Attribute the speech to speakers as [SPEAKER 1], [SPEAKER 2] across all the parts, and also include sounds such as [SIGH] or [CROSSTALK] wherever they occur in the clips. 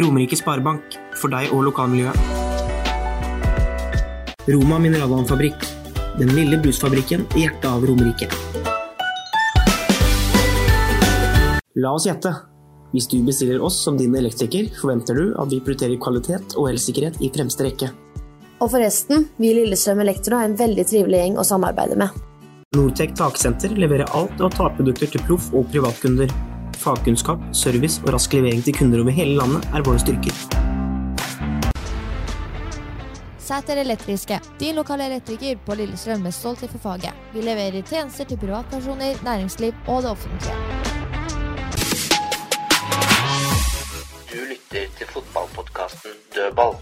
[SPEAKER 1] Romerike Sparebank. For deg og lokalmiljøet. Roma mineralvannfabrikk. Den lille brusfabrikken i hjertet av Romerike. La oss gjette. Hvis du bestiller oss som din elektriker, forventer du at vi prioriterer kvalitet og elsikkerhet i fremste rekke.
[SPEAKER 2] Og forresten, vi i Lillestrøm Elektro er en veldig trivelig gjeng å samarbeide med.
[SPEAKER 1] Nortec taksenter leverer alt av takprodukter til proff- og privatkunder. Fagkunnskap, service og rask levering til kunder over hele landet er våre styrker.
[SPEAKER 3] Sæter Elektriske, din lokale elektriker på Lillestrøm med stolthet for faget. Vi leverer tjenester til privatpersoner, næringsliv og det offentlige.
[SPEAKER 4] Du lytter til fotballpodkasten Dødball.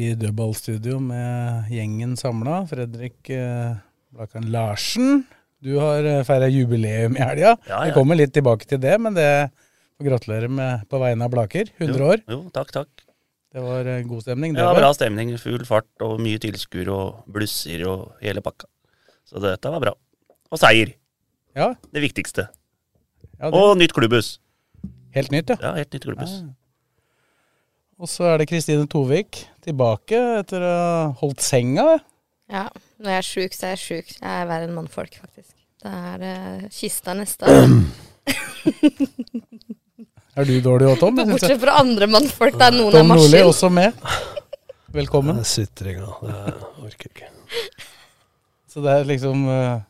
[SPEAKER 5] i dødballstudio med gjengen samla. Fredrik eh, Blakan Larsen, du har feira jubileum i helga.
[SPEAKER 6] Ja,
[SPEAKER 5] Vi
[SPEAKER 6] ja.
[SPEAKER 5] kommer litt tilbake til det, men det får gratulere med på vegne av Blaker. 100 år.
[SPEAKER 6] Jo, jo, takk, takk.
[SPEAKER 5] Det var eh, god stemning.
[SPEAKER 6] Det
[SPEAKER 5] Det
[SPEAKER 6] var
[SPEAKER 5] var.
[SPEAKER 6] bra stemning, full fart og mye tilskuer og blusser og hele pakka. Så dette var bra. Og seier,
[SPEAKER 5] Ja,
[SPEAKER 6] det viktigste.
[SPEAKER 5] ja det,
[SPEAKER 6] Og nytt klubbhus.
[SPEAKER 5] helt nytt, ja.
[SPEAKER 6] Ja, helt nytt klubbhus.
[SPEAKER 5] Og så er det Kristine Tovik tilbake etter å ha holdt senga.
[SPEAKER 3] Ja, når jeg er sjuk, så er jeg sjuk. Jeg er verre enn mannfolk, faktisk. Det er eh, kista neste år.
[SPEAKER 5] [CLEARS THROAT] Er du dårlig òg, Tom? Jeg synes det-
[SPEAKER 3] Bortsett fra andre mannfolk, det er noen av
[SPEAKER 5] Tom Nordli
[SPEAKER 3] maskin.
[SPEAKER 5] også med. Velkommen.
[SPEAKER 4] Sutringa. Det orker ikke.
[SPEAKER 5] Så det er liksom eh,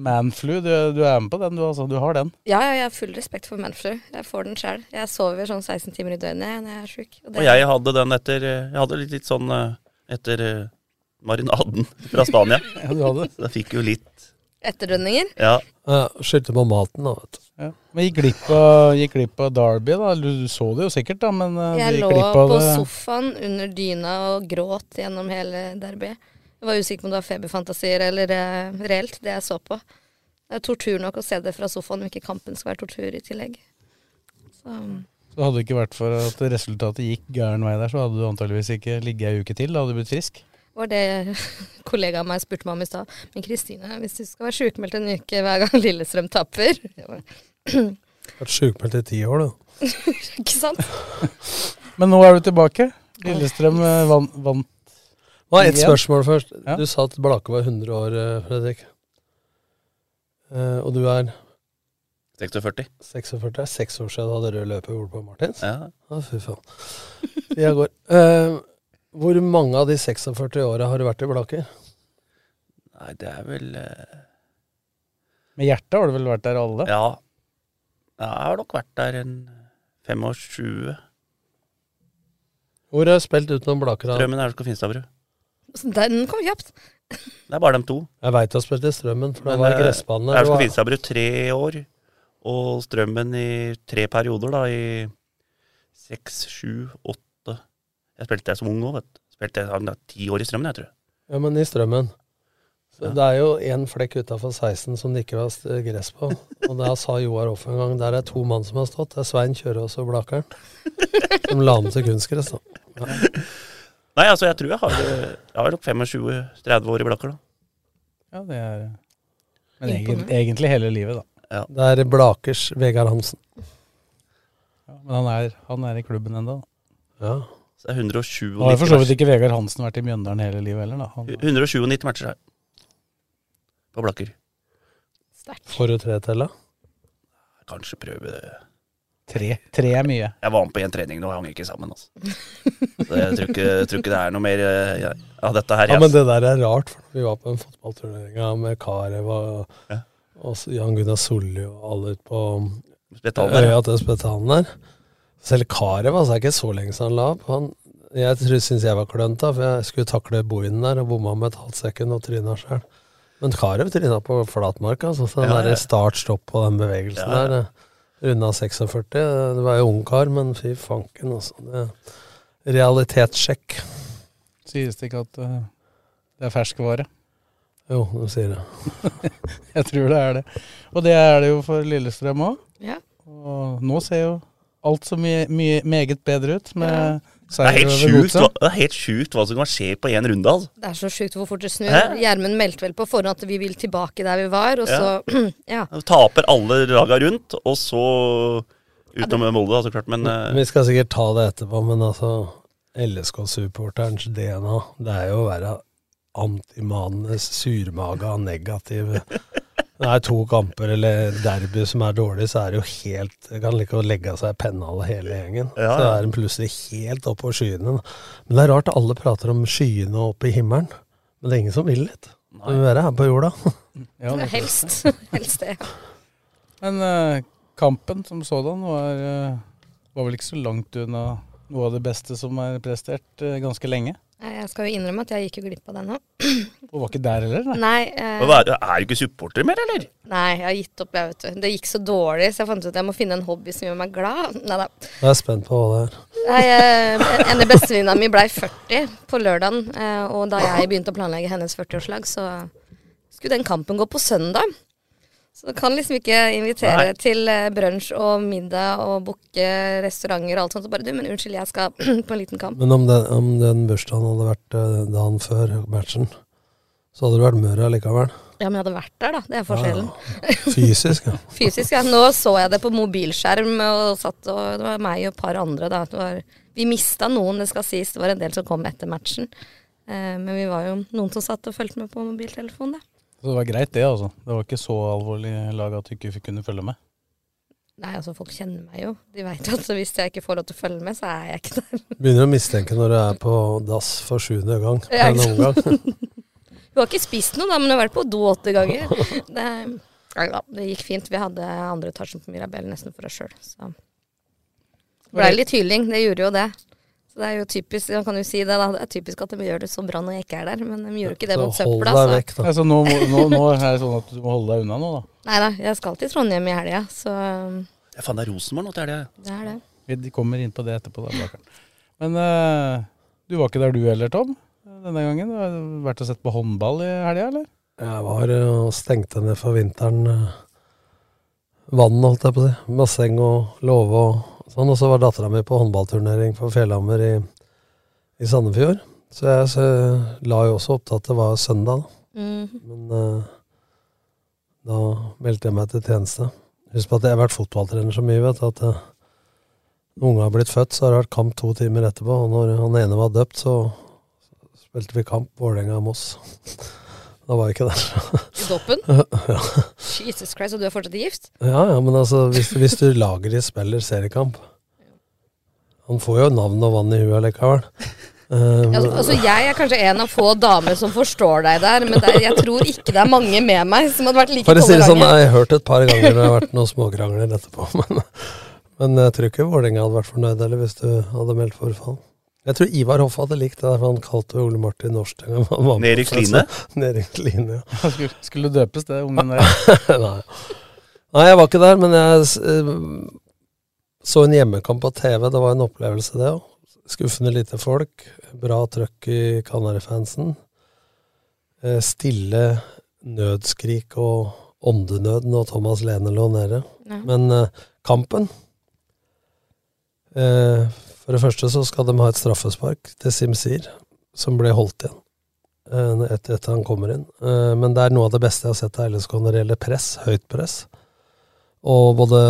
[SPEAKER 5] manflu. Du, du er med på den, du altså. Du har den.
[SPEAKER 3] Ja, ja, jeg har full respekt for manflu. Jeg får den sjøl. Jeg sover sånn 16 timer i døgnet jeg, når jeg er sjuk. Og
[SPEAKER 6] [LAUGHS] Og
[SPEAKER 3] det,
[SPEAKER 6] jeg hadde den etter eh, Jeg hadde litt, litt sånn eh, etter eh, marinaden [LAUGHS] fra Spania.
[SPEAKER 5] [LAUGHS] Ja, du hadde det.
[SPEAKER 6] Så jeg fikk jo litt
[SPEAKER 3] etterdønninger.
[SPEAKER 6] Ja.
[SPEAKER 4] Skyldte på maten, da, vet du.
[SPEAKER 5] Ja. Men gikk glipp, av, gikk glipp av Derby, da? Eller du så det jo sikkert, da, men eh, du
[SPEAKER 3] Jeg
[SPEAKER 5] gikk
[SPEAKER 3] lå
[SPEAKER 5] glipp av
[SPEAKER 3] på
[SPEAKER 5] det.
[SPEAKER 3] sofaen under dyna og gråt gjennom hele derbyet. Jeg var usikker på om det var feberfantasier eller eh, reelt, det jeg så på. Det er tortur nok å se det fra sofaen, om ikke kampen skal være tortur i tillegg. Så
[SPEAKER 5] Så hadde det ikke vært for at resultatet gikk gæren vei der, så hadde du antageligvis ikke ligget ei uke til. Da hadde du blitt frisk.
[SPEAKER 3] var det [LAUGHS] kollegaen meg spurte meg om i stad. Men Kristine, hvis du skal være sjukmeldt en uke hver gang Lillestrøm taper Jeg bare,
[SPEAKER 4] Vært sjukmeldt i ti år, du.
[SPEAKER 3] Ikke sant?
[SPEAKER 5] Men nå er du tilbake. Lillestrøm eh, vann- vant.
[SPEAKER 4] Nei, ett
[SPEAKER 5] Igjen?
[SPEAKER 4] spørsmål først.
[SPEAKER 5] Ja.
[SPEAKER 4] Du sa at Blake var 100 år, eh, Fredrik. Eh, og du er
[SPEAKER 6] 46.
[SPEAKER 4] 46. Det er seks år siden du hadde rød løper hvor du på Martins.
[SPEAKER 6] Ja.
[SPEAKER 4] Å, fy faen. Tida går. Eh, hvor mange av de 46 åra har du vært i Blaker?
[SPEAKER 6] Nei, det er vel eh,
[SPEAKER 5] Med hjertet har du vel vært der alle?
[SPEAKER 6] Ja. Jeg har nok vært der en 25.
[SPEAKER 4] Hvor har du spilt utenom Blaker? da?
[SPEAKER 6] Drømmen er du skal finne Stavru.
[SPEAKER 3] Så Sånn, Den kom kjapt.
[SPEAKER 6] Det er bare dem to.
[SPEAKER 4] Jeg veit du har spilt i Strømmen, for det
[SPEAKER 6] Men,
[SPEAKER 4] var
[SPEAKER 6] eh,
[SPEAKER 4] gressbanen
[SPEAKER 6] Jeg
[SPEAKER 4] der.
[SPEAKER 6] skal
[SPEAKER 4] og-
[SPEAKER 6] finne Stavru tre år, og Strømmen i tre perioder, da, i seks, sju, åtte Jeg spilte der som ung òg, vet du. Spilte jeg hadde ti år i Strømmen, jeg tror.
[SPEAKER 4] Ja, men i Strømmen. Så
[SPEAKER 6] Ja.
[SPEAKER 4] Det er jo én flekk utafor 16 som det ikke var st- gress på. Og der sa Joar Hoff en gang der er to mann som har stått. Det er Svein Kjørås og Blakeren. Som la om til kunstgress. da.
[SPEAKER 6] Nei, altså, jeg tror jeg har, jeg har nok 25-30 år i Blakker, da.
[SPEAKER 5] Ja, det er Men egentlig, egentlig hele livet, da.
[SPEAKER 4] Det er Blakers Vegard Hansen.
[SPEAKER 5] Ja, men han er, han er i klubben ennå.
[SPEAKER 4] Ja.
[SPEAKER 6] Så det er 197
[SPEAKER 5] Nå har for så vidt
[SPEAKER 6] matcher.
[SPEAKER 5] ikke Vegard Hansen vært i Mjøndalen hele livet heller, da. Han,
[SPEAKER 6] 197 matcher her. På Blakker.
[SPEAKER 3] Sterkt.
[SPEAKER 4] Får du tre til, da?
[SPEAKER 6] Kanskje prøve det.
[SPEAKER 5] tre, tre er mye.
[SPEAKER 6] Jeg var med på én trening nå, jeg hang ikke sammen, altså. Så jeg tror ikke, jeg tror ikke det er noe mer eh, ja, av dette her.
[SPEAKER 4] Ja,
[SPEAKER 6] jeg,
[SPEAKER 4] men
[SPEAKER 6] altså.
[SPEAKER 4] det der er rart. For vi var på en fotballturnering med Karev og,
[SPEAKER 6] Ja.
[SPEAKER 4] og så Jan Gunnar Solli og alle ute på
[SPEAKER 6] Spetalen der, ja.
[SPEAKER 4] øya til Spetalen der. Selv Karev altså, det er ikke så lenge siden han la opp. Han, jeg syns jeg var klønete, for jeg skulle takle boinen der og bomma med et halvt sekund og tryna sjøl. Men Carew tryna på flatmark, altså. Så den
[SPEAKER 6] Ja, ja.
[SPEAKER 4] der start-stopp på den bevegelsen
[SPEAKER 6] Ja, ja.
[SPEAKER 4] der. eh, Runda 46. Du var jo ungkar, men fy fanken, altså. Det er realitetssjekk.
[SPEAKER 5] Sies det ikke at eh, det er ferskvare?
[SPEAKER 4] Jo, du sier det.
[SPEAKER 5] [LAUGHS] Jeg tror det er det. Og det er det jo for Lillestrøm òg.
[SPEAKER 3] Ja.
[SPEAKER 5] Og nå ser jo alt så mye, mye meget bedre ut med
[SPEAKER 6] Det er
[SPEAKER 5] seier
[SPEAKER 6] helt
[SPEAKER 5] over
[SPEAKER 6] sjukt,
[SPEAKER 5] Godset.
[SPEAKER 6] hva- det er helt sjukt hva som kan skje på én runde, altså.
[SPEAKER 3] Det er så sjukt hvor fort det snur.
[SPEAKER 6] Hæ?
[SPEAKER 3] Gjermund meldte vel på forhånd at vi vil tilbake der vi var, og
[SPEAKER 6] Ja.
[SPEAKER 3] så Ja.
[SPEAKER 6] Du taper alle laga rundt, og så Utenom Molde, da, så klart, men eh,
[SPEAKER 4] Vi skal sikkert ta det etterpå, men altså LSK-supporterens DNA, det er jo å være antimanenes surmaga negativ. Det er to kamper eller derby som er dårlig, så er det jo helt Det kan like å legge av seg pennalet hele gjengen.
[SPEAKER 6] Ja,
[SPEAKER 4] Så
[SPEAKER 6] ja.
[SPEAKER 4] er den plutselig helt oppe på skyene. Men det er rart alle prater om skyene oppe i himmelen. Men det er ingen som vil litt. Du vil være her på jorda. [LAUGHS]
[SPEAKER 5] Ja, det-
[SPEAKER 3] Helst. [LAUGHS] Helst det.
[SPEAKER 5] Men eh, kampen som sådan var, eh, var vel ikke så langt unna noe av det beste som er prestert eh, ganske lenge.
[SPEAKER 3] Nei, Jeg skal jo innrømme at jeg gikk jo glipp av den nå.
[SPEAKER 5] Og var ikke der heller, nei.
[SPEAKER 3] Nei, eh,
[SPEAKER 6] hva er, er du ikke supporter mer, eller?
[SPEAKER 3] nei, jeg har gitt opp, jeg, vet du. Det gikk så dårlig, så jeg fant ut at jeg må finne en hobby som gjør meg glad. Neida.
[SPEAKER 4] Jeg er spent på hva det er.
[SPEAKER 3] Nei, eh, en av bestevenninna mi blei 40 på lørdagen, eh, og da jeg begynte å planlegge hennes 40-årslag, så skulle den kampen gå på søndag. Så du kan liksom ikke invitere
[SPEAKER 7] Nei.
[SPEAKER 3] til eh, brunsj og middag og booke restauranter og alt sånt. Og bare du, men unnskyld, jeg skal på en liten kamp.
[SPEAKER 4] Men om den, om den bursdagen hadde vært eh, dagen før matchen, så hadde det vært Møre likevel.
[SPEAKER 3] Ja, men jeg hadde vært der, da. Det er forskjellen.
[SPEAKER 4] Fysisk, ja.
[SPEAKER 6] [LAUGHS]
[SPEAKER 3] Fysisk, ja. Nå så jeg det på mobilskjerm, og satt og Det var meg og et par andre, da. Det var, vi mista noen, det skal sies. Det var en del som kom etter matchen. Eh, men vi var jo noen som satt og fulgte med på mobiltelefonen, da.
[SPEAKER 5] Så det var greit, det, altså. Det var ikke så alvorlig lag at du ikke fikk kunne følge med.
[SPEAKER 3] Nei, altså folk kjenner meg jo. De veit at hvis jeg ikke får lov til å følge med, så er jeg ikke der.
[SPEAKER 4] Begynner å mistenke når du er på dass for sjuende gang.
[SPEAKER 3] Ja,
[SPEAKER 4] en
[SPEAKER 3] ikke sant?
[SPEAKER 4] omgang.
[SPEAKER 3] Hun har ikke spist noe, da, men hun har vært på do åtte
[SPEAKER 6] [LAUGHS]
[SPEAKER 3] ganger. Det, nei da, Ehm, det gikk fint. Vi hadde andre etasjen på Mirabelle nesten for oss sjøl, så Det blei litt hyling. Det gjorde jo det. Så det er jo typisk, man kan jo si det, da. Det er typisk at de gjør det så bra når jeg ikke er der, men de gjorde [LAUGHS] ikke det mot søpla. Så.
[SPEAKER 5] Altså, nå, må- nå, nå er det sånn at du må holde deg unna nå, da.
[SPEAKER 3] Nei da, jeg skal til Trondheim i helga, så um,
[SPEAKER 6] Ja, faen, det er Rosenborg nå til helga.
[SPEAKER 3] det er det.
[SPEAKER 5] Vi de kommer inn på det etterpå, da, Blakkaren. Men eh, du var ikke der du heller, Tom, denne gangen. Du har vært og sett på håndball i helga, eller?
[SPEAKER 4] Jeg var eh, og stengte ned for vinteren eh, vann, holdt jeg på å si. Basseng og låve og sånn. Og så var dattera mi på håndballturnering for Fjellhammer i, i Sandefjord. Så jeg så, la jo også opp til at det var søndag, da.
[SPEAKER 3] Mhm.
[SPEAKER 4] Men eh, da meldte jeg meg til tjeneste. Husk på at jeg har vært fotballtrener så mye, vet du, at eh, når unga har blitt født, så har det vært kamp to timer etterpå. Og når han ene var døpt, så spilte vi kamp Vålerenga-Moss. Da var jeg ikke der.
[SPEAKER 3] I dopen?
[SPEAKER 4] ja.
[SPEAKER 3] Jesus Christ, og du er fortsatt gift?
[SPEAKER 4] ja, ja, men altså, hvis, hvis du lager i spiller seriekamp Han får jo navn og vann i huet likevel. Eh,
[SPEAKER 3] Ja, Altså, altså Jeg er kanskje en av få damer som forstår deg der, men det er, jeg tror ikke det er mange med meg som hadde vært like
[SPEAKER 4] For å si det sånn,
[SPEAKER 3] tolerante.
[SPEAKER 4] jeg har hørt et par ganger det har vært noen småkrangler etterpå, [LAUGHS] men, men jeg tror ikke Vålerenga hadde vært fornøyd heller hvis du hadde meldt forfall. Jeg tror Ivar Hoff hadde likt det, der, for han kalte jo Ole Martin Norsk. en gang han var med.
[SPEAKER 6] Erik Line?
[SPEAKER 4] [LAUGHS] Erik Line, ja.
[SPEAKER 5] Han skulle, skulle døpes, det ungen
[SPEAKER 4] Ah, [LAUGHS]
[SPEAKER 5] der.
[SPEAKER 4] Nei. Nei, jeg var ikke der, men jeg s- eh, så en hjemmekamp på TV. Det var en opplevelse, det òg. Skuffende lite folk. Bra trøkk i Kanarifansen. Eh, Stille nødskrik og åndenød når Thomas Lene lå nede.
[SPEAKER 3] Ja.
[SPEAKER 4] Men eh, kampen eh, For det første så skal de ha et straffespark til Simsir, som ble holdt igjen eh, etter at han kommer inn. Eh, Men det er noe av det beste jeg har sett av LSK når det gjelder press, høyt press. Og både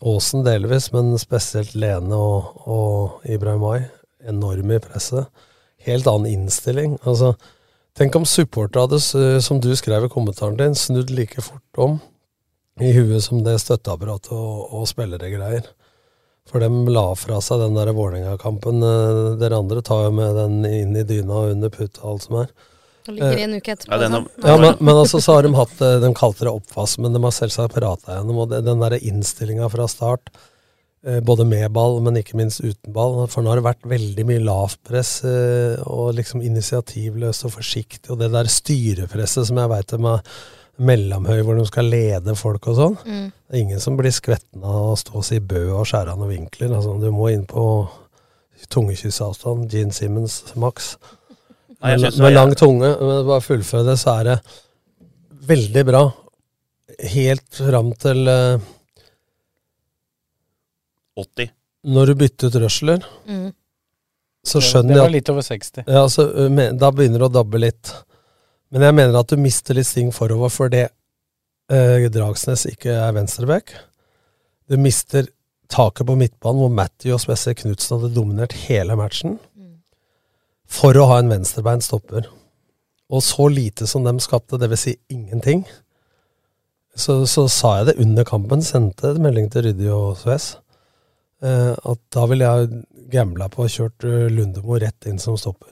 [SPEAKER 4] Aasen delvis, men spesielt Lene og, og Ibrahim Ay, enorme i presset. Helt annen innstilling. Altså, tenk om supportere hadde, s- som du skrev i kommentaren din, snudd like fort om i huet som det støtteapparatet og, og spillere greier. For dem la fra seg den der Vålerenga-kampen. Eh, Dere andre tar jo med den inn i dyna og under puta og alt som er.
[SPEAKER 3] Og ligger i en uke etterpå, Ja, den har-
[SPEAKER 4] ja, men, men altså så har de hatt eh, De kalte det oppvask, men de har selvsagt prata gjennom og det- den der innstillinga fra start. eh, både med ball, men ikke minst uten ball. For nå har det vært veldig mye lavpress eh, og liksom initiativløst og forsiktig. Og det der styrepresset som jeg veit de har mellomhøy, hvor de skal lede folk og sånn.
[SPEAKER 3] Mm.
[SPEAKER 4] Det er ingen som blir skvetten av å stå og si bø og skjære av noen vinkler. Altså, du må inn på tungekyssavstand. Gene Simmons maks.
[SPEAKER 6] Nei,
[SPEAKER 4] Med,
[SPEAKER 6] jeg synes det var-
[SPEAKER 4] med lang tunge. Men bare fullføre det, så er det veldig bra. Helt fram til eh,
[SPEAKER 6] 80.
[SPEAKER 4] Når du bytter ut røsler,
[SPEAKER 3] Mm.
[SPEAKER 4] så
[SPEAKER 5] Det-
[SPEAKER 4] skjønner
[SPEAKER 5] det
[SPEAKER 4] jeg
[SPEAKER 5] var
[SPEAKER 4] at-
[SPEAKER 5] litt over 60.
[SPEAKER 4] Ja, så, ø, men- da begynner det å dabbe litt. Men jeg mener at du mister litt sting forover fordi eh, Dragsnes ikke er venstreback. Du mister taket på midtbanen, hvor Matthew og spesielt Knutsen hadde dominert hele matchen, for å ha en venstrebeint stopper. Og så lite som de skapte, dvs. Si ingenting, så, så sa jeg det under kampen, sendte en melding til Ryddi og Sves, eh, at da ville jeg gambla på og kjørt eh, Lundemo rett inn som stopper.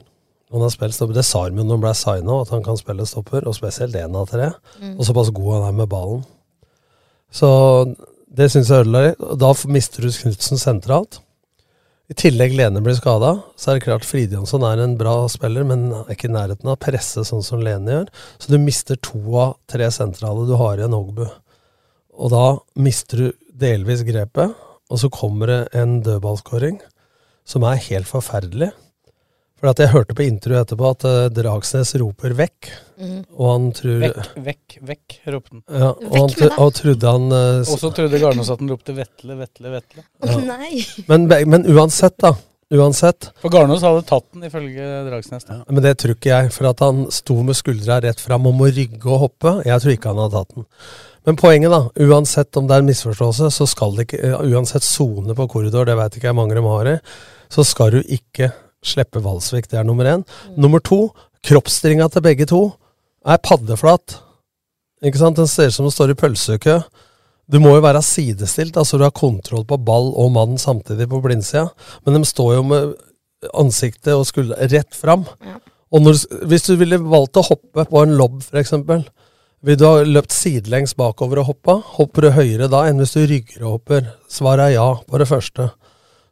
[SPEAKER 4] Han har spilt stopper. Det sa han jo når han ble signa, at han kan spille stopper, og spesielt én av tre.
[SPEAKER 7] Mm.
[SPEAKER 4] Og såpass god han er med ballen. Så det syns jeg ødela litt. Og da mister du Knutsen sentralt. I tillegg Lene blir skada, så er det klart Fridjonsson er en bra spiller, men er ikke i nærheten av å presse sånn som Lene gjør. Så du mister to av tre sentrale du har igjen Hogbu. Og da mister du delvis grepet, og så kommer det en dødballskåring som er helt forferdelig. For at jeg hørte på intervjuet etterpå at eh, Dragsnes roper 'vekk',
[SPEAKER 5] Mhm.
[SPEAKER 4] og han tror
[SPEAKER 5] Vekk, vekk, vekk, ropte han.
[SPEAKER 4] ja, og, han tro, og trodde han eh, s-
[SPEAKER 5] Og så trodde Garnås at han ropte 'Vetle, Vetle, Vetle'.
[SPEAKER 4] ja. Men, be- men uansett, da. Uansett.
[SPEAKER 5] For Garnås hadde tatt den, ifølge Dragsnes. da.
[SPEAKER 4] Men det tror ikke jeg, for at han sto med skuldra rett fram om å rygge og hoppe. Jeg tror ikke han hadde tatt den. Men poenget, da. Uansett om det er en misforståelse, så skal det ikke eh, Uansett sone på korridor, det veit ikke jeg mange de har i, så skal du ikke slippe Valsvik. Det er nummer én. Nummer to, kroppsstillinga til begge to er paddeflat. Ikke sant? Den ser ut som den står i pølsekø. Du må jo være sidestilt, altså du har kontroll på ball og mann samtidig på blindsida. Men de står jo med ansiktet og skuldra rett fram. Og når, hvis du ville valgt å hoppe på en lobb, f.eks., vil du ha løpt sidelengs bakover og hoppa? Hopper du høyere da enn hvis du rygger og hopper? Svaret er ja på det første.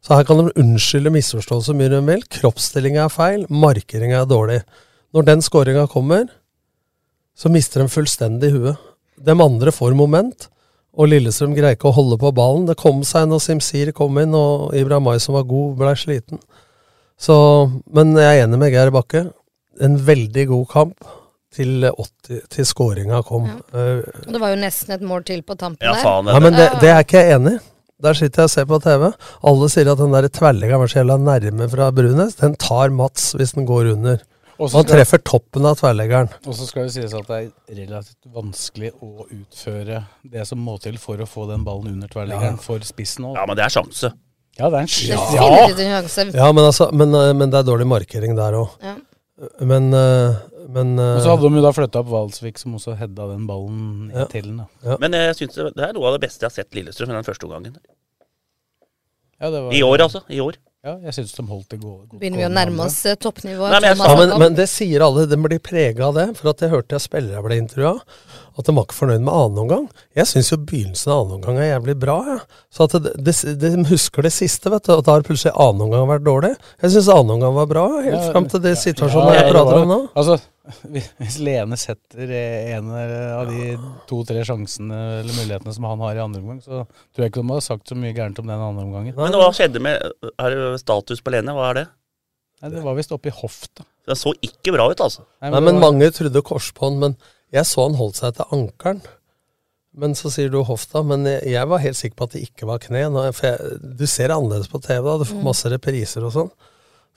[SPEAKER 4] Så her kan de unnskylde misforståelse så mye de vil. Kroppsstillinga er feil, markeringa er dårlig. Når den skåringa kommer, så mister de fullstendig huet. De andre får moment, og Lillestrøm greier ikke å holde på ballen. Det kom seg når Simsir kom inn, og Ibrahimay som var god, ble sliten. Så, men jeg er enig med Geir Bakke. En veldig god kamp til, 80, til skåringa kom. Eh,
[SPEAKER 3] Og det var jo nesten et mål til på tampen der.
[SPEAKER 4] ja, men det, det er ikke jeg enig i. Der sitter jeg og ser på TV. Alle sier at den der tverlinga var så jævla nærme fra Brunes. Den tar Mats hvis den går under.
[SPEAKER 5] Og så
[SPEAKER 4] Han
[SPEAKER 5] skal-
[SPEAKER 4] treffer toppen av tverleggeren.
[SPEAKER 5] Og så skal det sies at det er relativt vanskelig å utføre det som må til for å få den ballen under tverrliggeren
[SPEAKER 6] Ja.
[SPEAKER 5] for spissen òg.
[SPEAKER 6] Ja, men det er sjanse.
[SPEAKER 5] Ja, det er en
[SPEAKER 3] Det
[SPEAKER 5] sjanse.
[SPEAKER 3] finnes ikke en sjanse.
[SPEAKER 4] Ja, men, altså, men, eh, men det er dårlig markering der òg.
[SPEAKER 3] Ja.
[SPEAKER 4] Men, eh, men eh,
[SPEAKER 5] Og så hadde de jo da flytta opp Valsvik, som også hedda den ballen
[SPEAKER 4] Ja.
[SPEAKER 5] ja. til den. da.
[SPEAKER 6] Men jeg synes det, det er noe av det beste jeg har sett Lillestrøm i den første omgangen.
[SPEAKER 5] Ja, det var-
[SPEAKER 6] I år, altså. I år.
[SPEAKER 5] Ja, jeg syns de holdt det gå- godt.
[SPEAKER 3] Begynner vi å
[SPEAKER 5] gående
[SPEAKER 3] nærme
[SPEAKER 5] andre.
[SPEAKER 3] oss eh, toppnivået?
[SPEAKER 5] Nei, men jeg
[SPEAKER 3] Thomas
[SPEAKER 4] ja, men,
[SPEAKER 3] Jakob?
[SPEAKER 4] men det sier alle. De blir prega av det. For at jeg hørte jeg spillere ble intervjua, at de var ikke fornøyd med annen omgang. Jeg syns jo begynnelsen av annen omgang er jævlig bra. jeg. Så at det, det, de husker det siste, vet du. Og da har plutselig annen omgang vært dårlig. Jeg syns annen omgang var bra, helt
[SPEAKER 5] Ja,
[SPEAKER 4] fram til det
[SPEAKER 5] ja,
[SPEAKER 4] situasjonen
[SPEAKER 5] ja,
[SPEAKER 4] jeg
[SPEAKER 5] det
[SPEAKER 4] prater
[SPEAKER 5] var-
[SPEAKER 4] om nå.
[SPEAKER 5] Altså, [LAUGHS] hvis- hvis Lene setter en av de to-tre sjansene eller mulighetene som han har i andre omgang, så tror jeg ikke de har sagt så mye gærent om den andre omgangen.
[SPEAKER 6] Men hva skjedde med Er det status på Lene? Hva er det?
[SPEAKER 5] Nei, det var visst oppe i hofta.
[SPEAKER 6] Den så ikke bra ut, altså.
[SPEAKER 4] Nei, men, mange trodde korsbånd, men jeg så han holdt seg til ankelen. Men så sier du hofta, men jeg, jeg var helt sikker på at det ikke var kne. Nå, for jeg, du ser det annerledes på TV, da. Du får
[SPEAKER 6] Mm.
[SPEAKER 4] masse repriser og sånn.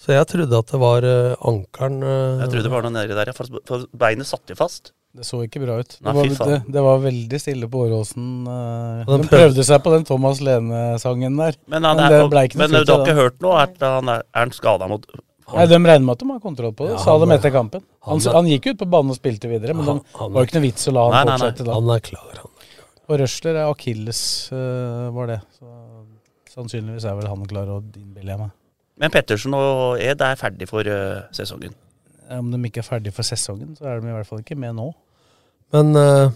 [SPEAKER 4] Så jeg trodde at det var uh, ankelen eh,
[SPEAKER 6] Jeg trodde det var noe nedi der, ja, for, for beinet satt jo fast.
[SPEAKER 5] Det så ikke bra ut.
[SPEAKER 6] Nei,
[SPEAKER 5] det, var,
[SPEAKER 6] fy faen.
[SPEAKER 5] det, det var veldig stille på Åråsen. eh,
[SPEAKER 6] Og den
[SPEAKER 5] De
[SPEAKER 6] prøv-
[SPEAKER 5] prøvde seg på den Thomas Lene-sangen der.
[SPEAKER 6] Men, han
[SPEAKER 5] det
[SPEAKER 6] er,
[SPEAKER 5] ble ikke noe
[SPEAKER 6] men
[SPEAKER 5] frukt
[SPEAKER 6] du har
[SPEAKER 5] av
[SPEAKER 6] ikke
[SPEAKER 5] den.
[SPEAKER 6] hørt noe? Er, han er, er han skada mot
[SPEAKER 5] Nei, De regner med at de har kontroll på det,
[SPEAKER 6] Ja,
[SPEAKER 5] sa
[SPEAKER 6] han
[SPEAKER 5] de
[SPEAKER 6] er-
[SPEAKER 5] etter kampen. Han,
[SPEAKER 6] han er-
[SPEAKER 5] han gikk ut på banen og spilte videre, men
[SPEAKER 6] Han-
[SPEAKER 5] det
[SPEAKER 6] han er-
[SPEAKER 5] var jo ikke noe vits å la
[SPEAKER 6] Nei,
[SPEAKER 5] han
[SPEAKER 6] nei, nei.
[SPEAKER 5] fortsette da.
[SPEAKER 4] Han er klar,
[SPEAKER 5] Og Røsler er akilles, eh, var det. Så sannsynligvis er vel han klar, og innbiller jeg meg.
[SPEAKER 6] Men Pettersen og Ed er ferdig for eh, sesongen.
[SPEAKER 5] Eh, Om de ikke er ferdige for sesongen, så er de i hvert fall ikke med nå.
[SPEAKER 4] Men eh,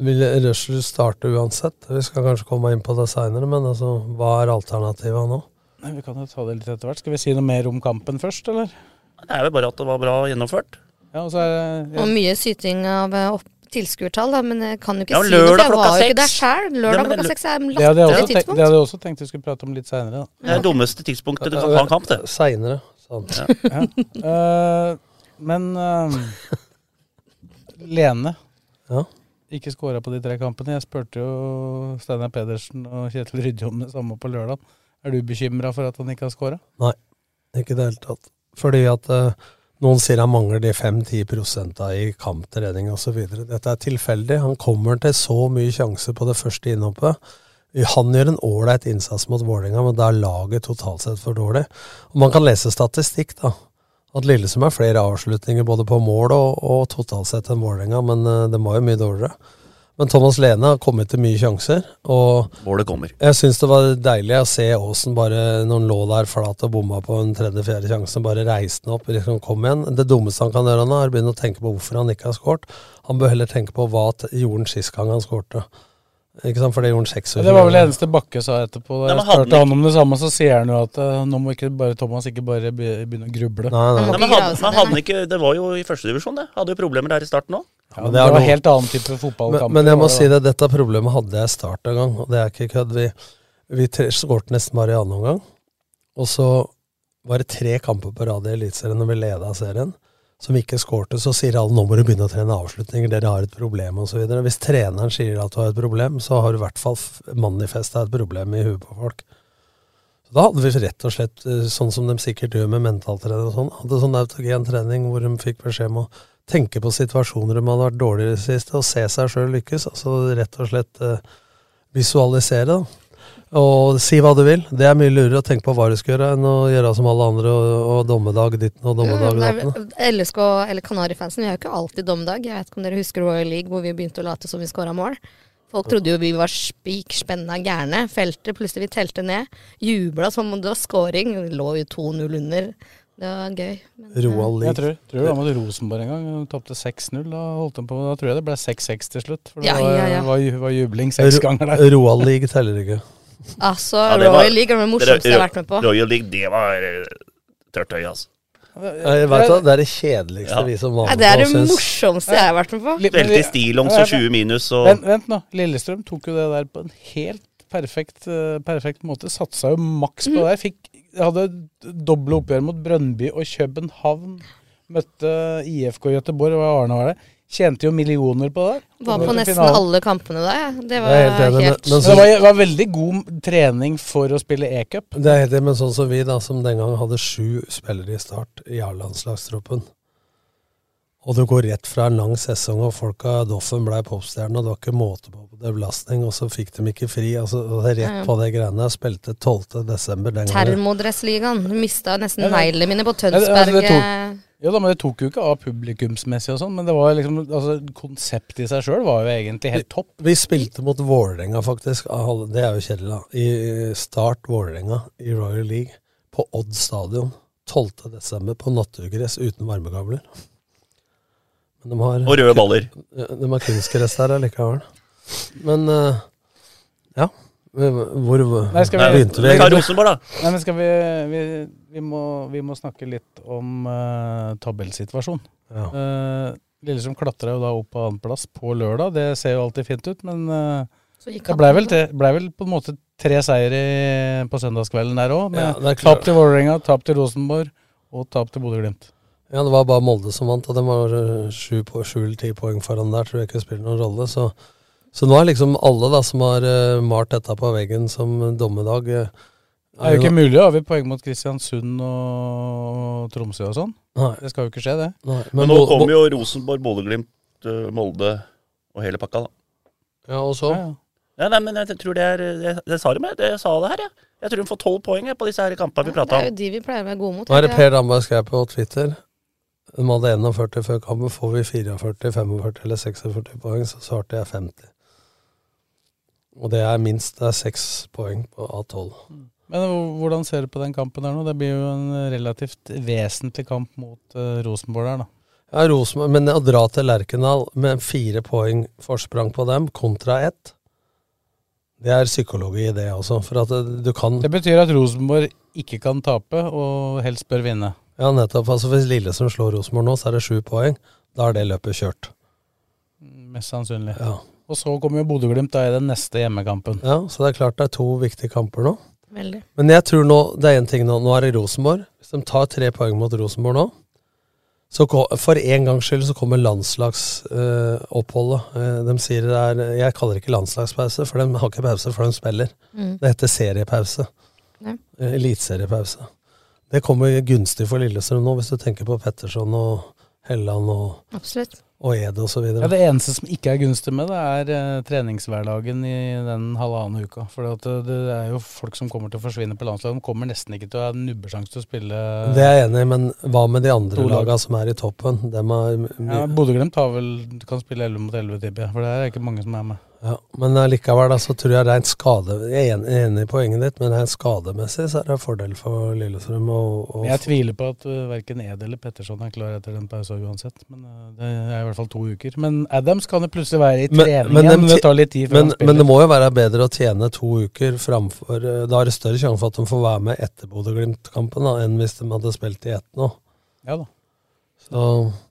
[SPEAKER 4] Vil Rushel starte uansett? Vi skal kanskje komme inn på det seinere, men altså, hva er alternativet nå?
[SPEAKER 5] Nei, Vi kan jo ta det litt etter hvert. Skal vi si noe mer om kampen først, eller?
[SPEAKER 6] Det er vel bare at det var bra gjennomført.
[SPEAKER 5] Ja, og så er det...
[SPEAKER 3] Og mye syting av eh, opp tilskuertall, da, men jeg kan jo ikke
[SPEAKER 6] Ja,
[SPEAKER 3] si noe. for
[SPEAKER 6] lørdag
[SPEAKER 3] Jeg var
[SPEAKER 6] klokka
[SPEAKER 3] jo ikke der
[SPEAKER 6] seks.
[SPEAKER 3] selv.
[SPEAKER 6] Ja,
[SPEAKER 3] Lørdag
[SPEAKER 6] men det
[SPEAKER 3] klokka
[SPEAKER 6] lø-
[SPEAKER 3] seks er en
[SPEAKER 5] Det hadde, jeg
[SPEAKER 3] latterlig
[SPEAKER 5] også tenkt,
[SPEAKER 3] tidspunkt.
[SPEAKER 5] det hadde jeg også tenkt vi skulle prate om litt seinere.
[SPEAKER 6] Det er det dummeste tidspunktet du kan ha en kamp, det.
[SPEAKER 4] Seinere. sant.
[SPEAKER 5] men eh, Lene
[SPEAKER 4] Ja.
[SPEAKER 5] ikke skåra på de tre kampene. Jeg spurte jo Steinar Pedersen og Kjetil Rydje om det samme på lørdag. Er du bekymra for at han ikke har skåra?
[SPEAKER 4] Nei, ikke i det hele tatt. Fordi at eh, noen sier han mangler de 5-10 prosenta i kamptrening osv. Dette er tilfeldig. Han kommer til så mye sjanser på det første innhoppet. Han gjør en ålreit innsats mot Vålerenga, men da er laget totalt sett for dårlig. Og man kan lese statistikk, da. At Lillesund har flere avslutninger både på mål og, og totalt sett enn Vålerenga, men eh, den var jo mye dårligere. Men Thomas Lene har kommet til mye sjanser, og
[SPEAKER 6] Målet kommer.
[SPEAKER 4] jeg syns det var deilig å se Aasen bare når han lå der flat og bomma på en tredje-fjerde sjanse, bare reiste han opp liksom kom igjen. Det dummeste han kan gjøre nå, er å begynne å tenke på hvorfor han ikke har skåret. Han bør heller tenke på hva t- gjorde han sist gang han skårte. Ikke sant, for det gjorde han 26
[SPEAKER 5] Det var vel det eneste Bakke sa etterpå. Da
[SPEAKER 6] Nei,
[SPEAKER 5] jeg
[SPEAKER 6] men hadde
[SPEAKER 5] spurte
[SPEAKER 6] han
[SPEAKER 5] han om det samme, så sier han jo at eh, nå må ikke bare Thomas ikke bare be- begynne å gruble.
[SPEAKER 4] Nei, nei.
[SPEAKER 6] Nei, men hadde, men hadde han ikke, det var jo i førstedivisjon, det. Hadde jo problemer der i starten òg.
[SPEAKER 4] men
[SPEAKER 5] Ja, men
[SPEAKER 4] det
[SPEAKER 5] det,
[SPEAKER 4] er
[SPEAKER 5] var
[SPEAKER 4] noe-
[SPEAKER 5] helt annen type fotballkamp.
[SPEAKER 4] Men, men jeg må si det, dette problemet hadde jeg i starten en gang, og det er ikke kødd. Vi, vi tre- skårte nesten bare i annen omgang, og så var det tre kamper på rad i Eliteserien når vi leda serien, som ikke skårte. Så sier alle nå må du begynne å trene avslutninger, dere har et problem osv. Hvis treneren sier at du har et problem, så har du i hvert fall manifesta et problem i huet på folk. Så Da hadde vi rett og slett, eh, sånn som de sikkert gjør med mentaltrening og sånn, hadde sånn autogen trening hvor de fikk beskjed om å tenke på situasjoner de hadde vært dårligere i det siste, og se seg sjøl lykkes. Altså rett og slett eh, visualisere, da. Og si hva du vil. Det er mye lurere å tenke på hva du skal gjøre, enn å gjøre som alle andre og, og dommedag ditten og
[SPEAKER 3] Mm,
[SPEAKER 4] dommedag datten.
[SPEAKER 3] LSK, eller Kanarifansen, vi har jo ikke alltid dommedag. Jeg vet ikke om dere husker Royal League, hvor vi begynte å late som vi skåra mål. Folk trodde jo vi var spikspenna gærne. Feltet, plutselig vi telte ned. Jubla som om det var scoring. Vi Lå jo 2-0 under. Det var gøy. Men,
[SPEAKER 4] Roald
[SPEAKER 5] Mm, Jeg
[SPEAKER 4] Lie.
[SPEAKER 5] tror, tror det var mot Rosenborg en gang. Hun tapte 6-0. Da holdt de på, da tror jeg det ble 6-6 til slutt. For det
[SPEAKER 3] Ja,
[SPEAKER 5] var,
[SPEAKER 3] ja, ja.
[SPEAKER 5] Var, ju- var jubling seks ganger der.
[SPEAKER 4] Roald League teller
[SPEAKER 3] [LAUGHS]
[SPEAKER 4] ikke.
[SPEAKER 3] Altså,
[SPEAKER 6] Ja, det var-
[SPEAKER 3] Royal League er det morsomste jeg har vært med på.
[SPEAKER 6] Royal League, det var eh, tørt øye, altså.
[SPEAKER 4] Jeg vet, da, det er det kjedeligste
[SPEAKER 6] Ja.
[SPEAKER 4] vi som
[SPEAKER 3] Nei,
[SPEAKER 4] vanlig
[SPEAKER 3] det er det
[SPEAKER 4] syns.
[SPEAKER 3] morsomste jeg har vært med på.
[SPEAKER 5] Litt- men
[SPEAKER 6] Spilte i
[SPEAKER 5] vi-
[SPEAKER 6] stillongs og 20 minus og
[SPEAKER 5] Vent, vent nå. Lillestrøm tok jo det der på en helt perfekt, eh, perfekt måte. Satsa jo maks
[SPEAKER 3] Mm.
[SPEAKER 5] på det der. Fikk, hadde doble oppgjør mot Brøndby og København. Møtte IFK Göteborg, og Arne var det. Tjente jo millioner på det der.
[SPEAKER 3] Var
[SPEAKER 5] Og
[SPEAKER 3] på
[SPEAKER 5] så
[SPEAKER 3] nesten
[SPEAKER 5] finalen.
[SPEAKER 3] alle kampene da, jeg. Det
[SPEAKER 4] Jeg er helt
[SPEAKER 3] var
[SPEAKER 4] enig,
[SPEAKER 3] helt
[SPEAKER 4] men- men
[SPEAKER 5] Så det var, det var veldig god trening for å spille e-cup.
[SPEAKER 4] Det er helt enig, men sånn som vi, da, som den gang hadde sju spillere i start i A-landslagstroppen. Og du går rett fra en lang sesong, og folka Doffen blei popstjerne, og det var ikke måte på belastning, og så fikk de ikke fri. altså og det er Rett
[SPEAKER 3] Ja.
[SPEAKER 4] på de greiene. Jeg spilte 12. desember den gangen.
[SPEAKER 3] Termodressligaen. Mista nesten
[SPEAKER 5] Ja, det-
[SPEAKER 3] neglene mine på
[SPEAKER 5] det- altså,
[SPEAKER 3] Tønsberg. eh,
[SPEAKER 5] det tok- Ja da, men Det tok jo ikke av publikumsmessig, og sånn, men det var liksom, altså, konseptet i seg sjøl var jo egentlig helt topp.
[SPEAKER 4] Vi spilte mot Vålerenga, faktisk. av alle- Det er jo kjedelig, da. I eh, Start Vålerenga i Royal League på Odd stadion 12. desember på naturgress uten varmekabler. Men de har
[SPEAKER 6] Og røde baller.
[SPEAKER 4] Ja, De har kunstgress der allikevel. Men eh, ja Hvor, hvor
[SPEAKER 5] Nei, skal vi-
[SPEAKER 4] begynte vi?
[SPEAKER 5] Nei,
[SPEAKER 6] Ta
[SPEAKER 4] egentlig?
[SPEAKER 6] Rosenborg, da.
[SPEAKER 5] Nei, men skal vi, vi, vi, må, vi må snakke litt om uh, tabellsituasjonen.
[SPEAKER 4] Ja.
[SPEAKER 5] Eh, Lillestrøm klatra jo da opp på annenplass på lørdag, det ser jo alltid fint ut. Men eh, det blei vel, tre- ble vel på en måte tre seier i, på søndagskvelden der òg.
[SPEAKER 4] Ja,
[SPEAKER 5] Med
[SPEAKER 4] det er klart.
[SPEAKER 5] tap til Vålerenga, tap til Rosenborg og tap til Bodø-Glimt.
[SPEAKER 4] Ja, det var bare Molde som vant, og de var eh, sju på- sju eller ti poeng foran der. Tror jeg ikke spiller noen rolle. Så, så nå er liksom alle da som har eh, malt dette på veggen som dommedag eh,
[SPEAKER 5] Det er jo ikke mulig, har vi poeng mot Kristiansund og Tromsø og sånn?
[SPEAKER 4] Nei,
[SPEAKER 5] Det skal jo ikke skje, det.
[SPEAKER 4] nei,
[SPEAKER 6] Men nå kommer jo Rosenborg, Bodø-Glimt, eh, Molde og hele pakka, da.
[SPEAKER 4] Ja, og så?
[SPEAKER 5] Ja, ja.
[SPEAKER 6] Ja, nei, men jeg tror det er Det, det sa de, jeg. Det, jeg sa det her, jeg. Jeg tror de får tolv poeng jeg, på disse her kampene vi
[SPEAKER 3] Det
[SPEAKER 6] prata
[SPEAKER 3] er
[SPEAKER 6] om.
[SPEAKER 3] jo de vi pleier å være gode mot.
[SPEAKER 4] Nå er det
[SPEAKER 3] ikke?
[SPEAKER 4] Per Damberg skrev på Twitter. De hadde 41 før kampen. Får vi 44, 45 eller 46 poeng, så svarte jeg 50. Og det er minst det er 6 poeng på A12.
[SPEAKER 5] Men h- hvordan ser du på den kampen der nå? Det blir jo en relativt vesentlig kamp mot eh, Rosenborg der, da.
[SPEAKER 4] Ja, Rosenborg, men å dra til Lerkendal med fire poeng forsprang på dem, kontra ett, det er psykologi i det også. For at eh, du kan
[SPEAKER 5] Det betyr at Rosenborg ikke kan tape, og helst bør vinne.
[SPEAKER 4] Ja, nettopp. Altså Hvis Lillesund slår Rosenborg nå, så er det sju poeng. Da er det løpet kjørt.
[SPEAKER 5] Mest sannsynlig.
[SPEAKER 4] Ja.
[SPEAKER 5] Og så kommer jo Bodø-Glimt da i den neste hjemmekampen.
[SPEAKER 4] Ja, Så det er klart det er to viktige kamper nå.
[SPEAKER 3] Veldig.
[SPEAKER 4] Men jeg tror nå, det er en ting nå, nå er det Rosenborg. Hvis de tar tre poeng mot Rosenborg nå, så ko- for en gangs skyld så kommer landslagsoppholdet. Eh, de sier det er Jeg kaller det ikke landslagspause, for de har ikke pause, for de spiller.
[SPEAKER 3] Mm.
[SPEAKER 4] Det heter seriepause.
[SPEAKER 3] Ja.
[SPEAKER 4] Eh, Eliteseriepause. Det kommer gunstig for Lillestrøm nå, hvis du tenker på Petterson og Helland og,
[SPEAKER 3] Absolutt.
[SPEAKER 4] og Ede osv.
[SPEAKER 5] Ja, det eneste som ikke er gunstig med det, er eh, treningshverdagen i den halvannen uka. For at eh, det er jo folk som kommer til å forsvinne på landslaget. De kommer nesten ikke til å ha en nubbesjanse til å spille
[SPEAKER 4] Det er jeg enig i, men hva med de andre
[SPEAKER 5] To lag.
[SPEAKER 4] laga som er i toppen? Dem er my-
[SPEAKER 5] ja, Bodø-Glimt har vel- kan spille 11 mot 11, tipper jeg. For det er ikke mange som er med.
[SPEAKER 4] Ja, men allikevel da, så tror jeg rent skade Jeg er en- jeg er enig i poenget ditt, men rent skademessig så er det en fordel for Lillestrøm å, å
[SPEAKER 5] Men jeg tviler på at uh, verken Ed eller Petterson er klar etter den pausen uansett. Men uh, det er i hvert fall to uker. Men Adams kan jo plutselig være i trening igjen, men det tar litt tid før
[SPEAKER 4] men,
[SPEAKER 5] han spiller.
[SPEAKER 4] men det må jo være bedre å tjene to uker framfor eh, Da er det større sjanse for at de får være med etter Bodø-Glimt-kampen da, enn hvis de hadde spilt i ett nå.
[SPEAKER 5] Ja da.
[SPEAKER 4] Så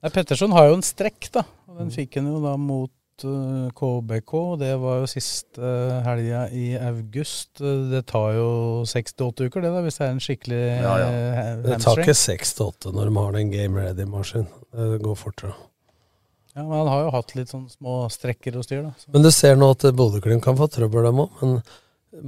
[SPEAKER 5] Nei, Petterson har jo en strekk, da. Og
[SPEAKER 4] Mm.
[SPEAKER 5] den fikk han jo da mot uh, KBK. og Det var jo siste uh, helga i august. Uh, Det tar jo seks til åtte uker, det, da, hvis det er en skikkelig
[SPEAKER 4] Ja, ja.
[SPEAKER 5] uh, ha-
[SPEAKER 4] det tar
[SPEAKER 5] hamstring.
[SPEAKER 4] ikke seks til åtte når de har den game ready-maskin. Det går fortere.
[SPEAKER 5] Ja, men han har jo hatt litt sånn små strekker og styr, da. Så.
[SPEAKER 4] Men du ser nå at Bodø-Glimt kan få trøbbel, dem òg. Men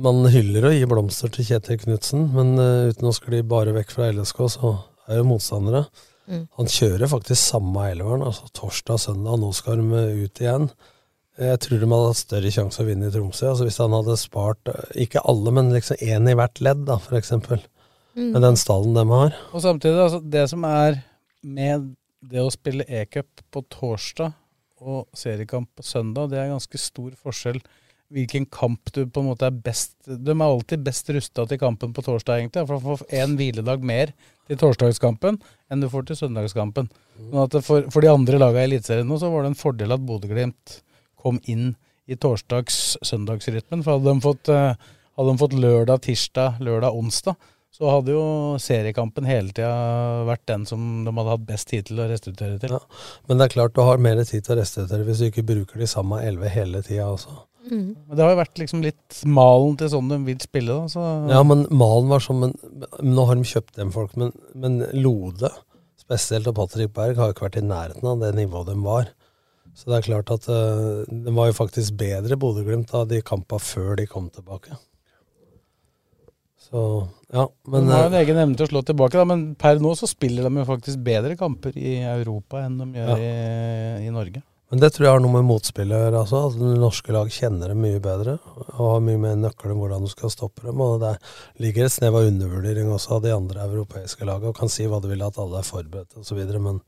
[SPEAKER 4] man hyller å gi blomster til Kjetil Knutsen, men eh, uten å skli bare vekk fra LSK, så er jo motstandere.
[SPEAKER 3] Mm.
[SPEAKER 4] Han kjører faktisk samme elveren, altså torsdag og søndag. Nå skal de eh, ut igjen. Eh, Jeg tror de hadde hatt større sjanse å vinne i Tromsø. altså Hvis han hadde spart eh, ikke alle, men liksom én i hvert ledd, da, for eksempel.
[SPEAKER 5] Mm.
[SPEAKER 4] Med den stallen de har.
[SPEAKER 5] Og samtidig, altså, det som er med det å spille e-cup på torsdag og seriekamp på søndag, det er ganske stor forskjell hvilken kamp du på en måte er best De er alltid best rusta til kampen på torsdag, egentlig. For du får én hviledag mer til torsdagskampen enn du får til søndagskampen. Sånn at det for, for de andre lagene i Eliteserien nå, så var det en fordel at Bodø-Glimt kom inn i torsdags-søndagsrytmen. For hadde de fått, eh, hadde de fått lørdag, tirsdag, lørdag, onsdag, så hadde jo seriekampen hele tida vært den som de hadde hatt best tid til å restituere til.
[SPEAKER 4] Men det er klart du har mer tid til å restituere hvis du ikke bruker de samme elleve hele tida også.
[SPEAKER 5] Men det har jo vært liksom litt malen til sånn de vil spille, da. Så
[SPEAKER 4] Ja, men malen var sånn, men, men nå har de kjøpt dem folk, men, men Lode spesielt og Patrick Berg har jo ikke vært i nærheten av det nivået de var. Så det er klart at eh, de var jo faktisk bedre Bodø-Glimt av de kampa før de kom tilbake. Så ja, men
[SPEAKER 5] de har jo en
[SPEAKER 4] eh,
[SPEAKER 5] egen evne til å slå tilbake, da, men per nå så spiller de jo faktisk bedre kamper i Europa enn de gjør i, i Norge.
[SPEAKER 4] men det tror jeg har noe med motspillet å gjøre. Altså, at det norske lag kjenner dem mye bedre og har mye mer nøkler om hvordan du skal stoppe dem. Og det ligger et snev av undervurdering også av de andre europeiske lagene og kan si hva du vil at alle er forberedt osv. Men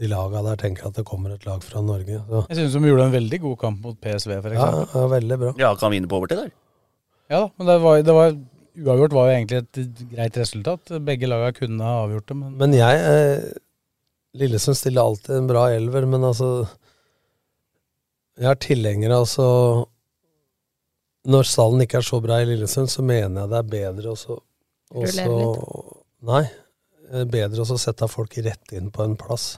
[SPEAKER 4] de laga der tenker at det kommer et lag fra Norge. Så.
[SPEAKER 5] Jeg synes de gjorde en veldig god kamp mot PSV, f.eks.
[SPEAKER 4] Ja, ja, veldig bra.
[SPEAKER 6] Ja, kan vinne på overtid der.
[SPEAKER 5] Ja da, men det var, det var uavgjort var jo egentlig et greit resultat. Begge laga kunne ha avgjort det, men
[SPEAKER 4] Men jeg eh, Lillesund stiller alltid en bra elver, men altså Jeg er tilhenger av altså Når stallen ikke er så bra i Lillesund, så mener jeg det er bedre å så- å
[SPEAKER 3] Rullere
[SPEAKER 4] så- Nei. eh, Bedre å så sette folk rett inn på en plass.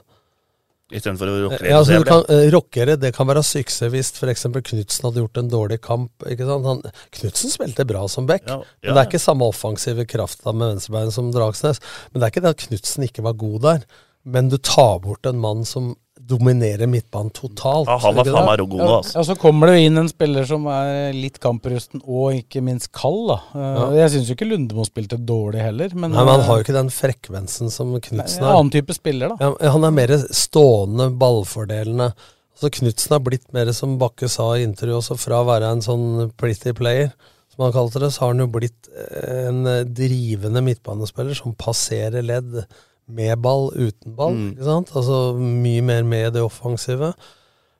[SPEAKER 6] Istedenfor å rokke
[SPEAKER 4] Ja, altså, du
[SPEAKER 6] det.
[SPEAKER 4] kan, eh, rockere, det kan være suksess hvis f.eks. Knutsen hadde gjort en dårlig kamp. ikke sant? Han, Knutsen spilte bra som back,
[SPEAKER 6] Ja, ja.
[SPEAKER 4] men det er ikke samme offensive krafta med venstrebeinet som Dragsnes. Men det er ikke det at Knutsen ikke var god der, men du tar bort en mann som dominerer midtbanen totalt.
[SPEAKER 6] Ja, han var
[SPEAKER 4] ikke
[SPEAKER 6] faen
[SPEAKER 4] det?
[SPEAKER 6] meg god nå, altså.
[SPEAKER 5] Ja, så kommer det jo inn en spiller som er litt kamprusten og ikke minst kald, da. Eh, Jeg syns jo ikke Lundemo spilte dårlig heller, men,
[SPEAKER 4] Nei, men han har jo ikke den frekvensen som Knutsen
[SPEAKER 5] en
[SPEAKER 4] har.
[SPEAKER 5] annen type spiller, da.
[SPEAKER 4] Ja, han er mer stående, ballfordelende. Altså Knutsen har blitt mer som Bakke sa i intervjuet også, fra å være en sånn plitty player, som han kalte det, så har han jo blitt eh, en drivende midtbanespiller som passerer ledd med ball, uten ball.
[SPEAKER 6] Mm.
[SPEAKER 4] ikke sant? Altså mye mer med i det offensive.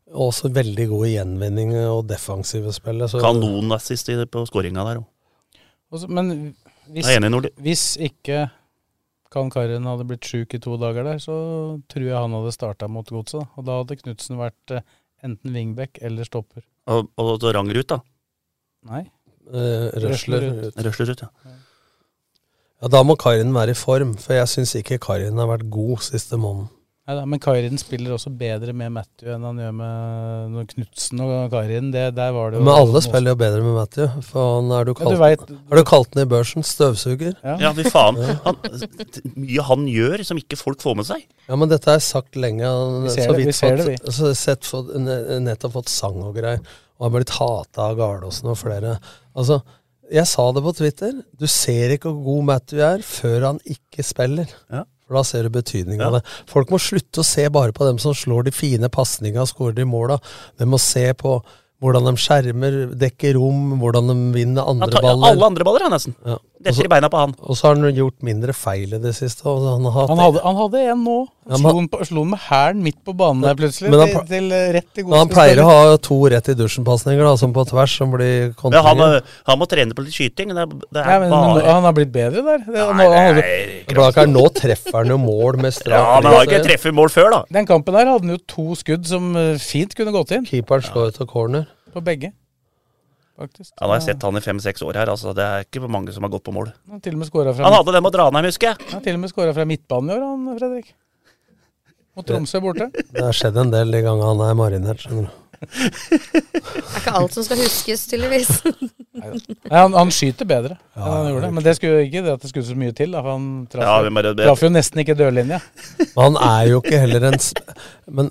[SPEAKER 4] Og også veldig god i gjenvinning og defensive spillet. så-
[SPEAKER 6] Kanonassist i- på skåringa der òg.
[SPEAKER 5] Og så- Men hvis,
[SPEAKER 6] Jeg er enig, Nordli.
[SPEAKER 5] hvis ikke Kan Karin hadde blitt sjuk i to dager der, så tror jeg han hadde starta mot godset. da. Og da hadde Knutsen vært eh, enten wingback eller stopper.
[SPEAKER 6] Og, og så Rangerud, da.
[SPEAKER 5] Nei.
[SPEAKER 4] Eh, Røsler ut.
[SPEAKER 6] Røsler ut, ja.
[SPEAKER 4] Ja, Da må Karin være i form, for jeg syns ikke Karin har vært god siste måneden.
[SPEAKER 5] Neida, men Karin spiller også bedre med Matthew enn han gjør med når Knutsen og Karin. Det, der var det jo
[SPEAKER 4] Men alle spiller jo bedre med Matthew, for han er du
[SPEAKER 5] Ja, du
[SPEAKER 4] kalt,
[SPEAKER 5] vet-
[SPEAKER 4] er du kalt den i børsen støvsuger.
[SPEAKER 6] Ja, fy faen. Han, mye han gjør som ikke folk får med seg.
[SPEAKER 4] Ja, men dette er sagt lenge. Han,
[SPEAKER 6] Vi ser
[SPEAKER 4] så
[SPEAKER 6] det, vi
[SPEAKER 4] vidt
[SPEAKER 6] ser
[SPEAKER 4] fått,
[SPEAKER 6] det,
[SPEAKER 4] Så sett, fått, ne- nettopp fått sang og greier. Og har blitt hata av Garlåsen og flere. Altså, jeg sa det på Twitter. Du ser ikke hvor god Matthew er før han ikke spiller. For da ser du betydningen av det. Folk må slutte å se bare på dem som slår de fine pasningene og skårer de måla. De må se på hvordan de skjermer, dekker rom, hvordan de vinner
[SPEAKER 6] Han
[SPEAKER 4] andre
[SPEAKER 6] tar, ja,
[SPEAKER 4] baller.
[SPEAKER 6] alle andre baller, han nesten. Detter i beina på han.
[SPEAKER 4] Og så har han gjort mindre feil i det siste. Og han, har
[SPEAKER 5] Han hadde, han hadde en nå.
[SPEAKER 4] Ja,
[SPEAKER 5] Han
[SPEAKER 4] men-
[SPEAKER 5] slo den på- slo den med hælen midt på banen der plutselig.
[SPEAKER 4] Men han
[SPEAKER 5] til,
[SPEAKER 4] ple-
[SPEAKER 5] til, eh, rett i
[SPEAKER 4] Men han
[SPEAKER 5] godset.
[SPEAKER 4] pleier å ha to rett i dusjen-pasninger, da, som på tvers, som blir
[SPEAKER 6] Ja, han,
[SPEAKER 4] kontringer.
[SPEAKER 6] må- han må trene på litt skyting. Det er, det
[SPEAKER 5] Nei,
[SPEAKER 6] er
[SPEAKER 5] men han,
[SPEAKER 6] bare
[SPEAKER 5] han har blitt bedre der. Det, han,
[SPEAKER 6] Nei,
[SPEAKER 5] han,
[SPEAKER 6] det
[SPEAKER 5] hadde-
[SPEAKER 6] er ikke
[SPEAKER 4] Blaker, nå treffer han jo mål med strak
[SPEAKER 6] Ja, men han
[SPEAKER 4] altså-
[SPEAKER 6] har ikke treffet mål før, da.
[SPEAKER 5] den kampen der hadde han jo to skudd som eh, fint kunne gått inn.
[SPEAKER 4] Keeperen slår ut av corner.
[SPEAKER 5] På begge, faktisk.
[SPEAKER 6] Ja, nå har jeg sett han i fem-seks år her, altså. Det er ikke mange som har gått på mål.
[SPEAKER 5] Han har til og med skåra fra,
[SPEAKER 6] Han hadde den mot Ranheim, husker jeg.
[SPEAKER 5] han har til og med scoret fra midtbanen i år, han Fredrik. Mot Tromsø borte.
[SPEAKER 4] Det har skjedd en del de gangene han er marinert. skjønner du.
[SPEAKER 3] Det er ikke alt som skal huskes, tydeligvis.
[SPEAKER 5] [LAUGHS] Nei, han, han skyter bedre enn han gjorde. Men det skulle jo ikke det at det skulle så mye til. Da, for han traff,
[SPEAKER 6] Ja,
[SPEAKER 5] jo-
[SPEAKER 6] vi bare-
[SPEAKER 5] traff jo nesten ikke dørlinja.
[SPEAKER 4] Men han er jo ikke heller en sp- Men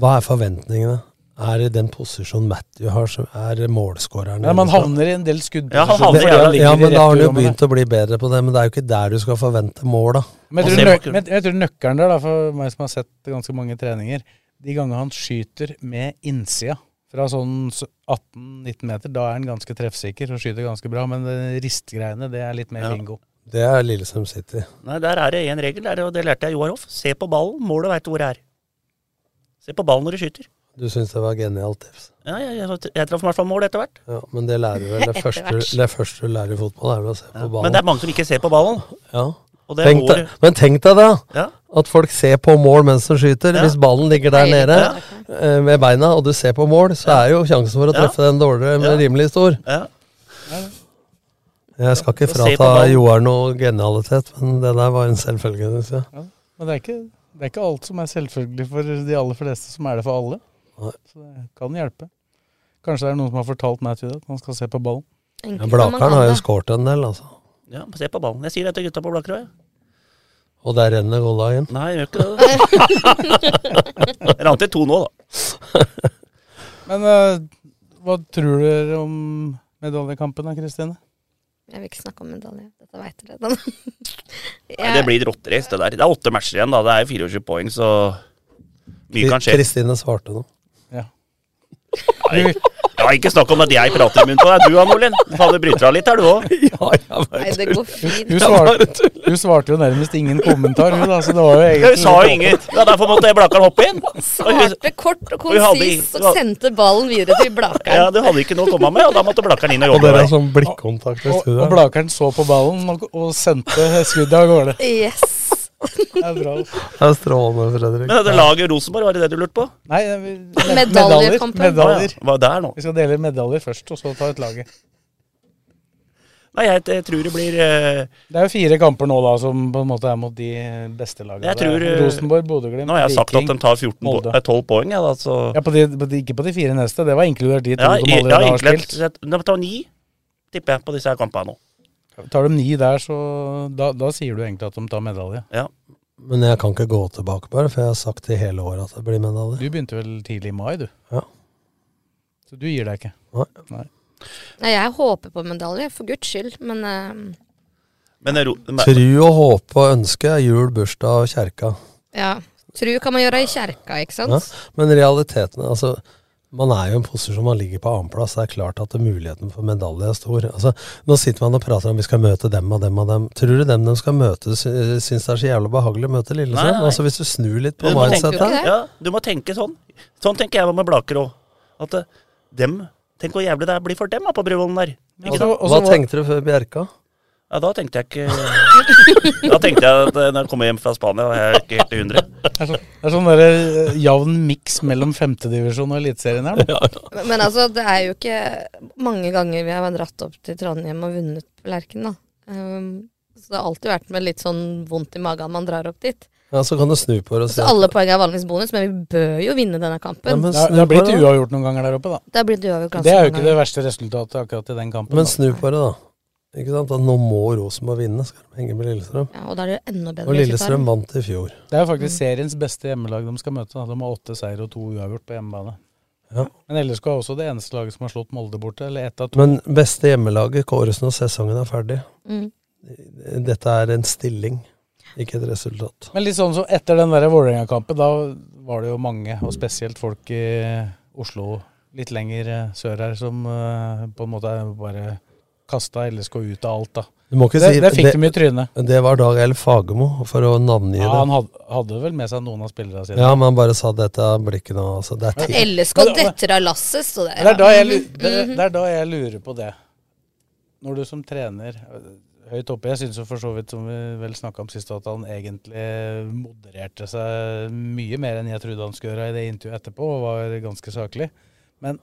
[SPEAKER 4] hva er forventningene? Er det den posisjonen Matthew har, som er målskåreren?
[SPEAKER 5] Nei, man havner i en del skuddposisjoner.
[SPEAKER 6] Ja, han havner i-
[SPEAKER 5] fordi han ligger
[SPEAKER 4] ja,
[SPEAKER 5] i
[SPEAKER 4] men da har han jo
[SPEAKER 5] returrommene.
[SPEAKER 4] begynt å bli bedre på det, men det er jo ikke der du skal forvente mål, da.
[SPEAKER 5] Men
[SPEAKER 6] Han
[SPEAKER 5] jeg,
[SPEAKER 6] ser
[SPEAKER 5] tror nøk,
[SPEAKER 6] bakgrunnen.
[SPEAKER 5] men jeg tror nøkkelen der, da, for meg som har sett ganske mange treninger De ganger han skyter med innsida fra sånn s- 18-19 meter, da er han ganske treffsikker og skyter ganske bra. Men det ristgreiene, det er litt mer
[SPEAKER 6] Ja.
[SPEAKER 5] bingo.
[SPEAKER 4] Det er Lillesand City.
[SPEAKER 6] Nei, der er det én regel, der, og det lærte jeg Joar Hoff. Se på ballen, målet veit hvor det er. Se på ballen når du skyter.
[SPEAKER 4] Du syns det var genialt tips.
[SPEAKER 6] Ja, jeg, jeg, jeg traff i hvert fall mål etter hvert.
[SPEAKER 4] Ja, men det lærer du
[SPEAKER 6] [LAUGHS]
[SPEAKER 4] vel. Det første,
[SPEAKER 6] Etter hvert.
[SPEAKER 4] det første du lærer i fotball, er vel å se på ballen.
[SPEAKER 6] Men det er mange som ikke ser på ballen.
[SPEAKER 4] ja.
[SPEAKER 6] Og det er
[SPEAKER 4] tenk deg,
[SPEAKER 6] målet.
[SPEAKER 4] men tenk deg det,
[SPEAKER 6] Ja.
[SPEAKER 4] at folk ser på mål mens de skyter.
[SPEAKER 6] Ja.
[SPEAKER 4] Hvis ballen ligger der nede eh, med beina, og du ser på mål, så er jo sjansen for å
[SPEAKER 6] Ja.
[SPEAKER 4] treffe den dårligere men
[SPEAKER 6] Ja.
[SPEAKER 4] rimelig stor.
[SPEAKER 6] Ja.
[SPEAKER 4] Jeg skal ikke
[SPEAKER 6] Og se på
[SPEAKER 4] frata
[SPEAKER 6] ballen.
[SPEAKER 4] Joar noe genialitet, men det der var en selvfølge. synes jeg.
[SPEAKER 5] Men det er, ikke, det er ikke alt som er selvfølgelig for de aller fleste, som er det for alle.
[SPEAKER 4] Nei.
[SPEAKER 5] Så det kan hjelpe. Kanskje det er noen som har fortalt meg til det, at man skal se på ballen.
[SPEAKER 4] Men Blakeren har jo skåret en del, altså.
[SPEAKER 6] ja, se på ballen. Jeg sier det til gutta på Blakerøy.
[SPEAKER 4] Og der renner golla inn.
[SPEAKER 6] Nei, jeg gjør ikke det. [LAUGHS] Jeg rant til to nå, da.
[SPEAKER 5] Men eh, hva tror dere om medaljekampen da, Kristine?
[SPEAKER 3] Jeg vil ikke snakke om medalje. Dette veit [LAUGHS] dere. Den.
[SPEAKER 6] Nei, det blir et rotterace, det der. Det er åtte matcher igjen, da. Det er 24 poeng, så mye kan skje.
[SPEAKER 4] Kristine svarte noe.
[SPEAKER 5] Ja.
[SPEAKER 6] Nei. Ja, ikke snakk om at jeg prater i munnen på deg. Du, Anolin. Faen, du bryter av litt her, du [LAUGHS] òg.
[SPEAKER 4] Ja, jeg vet.
[SPEAKER 3] Nei, det går fint.
[SPEAKER 5] Hun svarte, hun svarte jo nærmest ingen kommentar, hun da, så det var jo egentlig
[SPEAKER 6] Hun sa jo ingen. Ja, derfor måtte Blakkaren hoppe inn. Og hun-
[SPEAKER 3] Svarte kort og
[SPEAKER 6] Og hun hadde
[SPEAKER 3] konsist
[SPEAKER 6] ingen-
[SPEAKER 3] og sendte ballen videre til
[SPEAKER 6] Ja,
[SPEAKER 3] Blakeren.
[SPEAKER 6] Du hadde ikke noe å komme med, og da måtte Blakkaren inn og altså-
[SPEAKER 4] Og
[SPEAKER 6] jobbe.
[SPEAKER 4] dere
[SPEAKER 6] med
[SPEAKER 4] har
[SPEAKER 6] deg.
[SPEAKER 4] sånn blikkontakt i
[SPEAKER 5] Og, og
[SPEAKER 4] studioet.
[SPEAKER 5] Blakeren så på ballen og, og sendte skuddet av gårde.
[SPEAKER 3] Yes.
[SPEAKER 5] Det er bra. altså.
[SPEAKER 4] Det er strålende, Fredrik.
[SPEAKER 6] Men dette laget Rosenborg, var det det du lurte på?
[SPEAKER 5] Nei, vi- medaljer.
[SPEAKER 3] Medaljekampen.
[SPEAKER 5] medaljer.
[SPEAKER 6] Hva er der nå?
[SPEAKER 5] Vi skal dele medaljer først, og så ta ut laget.
[SPEAKER 6] Nei, jeg, jeg tror det blir eh,
[SPEAKER 5] Det er jo fire kamper nå da, som på en måte er mot de beste lagene.
[SPEAKER 6] Jeg
[SPEAKER 5] Det er
[SPEAKER 6] tror, eh,
[SPEAKER 5] Rosenborg, Bodø-Glimt,
[SPEAKER 6] Nå har jeg sagt at de tar 14 po
[SPEAKER 5] Molde.
[SPEAKER 6] eh, 12 poeng, ja, da, så
[SPEAKER 5] ja, på de, på de, Ikke på de fire neste, det var inkludert de to
[SPEAKER 6] Ja,
[SPEAKER 5] som
[SPEAKER 6] i-
[SPEAKER 5] allerede
[SPEAKER 6] ja,
[SPEAKER 5] har
[SPEAKER 6] egentlig
[SPEAKER 5] spilt.
[SPEAKER 6] sett- De tar ni, tipper jeg, på disse her kampene nå.
[SPEAKER 5] Tar de ni der, så da, da sier du egentlig at de tar medalje.
[SPEAKER 6] Ja.
[SPEAKER 4] Men jeg kan ikke gå tilbake på det, for jeg har sagt i hele året at det blir medalje.
[SPEAKER 5] Du begynte vel tidlig i mai, du.
[SPEAKER 4] Ja.
[SPEAKER 5] Så du gir deg ikke.
[SPEAKER 4] Nei.
[SPEAKER 3] Nei, jeg håper på medalje, for guds skyld, men eh,
[SPEAKER 6] Men det er ro, men,
[SPEAKER 4] Tru og håpe og ønske er jul, bursdag og kjerka.
[SPEAKER 3] ja. Tru kan man gjøre i kjerka, ikke sant?
[SPEAKER 4] Ja. Men realiteten er altså man er jo i en posisjon man ligger på annenplass. Det er klart at muligheten for medalje er stor. Altså, nå sitter man og prater om vi skal møte dem og dem og dem. Tror du dem de skal møte, sy- syns det er så jævla behagelig å møte
[SPEAKER 6] Nei,
[SPEAKER 4] Lillesand?
[SPEAKER 6] nei.
[SPEAKER 4] Altså, hvis du snur litt på
[SPEAKER 6] Du
[SPEAKER 3] tenke
[SPEAKER 6] må
[SPEAKER 4] mindsetet
[SPEAKER 3] på det.
[SPEAKER 4] her.
[SPEAKER 6] ja, du må tenke sånn. Sånn tenker jeg med Blaker òg. At eh, dem Tenk hvor jævlig det blir for dem da, på Bruvollen der.
[SPEAKER 5] Og
[SPEAKER 6] Ikke
[SPEAKER 5] så-
[SPEAKER 6] sant?
[SPEAKER 4] Altså,
[SPEAKER 5] og
[SPEAKER 4] Hva
[SPEAKER 5] så var-
[SPEAKER 4] tenkte du før Bjerka?
[SPEAKER 6] Ja, da tenkte jeg ikke [LAUGHS] Da tenkte jeg at eh, når jeg kommer hjem fra Spania, da er jeg ikke helt i hundre.
[SPEAKER 5] Det er sånn, det er sånn der, eh, jevn miks mellom femtedivisjon og eliteserien her. nå.
[SPEAKER 3] Men, men altså, det er jo ikke mange ganger vi har dratt opp til Trondheim og vunnet på Lerken, da. Ehm, så det har alltid vært med litt sånn vondt i magen man drar opp dit.
[SPEAKER 4] Ja, så kan du snu på det og
[SPEAKER 3] Så
[SPEAKER 4] si
[SPEAKER 3] alle poeng er vanligvis bonus, men vi bør jo vinne denne
[SPEAKER 5] Ja,
[SPEAKER 3] kampen.
[SPEAKER 5] men Det er- det er blitt uavgjort noen ganger der oppe, da.
[SPEAKER 3] Det er blitt uavgjort ganske
[SPEAKER 5] Det er jo
[SPEAKER 3] mange
[SPEAKER 5] ikke det verste resultatet akkurat i den kampen.
[SPEAKER 4] Men
[SPEAKER 5] da.
[SPEAKER 4] snu på det, da. Ikke sant? At nå må Rosenborg vinne, skal de henge med Lillestrøm.
[SPEAKER 3] Ja, og da er det jo enda bedre
[SPEAKER 4] Og Lillestrøm
[SPEAKER 3] resultat.
[SPEAKER 4] vant i fjor.
[SPEAKER 5] Det er jo faktisk
[SPEAKER 3] Mm.
[SPEAKER 5] seriens beste hjemmelag de skal møte. Da. De har åtte seier og to uavgjort på hjemmebane.
[SPEAKER 4] Ja.
[SPEAKER 5] Men LSK er også det eneste laget som har slått Molde borte. Eller ett av to.
[SPEAKER 4] Men beste hjemmelaget kåres når sesongen er ferdig.
[SPEAKER 3] Mm.
[SPEAKER 4] Dette er en stilling, ikke et resultat.
[SPEAKER 5] Men litt sånn som etter den der Vålerenga-kampen, da var det jo mange, og spesielt folk i Oslo litt lenger eh, sør her, som eh, på en måte bare kasta LSK ut av alt, da.
[SPEAKER 4] Du må ikke
[SPEAKER 5] det,
[SPEAKER 4] si-
[SPEAKER 5] det fikk
[SPEAKER 4] det-
[SPEAKER 5] de i trynet.
[SPEAKER 4] Det var Dag L. Fagermo, for å navngi
[SPEAKER 5] Ja,
[SPEAKER 4] det.
[SPEAKER 5] han hadde, hadde vel med seg noen av spillerne sine.
[SPEAKER 4] Ja, men han bare sa dette av blikket nå. Altså. Det er ti.
[SPEAKER 3] LSK detter av lasset, så det
[SPEAKER 5] Det er, da jeg, lu- det, det er da jeg lurer på det. Når du som trener øh, høyt oppe Jeg syns jo for så vidt, som vi vel snakka om sist, at han egentlig modererte seg mye mer enn jeg trodde han skulle gjøre i det intervjuet etterpå, og var ganske saklig. Men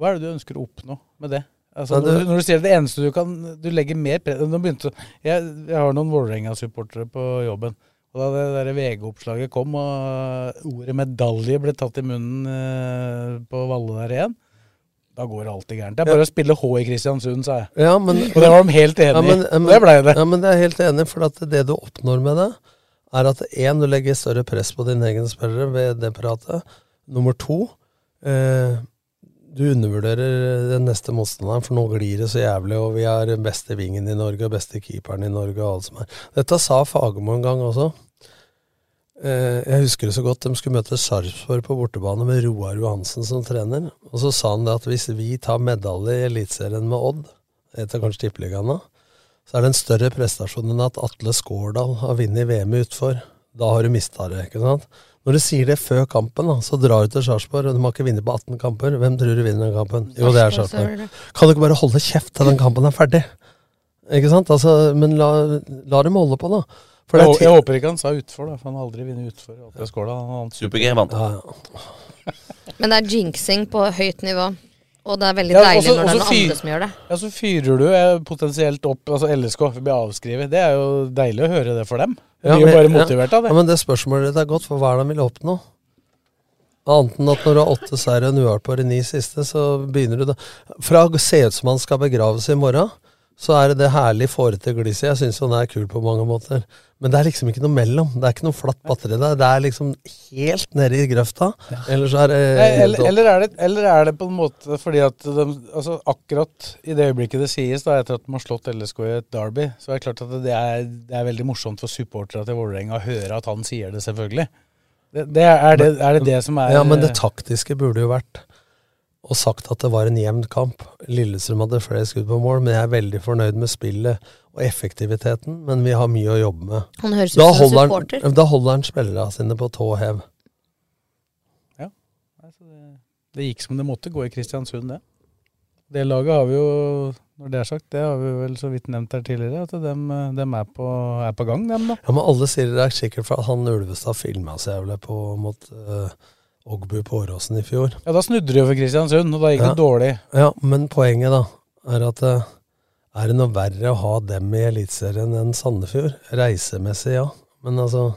[SPEAKER 5] hva er det du ønsker å oppnå med det? Altså,
[SPEAKER 4] Nei,
[SPEAKER 5] når,
[SPEAKER 4] det-
[SPEAKER 5] du, når du sier det eneste du kan Du legger mer pre... Nå begynte, jeg, jeg har noen Vålerenga-supportere på jobben. Og da det der VG-oppslaget kom, og ordet medalje ble tatt i munnen eh, på Valle der igjen, da går det alltid gærent. Det er bare å spille H i Kristiansund, sa jeg.
[SPEAKER 4] Ja, men,
[SPEAKER 5] Og det var de helt enig i.
[SPEAKER 4] Ja, men- ja, men-
[SPEAKER 5] det blei det.
[SPEAKER 4] Ja, men det er jeg helt enig, i, for at det du oppnår med det, er at én, du legger større press på dine egne spillere ved det pratet. Nummer to, eh, du undervurderer den neste motstanderen, for nå glir det så jævlig, og vi er beste vingen i Norge, og beste keeperen i Norge, og alt som er. Dette sa Fagermo en gang også. Eh, jeg husker det så godt. De skulle møte Sarpsborg på bortebane med Roar Johansen som trener. Og så sa han det at hvis vi tar medalje i Eliteserien med Odd, etter kanskje Tippeligaen da, så er det en større prestasjon enn at Atle Skårdal har vunnet VM utfor. Da har du mista det, ikke sant? Når du sier det før kampen, da, så drar du til Sarpsborg, og de har ikke vunnet på 18 kamper. Hvem tror du vinner den kampen? Jo, det
[SPEAKER 3] Sarpsborg,
[SPEAKER 4] er
[SPEAKER 3] så er
[SPEAKER 4] Sarpsborg.
[SPEAKER 3] det.
[SPEAKER 4] Kan du ikke bare holde kjeft til den kampen er ferdig? Ikke sant? Altså, men la, la dem holde på, da. For det
[SPEAKER 5] jeg,
[SPEAKER 4] er
[SPEAKER 5] hå-
[SPEAKER 4] ti-
[SPEAKER 5] jeg håper ikke han sa utfor, da, for han har aldri vunnet utfor. Atle Skåla, han har vant.
[SPEAKER 6] Super-G vant.
[SPEAKER 4] Ja, ja.
[SPEAKER 3] Men det er jinxing på høyt nivå. Og det er veldig
[SPEAKER 5] Ja,
[SPEAKER 3] deilig
[SPEAKER 5] også-
[SPEAKER 3] når det
[SPEAKER 5] også
[SPEAKER 3] er noen
[SPEAKER 5] fyr-
[SPEAKER 3] andre som gjør det.
[SPEAKER 5] Ja, så fyrer du eh, potensielt opp altså LSK blir avskrevet. Det er jo deilig å høre det for dem. De
[SPEAKER 4] Ja,
[SPEAKER 5] blir jo bare
[SPEAKER 4] men-
[SPEAKER 5] motivert av det.
[SPEAKER 4] Ja, men det spørsmålet ditt er godt, for hva er det han vil oppnå? Annet enn at når du har åtte seire og en uavgjort på de ni siste, så begynner du da Fra å se ut som han skal begraves i morgen, så er det det herlig fårete gliset. Jeg syns han er kul på mange måter. Men det er liksom ikke noe mellom. Det er ikke noe flatt batteri der. Det er liksom helt nede i grøfta. Eller så er det
[SPEAKER 5] Nei, eller, eller, er det, eller er det på en måte fordi at de, altså akkurat i det øyeblikket det sies, da, etter at de har slått LSK i et derby, så er det klart at det er, det er veldig morsomt for supportere til Vålerenga å høre at han sier det, selvfølgelig. Det, det er, er, det, er det det som er
[SPEAKER 4] Ja, men det taktiske burde jo vært og sagt at det var en jevn kamp. Lillestrøm hadde flere skudd på mål, men jeg er veldig fornøyd med spillet og effektiviteten, men vi har mye å jobbe med.
[SPEAKER 3] Han høres ut
[SPEAKER 4] Da
[SPEAKER 3] som en
[SPEAKER 4] holder
[SPEAKER 3] supporter.
[SPEAKER 4] han, da holder han spillerne sine på tå hev.
[SPEAKER 5] Det gikk som det måtte gå i Kristiansund, det. Det laget har vi jo, når det er sagt, det har vi vel så vidt nevnt her tidligere, at dem, dem er, på, er på gang, dem da.
[SPEAKER 4] Ja, men alle sier det er sikkert for at han Ulvestad filma seg jævlig på mot eh, Ogbu på Åråsen i fjor.
[SPEAKER 5] Ja, da snudde det jo for Kristiansund, og da gikk
[SPEAKER 4] Ja.
[SPEAKER 5] det dårlig.
[SPEAKER 4] Ja, men poenget da er at eh, er det noe verre å ha dem i Eliteserien enn Sandefjord? Reisemessig, ja. Men altså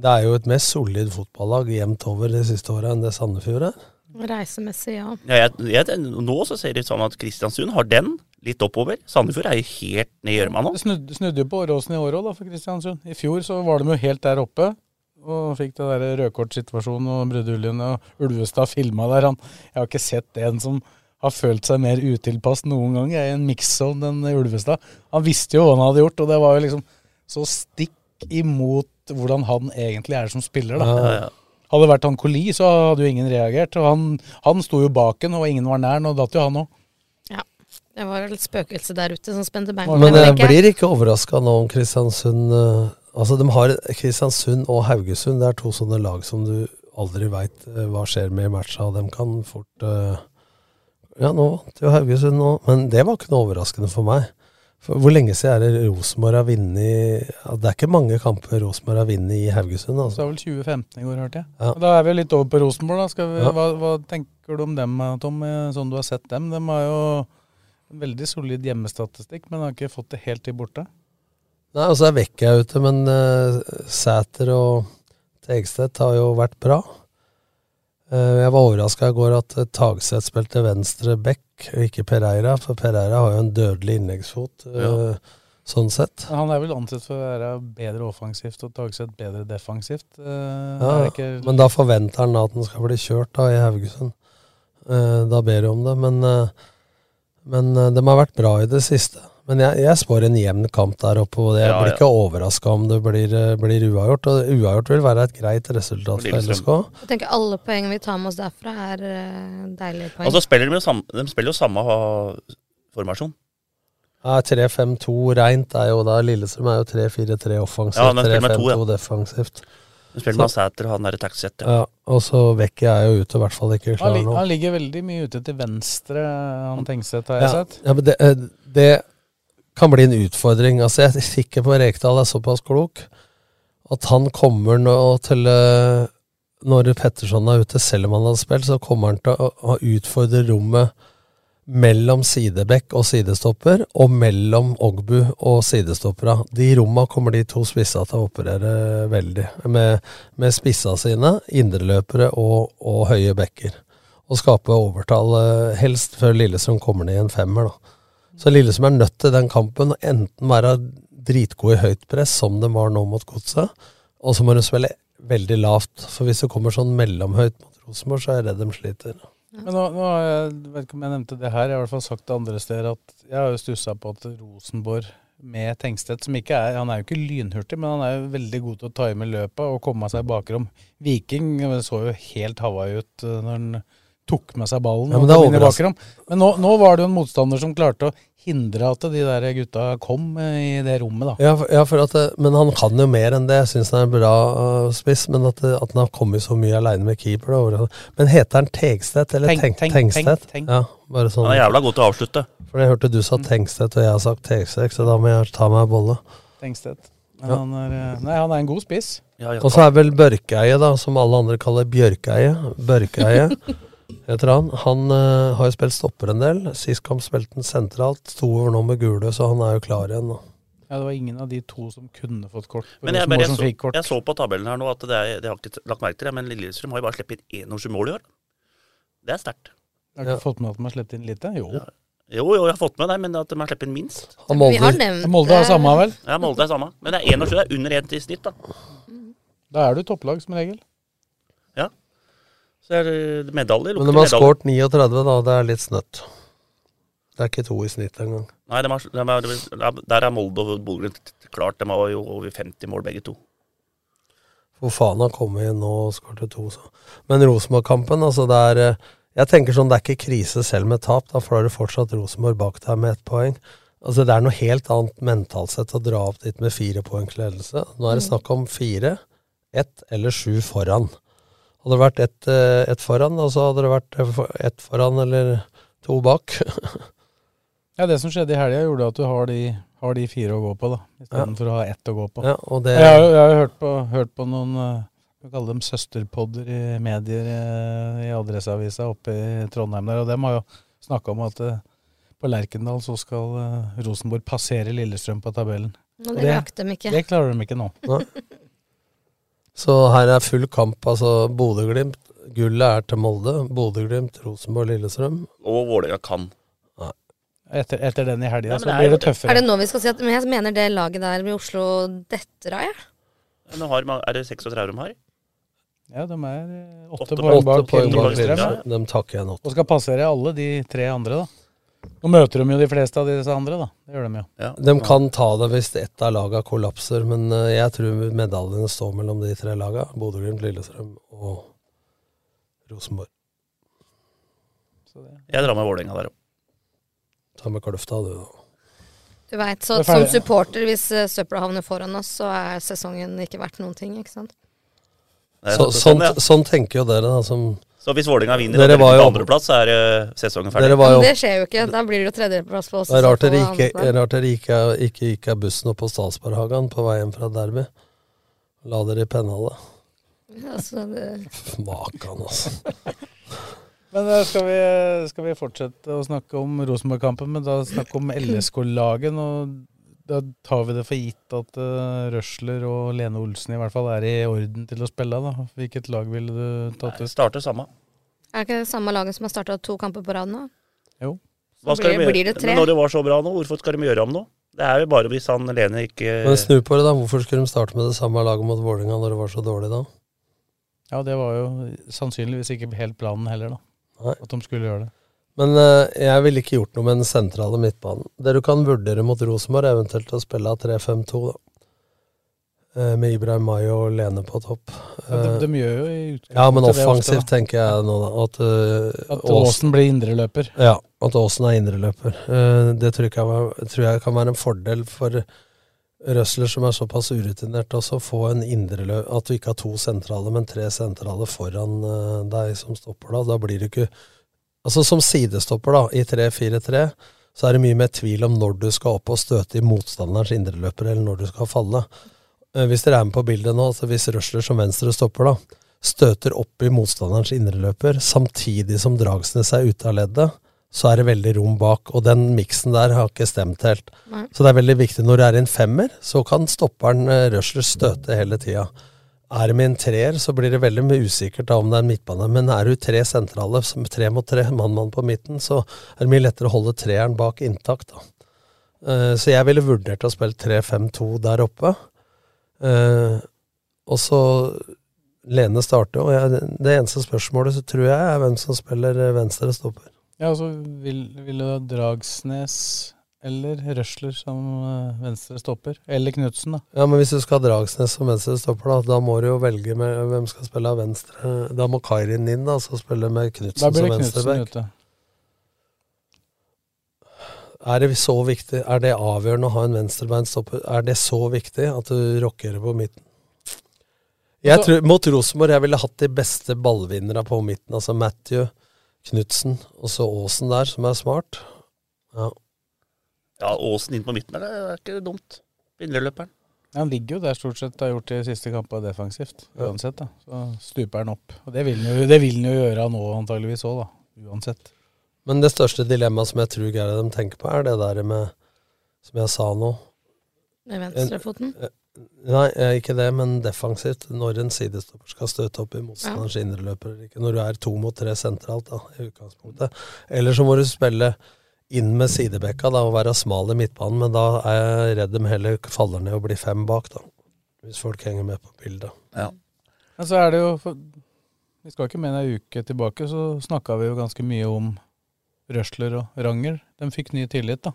[SPEAKER 4] Det er jo et mer solid fotballag jevnt over de siste åra enn det Sandefjord er.
[SPEAKER 3] Reisemessig, ja.
[SPEAKER 6] Ja, jeg, jeg, nå så ser det ut som at Kristiansund har den litt oppover. Sandefjord er jo helt ned i gjørma nå.
[SPEAKER 5] Det snudde, snudde jo på Åråsen i år òg, da, for Kristiansund. I fjor så var de jo helt der oppe. Og fikk det der rødkortsituasjonen og brudeuljen og Ulvestad filma der. Han, jeg har ikke sett en som har følt seg mer utilpass noen gang jeg, i en mix-zone enn Ulvestad. Han visste jo hva han hadde gjort, og det var jo liksom så stikk imot hvordan han egentlig er som spiller, da.
[SPEAKER 6] Ja, ja.
[SPEAKER 5] Hadde det vært han Coli, så hadde jo ingen reagert. Og han, han sto jo bak en, og ingen var nær, og datt jo han òg.
[SPEAKER 3] Det var et spøkelse der ute som spente bein.
[SPEAKER 4] Men jeg blir ikke overraska nå om Kristiansund eh, Altså, de har Kristiansund og Haugesund. Det er to sånne lag som du aldri veit hva skjer med i matcha, og dem kan fort eh, Ja, nå vant jo Haugesund nå, men det var ikke noe overraskende for meg. For Hvor lenge siden er det Rosenborg har vunnet ja, Det er ikke mange kamper Rosenborg har vunnet i Haugesund. altså.
[SPEAKER 5] Så det var vel 2015 i går, hørte jeg.
[SPEAKER 4] Ja.
[SPEAKER 5] Da er vi jo litt over på Rosenborg. Da. Skal vi,
[SPEAKER 4] Ja.
[SPEAKER 5] hva, hva tenker du om dem, Tom, eh, sånn du har sett dem? De har jo en veldig solid hjemmestatistikk, men har ikke fått det helt til borte.
[SPEAKER 4] Nei, altså, og så er Vekka ute, men eh, Sæter og Tegstedt har jo vært bra. Eh, jeg var overraska i går at eh, Tagseth spilte venstre back, og ikke Pereira, for Pereira har jo en dødelig innleggsfot, eh,
[SPEAKER 5] Ja.
[SPEAKER 4] sånn sett.
[SPEAKER 5] Men Han er vel ansett for å være bedre offensivt og Tagseth bedre defensivt. Eh,
[SPEAKER 4] Ja,
[SPEAKER 5] er det ikke-
[SPEAKER 4] men da forventer han at han skal bli kjørt da, i Haugesund. Eh, da ber de om det. Men, eh, men eh, de har vært bra i det siste. Men jeg, jeg spår en jevn kamp der oppe. og Jeg
[SPEAKER 6] Ja,
[SPEAKER 4] blir
[SPEAKER 6] ja.
[SPEAKER 4] ikke overraska om det blir, eh, blir uavgjort. Og uavgjort vil være et greit resultat for
[SPEAKER 6] Lillestrøm.
[SPEAKER 4] LSK.
[SPEAKER 3] Jeg tenker alle poeng vi tar med oss derfra, er eh, deilige poeng.
[SPEAKER 6] Altså, spiller de, jo samme, de spiller jo samme ha, formasjon.
[SPEAKER 4] Ja, 3-5-2 reint er jo da Lillestrøm er jo 3-4-3 offensivt.
[SPEAKER 6] Ja, men spiller med to,
[SPEAKER 4] 3-5-2
[SPEAKER 6] ja.
[SPEAKER 4] defensivt.
[SPEAKER 6] De spiller
[SPEAKER 4] Så-
[SPEAKER 6] med Sæter og han derre Taxet.
[SPEAKER 4] Ja, og så Vekki er jo ute, i hvert fall ikke
[SPEAKER 5] han,
[SPEAKER 4] klar
[SPEAKER 5] lig,
[SPEAKER 4] nå.
[SPEAKER 5] han ligger veldig mye ute til venstre, han Tengseth, har jeg
[SPEAKER 4] Ja,
[SPEAKER 5] sett.
[SPEAKER 4] ja, men det, eh, det kan bli en utfordring. Altså, jeg er sikker på at Rekdal er såpass klok at han kommer nå til eh, Når Petterson er ute, selv om han har spilt, så kommer han til å, å utfordre rommet mellom sidebekk og sidestopper, og mellom Ogbu og sidestoppera. De romma kommer de to spissa til å operere veldig, med, med spissa sine, indreløpere og, og høye bekker og skape overtall, eh, helst før Lillesund kommer ned i en femmer. da. Så Lillesund er nødt til den kampen å enten være dritgod i høyt press, som de var nå mot Godset, og så må de spille veldig lavt. For hvis det kommer sånn mellomhøyt mot Rosenborg, så er jeg redd de sliter.
[SPEAKER 5] Men nå, nå har jeg, jeg vet ikke om jeg nevnte det her, jeg har i hvert fall sagt det andre steder at jeg har jo stussa på at Rosenborg med Tengstedt, som ikke er Han er jo ikke lynhurtig, men han er jo veldig god til å time løpet og komme seg bakrom. Viking eh, så jo helt Hawaii ut eh, når han tok med seg ballen
[SPEAKER 4] Ja, men
[SPEAKER 5] og
[SPEAKER 4] det er
[SPEAKER 5] kom inn i
[SPEAKER 4] overraskende.
[SPEAKER 5] bakrom. Men nå, nå var det jo en motstander som klarte å hindre at de der gutta kom eh, i det rommet, da.
[SPEAKER 4] Ja, for, ja, for at, eh, men han kan jo mer enn det. Jeg syns han er en bra eh, spiss, men at, eh, at han har kommet så mye aleine med keeper det er overraskende. Men heter han Tegstedt eller
[SPEAKER 5] Tenk-
[SPEAKER 4] Tenk,
[SPEAKER 5] tenk-
[SPEAKER 4] Tengstedt?
[SPEAKER 5] tenk- tenk.
[SPEAKER 4] Ja, bare sånn.
[SPEAKER 6] Han er jævla god til å avslutte.
[SPEAKER 4] For jeg hørte du sa Tengstedt, og jeg har sagt Tegstedt, så da må jeg ta meg en bolle.
[SPEAKER 5] Tengstedt. Men
[SPEAKER 4] Ja.
[SPEAKER 5] han er, eh, nei, han er en god spiss.
[SPEAKER 6] Ja, ja.
[SPEAKER 4] Og så er vel Børkeie, da, som alle andre kaller Bjørkeie. Børkeie heter han. Han eh, har jo spilt stopper en del. Sist kamp spilte han sentralt. Sto over nå med gule, så han er jo klar igjen. Da.
[SPEAKER 5] Ja, det var ingen av de to som kunne fått kort.
[SPEAKER 4] liksom
[SPEAKER 5] på
[SPEAKER 6] Men jeg,
[SPEAKER 5] Rosenborg
[SPEAKER 6] bare, jeg,
[SPEAKER 5] som fikk
[SPEAKER 6] så,
[SPEAKER 5] kort.
[SPEAKER 6] jeg så på tabellen her nå at det, er, det har ikke lagt merke til det, men Lillestrøm har jo bare sluppet inn 21 mål i år. Det er sterkt.
[SPEAKER 5] Har du
[SPEAKER 4] Ja.
[SPEAKER 5] ikke fått med at de har sluppet inn lite? Jo.
[SPEAKER 6] Jo, jo, jeg har fått med det, men at de har sluppet inn minst.
[SPEAKER 4] Han
[SPEAKER 3] Vi har
[SPEAKER 4] Molde,
[SPEAKER 3] nevnt eh,
[SPEAKER 5] Molde
[SPEAKER 6] Eh,
[SPEAKER 5] har
[SPEAKER 3] det.
[SPEAKER 5] samme, vel?
[SPEAKER 6] Ja, Molde er samme. Men det er 21, det er under 1 i snitt, da.
[SPEAKER 5] Da er du topplag, som regel.
[SPEAKER 6] Så er det medaljer.
[SPEAKER 4] men de
[SPEAKER 6] lukter
[SPEAKER 4] har
[SPEAKER 6] medaljer.
[SPEAKER 4] skåret 39, da. Det er litt snøtt. Det er ikke to i snitt engang.
[SPEAKER 6] Nei, de har, de har, der er Molde og Bodø-Glimt klart. De har jo over 50 mål, begge to.
[SPEAKER 4] For faen har kommet inn nå og skåret to. Så. Men Rosenborg-kampen, altså det er eh, Jeg tenker sånn, det er ikke krise selv med tap. Da for da er det fortsatt Rosenborg bak deg med ett poeng. Altså Det er noe helt annet mentalt sett å dra opp dit med fire poengs ledelse. Nå er det snakk om fire, ett eller sju foran. Hadde det vært ett eh, ett foran, og så hadde det vært eh, for- ett foran eller to bak. [LAUGHS]
[SPEAKER 5] Ja, Det som skjedde i helga, gjorde at du har de, har de fire å gå på, da. Istedenfor å ha ett å gå på.
[SPEAKER 4] ja, og det
[SPEAKER 5] Jeg har, jo- jeg har jo hørt på, hørt på noen eh, vi kaller dem søsterpodder i medier eh, i Adresseavisa oppe i Trondheim der, og dem har jo snakka om at eh, på Lerkendal så skal eh, Rosenborg passere Lillestrøm på tabellen.
[SPEAKER 3] Og
[SPEAKER 5] Det-
[SPEAKER 3] det rakk dem ikke.
[SPEAKER 5] Det klarer de ikke nå.
[SPEAKER 4] Så her er full kamp. Altså Bodø-Glimt. Gullet er til Molde. Bodø-Glimt, Rosenborg, Lillestrøm.
[SPEAKER 6] Og Vålerenga kan.
[SPEAKER 5] Etter, etter den i helga
[SPEAKER 6] Ja, men
[SPEAKER 5] så
[SPEAKER 6] det er
[SPEAKER 5] blir det
[SPEAKER 6] jo-
[SPEAKER 5] tøffere.
[SPEAKER 3] Er det nå vi skal si at Men jeg mener det laget der med Oslo detter av, jeg.
[SPEAKER 6] Men har, er det 36 de har?
[SPEAKER 5] Ja, de er eh,
[SPEAKER 6] Åtte
[SPEAKER 5] åtte poeng
[SPEAKER 6] poeng
[SPEAKER 4] Åtte
[SPEAKER 5] bak
[SPEAKER 4] poeng bak
[SPEAKER 5] Lillestrøm.
[SPEAKER 4] Lillestrøm. Dem takker jeg nå.
[SPEAKER 5] Og skal passere alle de tre andre, da. Nå møter de jo de fleste av disse andre, da. Det gjør de jo.
[SPEAKER 6] Ja.
[SPEAKER 4] De kan ta det hvis ett av lagene kollapser, men eh, jeg tror medaljene står mellom de tre lagene. Bodø-Glimt, Lillestrøm og Rosenborg.
[SPEAKER 5] Så det.
[SPEAKER 6] Jeg drar med Vålerenga der òg.
[SPEAKER 4] Ta med Kløfta, du. da.
[SPEAKER 3] Du vet, så
[SPEAKER 5] Det er
[SPEAKER 3] Som
[SPEAKER 5] ferdig.
[SPEAKER 3] supporter, hvis eh, søpla havner foran oss, så er sesongen ikke verdt noen ting. ikke sant?
[SPEAKER 4] sånn Så, sånn, sånn tenker jo dere, da, som
[SPEAKER 6] Så hvis Vålerenga vinner
[SPEAKER 4] Dere
[SPEAKER 6] og
[SPEAKER 4] var
[SPEAKER 6] dere
[SPEAKER 4] jo-
[SPEAKER 6] på andreplass, så er eh, sesongen ferdig.
[SPEAKER 4] Dere var jo-
[SPEAKER 3] Men det skjer jo ikke. Da blir det jo tredjeplass på oss.
[SPEAKER 4] Det Sånn er rart dere
[SPEAKER 3] og så
[SPEAKER 4] ikke,
[SPEAKER 3] andre.
[SPEAKER 4] rart dere ikke, ikke gikk av bussen opp på Statsberghagen på vei hjem fra Derby. La dere i pennhallet.
[SPEAKER 3] Altså, det-
[SPEAKER 4] Makan, altså.
[SPEAKER 5] Men eh, skal vi, skal vi fortsette å snakke om Rosenborg-kampen, men da snakke om LSK-laget. Og da tar vi det for gitt at eh, Røsler og Lene Olsen i hvert fall er i orden til å spille. da. Hvilket lag ville du tatt ut?
[SPEAKER 6] Starter samme.
[SPEAKER 3] Er ikke det samme laget som har starta to kamper på rad nå?
[SPEAKER 5] Jo.
[SPEAKER 6] Hva
[SPEAKER 3] Så
[SPEAKER 6] skal
[SPEAKER 3] blir,
[SPEAKER 6] de gjøre?
[SPEAKER 3] blir det tre?
[SPEAKER 6] Men Når det var så bra nå, hvorfor skal de gjøre om nå? Det er jo bare hvis han Lene ikke
[SPEAKER 4] Men snu på det, da. Hvorfor skulle de starte med det samme laget mot Vålerenga når det var så dårlig da?
[SPEAKER 5] Ja, det var jo sannsynligvis ikke helt planen heller, da.
[SPEAKER 4] Nei.
[SPEAKER 5] At de skulle gjøre det.
[SPEAKER 4] Men eh, jeg ville ikke gjort noe med den sentrale midtbanen. Det du kan vurdere mot Rosenborg, er eventuelt å spille av 3-5-2, da. Eh, Med Ibrahim May og Lene på topp.
[SPEAKER 5] Ja, de,
[SPEAKER 4] Eh,
[SPEAKER 5] de gjør jo i utgangspunktet
[SPEAKER 4] Ja, men
[SPEAKER 5] det ofte,
[SPEAKER 4] offensivt
[SPEAKER 5] da.
[SPEAKER 4] tenker jeg nå, da. At, eh,
[SPEAKER 5] At Aasen blir indreløper.
[SPEAKER 4] Ja, at Aasen er indreløper. Eh, Det tror jeg, kan være, tror jeg kan være en fordel for Røsler, som er såpass urutinert, også å få en indreløp At du ikke har to sentrale, men tre sentrale foran eh, deg som stopper, da. Da blir du ikke Altså som sidestopper, da, i 3-4-3, så er det mye mer tvil om når du skal opp og støte i motstanderens indreløper, eller når du skal falle. Eh, Hvis dere er med på bildet nå, altså hvis Røsler som venstre stopper, da, støter opp i motstanderens indreløper samtidig som Dragsnes er ute av leddet, så er det veldig rom bak. Og den miksen der har ikke stemt helt.
[SPEAKER 3] Nei.
[SPEAKER 4] Så det er veldig viktig når det er en femmer, så kan stopperen eh, Røsler støte hele tida. Er det med en treer, så blir det veldig mye usikkert da om det er en midtbane. Men er du tre sentrale, som tre mot tre, mann-mann på midten, så er det mye lettere å holde treeren bak intakt. da. Eh, Så jeg ville vurdert å spille 3-5-2 der oppe. Eh, Og så Lene starter, og jeg, det eneste spørsmålet så tror jeg er hvem som spiller eh, venstre stopper.
[SPEAKER 5] Ja, altså vil, vil jo Dragsnes eller Røsler som eh, venstre stopper. Eller Knutsen, da.
[SPEAKER 4] Ja, men hvis du skal ha Dragsnes som venstre stopper, da, da må du jo velge med hvem skal spille av venstre. Da må Kairin inn, da, så spille med Knutsen
[SPEAKER 5] Da
[SPEAKER 4] som
[SPEAKER 5] blir det Knutsen
[SPEAKER 4] venstreback.
[SPEAKER 5] ute.
[SPEAKER 4] Er det så viktig, er det avgjørende å ha en venstrebeinstopper? Er det så viktig at du rockerer på midten? Jeg
[SPEAKER 5] Altså-
[SPEAKER 4] tror, mot Rosenborg jeg ville hatt de beste ballvinnerne på midten. Altså Matthew, Knutsen og så Aasen der, som er smart. Ja.
[SPEAKER 6] Ja, Åsen inn på midten der, det er ikke dumt. Indreløperen.
[SPEAKER 5] Ja, han ligger jo der stort sett har gjort de siste kampene defensivt. Uansett, da. Så stuper han opp. Og det vil han jo, det vil han jo gjøre nå antageligvis òg, da. Uansett.
[SPEAKER 4] Men det største dilemmaet som jeg tror Geir og dem tenker på, er det der med Som jeg sa nå.
[SPEAKER 3] Med venstrefoten?
[SPEAKER 4] En- Nei, eh, ikke det, men defensivt. Når en sidestopper skal støte opp i motstanderens indreløper eller ikke. Når du er to mot tre sentralt, da, i utgangspunktet. Eller så må du spille inn med sidebekka da, og være smal i midtbanen, men da er jeg redd de heller faller ned og blir fem bak, da. Hvis folk henger med på bildet.
[SPEAKER 5] Men så er det jo for, Vi skal ikke mer enn ei uke tilbake, så snakka vi jo ganske mye om Røsler og Ranger. De fikk ny tillit, da.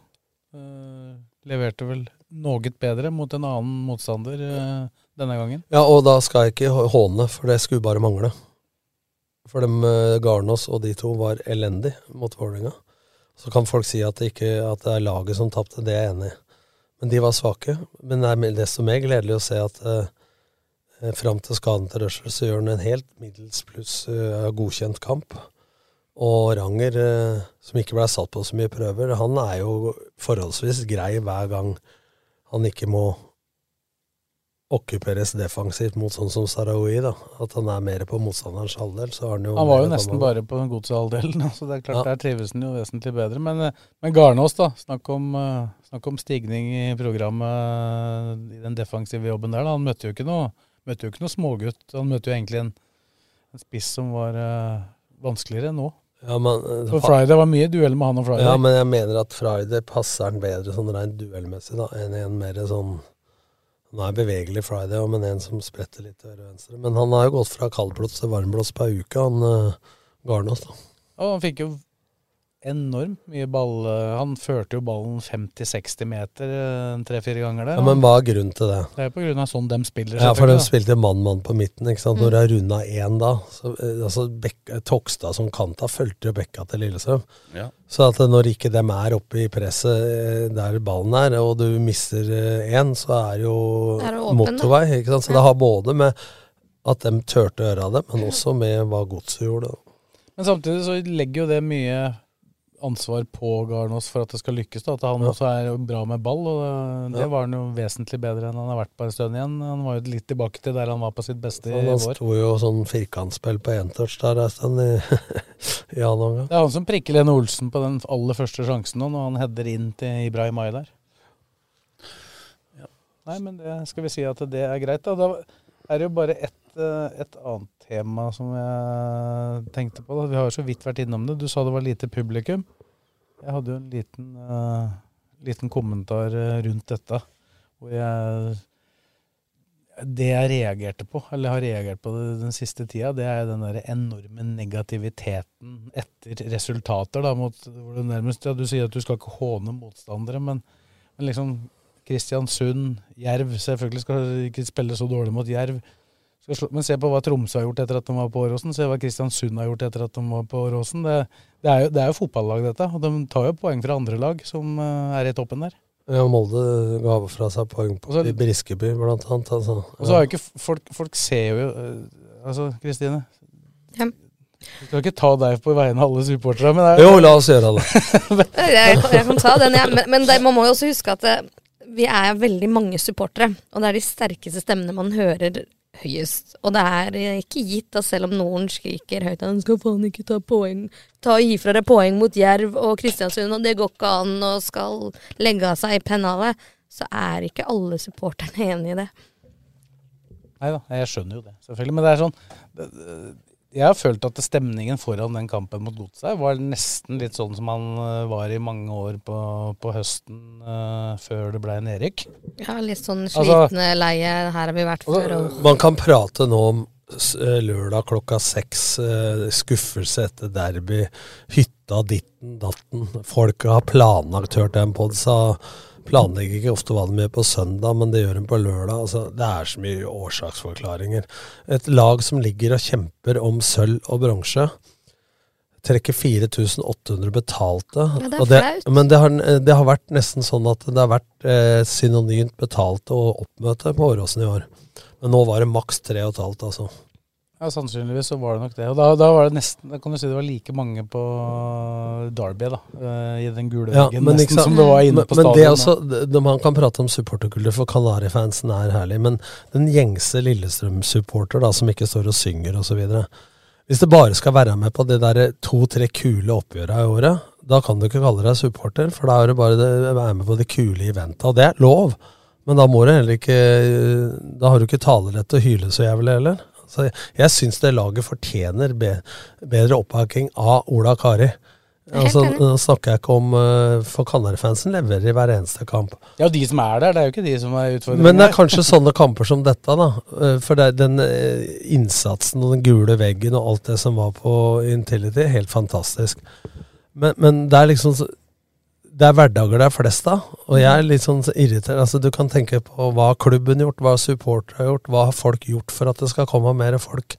[SPEAKER 5] Eh, leverte vel noe bedre mot en annen motstander eh, denne gangen.
[SPEAKER 4] Ja, og da skal jeg ikke hå- håne, for det skulle bare mangle. For dem eh, Garnås og de to var elendig mot Vålerenga. Så kan folk si at det, ikke, at det er laget som tapte, det er jeg enig i. Men de var svake. Men det er mer- desto mer gledelig å se at eh, eh, fram til skaden til Rushell så gjør han en helt middels pluss eh, godkjent kamp. Og Ranger, eh, som ikke ble satt på så mye prøver, han er jo forholdsvis grei hver gang han ikke må okkuperes defensivt mot sånn som Sarawi, da. At han er mer på motstanderens halvdel, så har han jo
[SPEAKER 5] Han var
[SPEAKER 4] mer
[SPEAKER 5] jo
[SPEAKER 4] å
[SPEAKER 5] nesten
[SPEAKER 4] komme med.
[SPEAKER 5] bare på den godshalvdelen, [LAUGHS] så det er klart
[SPEAKER 4] Ja.
[SPEAKER 5] der trives han jo vesentlig bedre. Men, eh, men Garnås, da. Snakk om, eh, snakk om stigning i programmet, eh, i den defensive jobben der. da. Han møtte jo ikke noe, møtte jo ikke noe smågutt. Han møtte jo egentlig en, en spiss som var eh, vanskeligere enn nå.
[SPEAKER 4] Ja, men, eh,
[SPEAKER 5] For Friday var mye duell med han og Friday.
[SPEAKER 4] Ja, men jeg mener at Friday passer han bedre sånn rent duellmessig da, enn en mer sånn Han er bevegelig Friday, også, men en som spretter litt til høyre og venstre. Men han har jo gått fra kaldblods til varmblods per uke, han eh, Garnås. da.
[SPEAKER 5] Og han fikk jo enormt mye ball. eh, Han førte jo ballen 50-60 meter eh, tre-fire ganger der.
[SPEAKER 4] Ja, men hva er grunnen til det?
[SPEAKER 5] Det er på grunn av sånn de spiller.
[SPEAKER 4] Ja, for de
[SPEAKER 5] selvfølgelig,
[SPEAKER 4] spilte
[SPEAKER 5] da.
[SPEAKER 4] mann-mann på midten. ikke
[SPEAKER 3] Mm.
[SPEAKER 4] sant? Når det er runda én da så, eh, altså Bekk- Tokstad som kanta fulgte jo Bekka til Lillestrøm.
[SPEAKER 6] Ja.
[SPEAKER 4] Så at eh, når ikke dem er oppe i presset eh, der ballen er, og du mister én, så er det jo
[SPEAKER 3] Er det åpen, da?
[SPEAKER 4] motorvei. ikke sant? Så det har både med at de turte å gjøre det, men også med hva godset gjorde. da.
[SPEAKER 5] Men samtidig så legger jo det mye ansvar på Garnås for at det skal lykkes. da, At han
[SPEAKER 4] Ja.
[SPEAKER 5] også er bra med ball, og det, det
[SPEAKER 4] Ja.
[SPEAKER 5] var han jo vesentlig bedre enn han har vært på en stund igjen. Han var jo litt tilbake til der han var på sitt beste i
[SPEAKER 4] Han han
[SPEAKER 5] vår.
[SPEAKER 4] sto jo sånn firkantspill på entouch der en stund i, i [LAUGHS] annen omgang.
[SPEAKER 5] Det er han som prikker Lene Olsen på den aller første sjansen nå, når han header inn til Ibrahim Ay der. Nei, men det skal vi si at det er greit. Da, da er det jo bare et, et annet tema som jeg tenkte på. Da. Vi har jo så vidt vært innom det. Du sa det var lite publikum. Jeg hadde jo en liten, eh, liten kommentar eh, rundt dette, hvor jeg det jeg reagerte på, eller har reagert på det den siste tida, det er den der enorme negativiteten etter resultater. da, mot, hvor det nærmest, ja, Du sier at du skal ikke håne motstandere, men, men liksom Kristiansund, Jerv Selvfølgelig skal de ikke spille så dårlig mot Jerv. Skal slå, men se på hva Tromsø har gjort etter at de var på Åråsen. Se hva Kristiansund har gjort etter at de var på Åråsen. Det, det, er jo- det er jo fotballag, dette. Og de tar jo poeng fra andre lag som eh, er i toppen der.
[SPEAKER 4] Ja, Molde ga fra seg poeng på,
[SPEAKER 5] Og så-
[SPEAKER 4] i Briskeby, blant annet. Altså.
[SPEAKER 5] Og så har jo ikke f- folk, folk ser jo eh, Altså, Kristine.
[SPEAKER 3] Ja.
[SPEAKER 5] Du skal ikke ta deg på vegne av alle supportere, men det er-
[SPEAKER 4] Jo, la oss gjøre det.
[SPEAKER 3] Jeg, jeg kan ta den, jeg. Men, men det, man må jo også huske at eh, vi er veldig mange supportere. Og det er de sterkeste stemmene man hører høyest. Og det er eh, ikke gitt, da, selv om noen skriker høyt at «Han skal faen ikke ta poeng. Ta og Gi fra deg poeng mot Jerv og Kristiansund, og det går ikke an, og skal legge av seg i pennalet. Så er ikke alle supporterne [LAUGHS] enig i det.
[SPEAKER 5] Nei da, jeg skjønner jo det, selvfølgelig. Men det er sånn det- det- Jeg har følt at stemningen foran den kampen mot Godset var nesten litt sånn som han eh, var i mange år på, på høsten eh, før det ble nedrykk.
[SPEAKER 3] Ja, litt sånn
[SPEAKER 5] Altså-
[SPEAKER 3] slitne, leie. Her har vi vært
[SPEAKER 4] Altså,
[SPEAKER 3] før. Og
[SPEAKER 4] Man kan prate nå om s- eh, lørdag klokka seks, eh, skuffelse etter derby, hytta ditten datten. Folk har planlagt, hørte jeg en podd, sa planlegger ikke ofte hva de gjør på søndag, men det gjør de på lørdag. Altså, det er så mye årsaksforklaringer. Et lag som ligger og kjemper om sølv og bronse, trekker 4800 betalte.
[SPEAKER 3] Ja, det er
[SPEAKER 4] og det,
[SPEAKER 3] flaut.
[SPEAKER 4] men det har, det har vært nesten sånn at det har vært eh, synonymt betalte og oppmøte på Åråsen i år. Men nå var det maks 3,5, altså.
[SPEAKER 5] Ja, Sannsynligvis så var det nok det. Og da, da var det nesten Da kan du si det var like mange på Derby, da. eh, I den gule
[SPEAKER 4] Ja,
[SPEAKER 5] veggen,
[SPEAKER 4] men ikke
[SPEAKER 5] nesten
[SPEAKER 4] sant?
[SPEAKER 5] som det var inne
[SPEAKER 4] men,
[SPEAKER 5] på
[SPEAKER 4] men
[SPEAKER 5] stadion.
[SPEAKER 4] det er
[SPEAKER 5] da.
[SPEAKER 4] også, det- det- Man kan prate om supporterkultur, for Kanarifansen er herlig. Men den gjengse Lillestrøm-supporter da, som ikke står og synger osv. Hvis det bare skal være med på de der to-tre kule oppgjøra i året, da kan du ikke kalle deg supporter, for da er det bare det, være med på de kule eventa. Og det er lov, men da må du heller ikke Da har du ikke talerett til å hyle så jævlig heller. Så jeg jeg syns det laget fortjener be, bedre oppbakking av Ola Kari. Altså,
[SPEAKER 3] enig.
[SPEAKER 4] nå snakker jeg ikke om eh, For Kanarifansen leverer i hver eneste kamp.
[SPEAKER 5] Ja, de som er der, det er jo ikke de som er utfordrende.
[SPEAKER 4] Men det er kanskje sånne kamper som dette, da. eh, For det, er den eh, innsatsen og den gule veggen og alt det som var på Intility, helt fantastisk. Men, men det er liksom så- Det er hverdager det er flest av, og jeg er litt sånn så irritert. Altså, du kan tenke på hva har klubben gjort, hva har supportere gjort, hva har folk gjort for at det skal komme mer folk,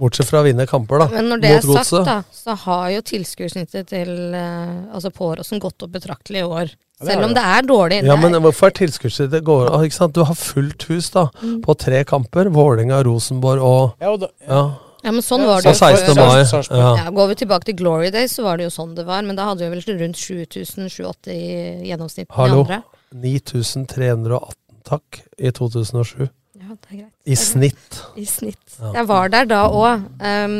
[SPEAKER 4] bortsett fra å vinne kamper, da.
[SPEAKER 3] Men når det er
[SPEAKER 4] mot
[SPEAKER 3] sagt,
[SPEAKER 4] godset.
[SPEAKER 3] da, så har jo tilskuddssnittet til eh, altså på Åråsen gått opp betraktelig i år.
[SPEAKER 4] Ja, det har
[SPEAKER 3] Selv om
[SPEAKER 4] det.
[SPEAKER 3] det er dårlig.
[SPEAKER 4] Ja,
[SPEAKER 3] det
[SPEAKER 4] men
[SPEAKER 3] er,
[SPEAKER 4] hvorfor er tilskuddsstøtte det går av? Ikke sant? Du har fullt hus da,
[SPEAKER 3] Mm.
[SPEAKER 4] på tre kamper. Vålerenga, Rosenborg og
[SPEAKER 5] Ja, og da,
[SPEAKER 4] ja.
[SPEAKER 3] ja, men sånn
[SPEAKER 5] Ja,
[SPEAKER 3] var det jo.
[SPEAKER 4] så 16.
[SPEAKER 3] før.
[SPEAKER 4] mai,
[SPEAKER 5] Sarpsborg.
[SPEAKER 4] ja.
[SPEAKER 3] Ja, går vi tilbake til Glory Days, så var det jo sånn det var. Men da hadde vi vel rundt 7000-7008 i gjennomsnitt. de
[SPEAKER 4] Hallo.
[SPEAKER 3] andre.
[SPEAKER 4] 9318 takk i 2007.
[SPEAKER 3] Ja, det er greit.
[SPEAKER 4] I snitt.
[SPEAKER 3] I snitt.
[SPEAKER 4] Ja.
[SPEAKER 3] Jeg var der da òg. Um,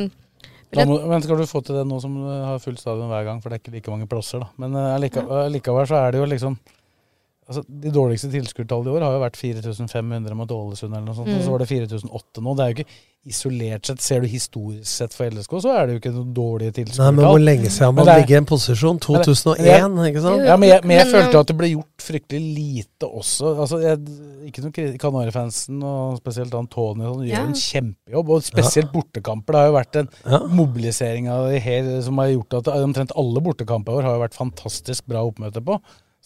[SPEAKER 5] da må, men skal du få til det nå som eh, har fullt stadion hver gang, for det er ikke like mange plasser, da. Men eh, allike- allikevel så er det jo liksom Altså, De dårligste tilskuertallene i år har jo vært 4500 mot Ålesund eller noe sånt. Og
[SPEAKER 3] Mm.
[SPEAKER 5] så var det 4008 nå. Det er jo ikke isolert sett, ser du historisk sett for LSK, så er det jo ikke noe
[SPEAKER 4] Nei,
[SPEAKER 5] dårlige tilskuertall.
[SPEAKER 4] men hvor lenge siden
[SPEAKER 5] Men
[SPEAKER 4] man
[SPEAKER 5] det er-
[SPEAKER 4] ligger i en posisjon?
[SPEAKER 5] Men det-
[SPEAKER 4] 2001, ikke sant?
[SPEAKER 5] Ja, men jeg, men jeg
[SPEAKER 3] Men,
[SPEAKER 5] følte
[SPEAKER 3] eh,
[SPEAKER 5] at det ble gjort fryktelig lite også. Altså, jeg, ikke noen kri- Kanarifansen, og spesielt Antonio, han gjør
[SPEAKER 3] Ja.
[SPEAKER 5] en kjempejobb. Og spesielt bortekamper. Det har jo vært en
[SPEAKER 4] Ja.
[SPEAKER 5] mobilisering av det her, som har gjort at omtrent alle bortekamper i år har jo vært fantastisk bra oppmøte på.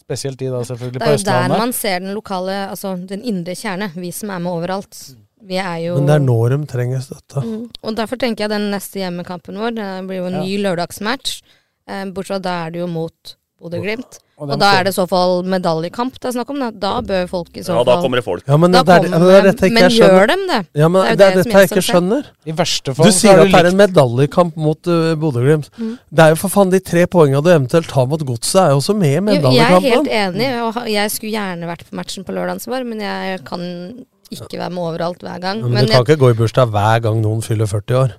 [SPEAKER 5] Spesielt de da selvfølgelig
[SPEAKER 3] det er
[SPEAKER 5] på
[SPEAKER 3] jo der
[SPEAKER 5] Østlandet.
[SPEAKER 3] man ser den lokale, altså den indre kjerne. Vi som er med overalt. Vi er jo
[SPEAKER 4] Men det er nå de trenger støtte.
[SPEAKER 3] Mm. Og derfor tenker jeg den neste hjemmekampen vår det blir jo en ny lørdagsmatch. Eh, Bortsett fra da er det jo mot Bodø-Glimt.
[SPEAKER 5] Og
[SPEAKER 3] Og,
[SPEAKER 5] dem
[SPEAKER 3] da
[SPEAKER 5] kommer.
[SPEAKER 3] er det i så fall medaljekamp det er snakk om. Da, da bør folk i så
[SPEAKER 6] Ja,
[SPEAKER 3] fall
[SPEAKER 6] da kommer det folk.
[SPEAKER 4] Ja, men,
[SPEAKER 3] Da
[SPEAKER 4] det er-
[SPEAKER 3] kommer
[SPEAKER 4] ja, men det er dette jeg
[SPEAKER 3] de.
[SPEAKER 4] ikke
[SPEAKER 3] Men
[SPEAKER 4] jeg skjønner.
[SPEAKER 3] gjør dem det?
[SPEAKER 4] Ja, men det,
[SPEAKER 3] jo
[SPEAKER 4] er
[SPEAKER 3] som
[SPEAKER 4] dette jeg ikke
[SPEAKER 3] som skjer.
[SPEAKER 4] skjer. skjønner.
[SPEAKER 5] I verste fall
[SPEAKER 4] Du
[SPEAKER 5] så
[SPEAKER 4] sier
[SPEAKER 5] er
[SPEAKER 4] at det er
[SPEAKER 5] likt-
[SPEAKER 4] en medaljekamp mot uh, Bodø-Glimt.
[SPEAKER 3] Mm.
[SPEAKER 4] Det er jo for faen de tre poengene du eventuelt tar mot Godset, er jo også med i
[SPEAKER 3] Jo, Jeg er helt
[SPEAKER 4] medaljekampen.
[SPEAKER 3] enig, og ha- jeg skulle gjerne vært på matchen på lørdag, men jeg kan ikke være med overalt hver gang.
[SPEAKER 4] Ja, men du kan
[SPEAKER 3] jeg,
[SPEAKER 4] ikke gå i bursdag hver gang noen fyller 40 år.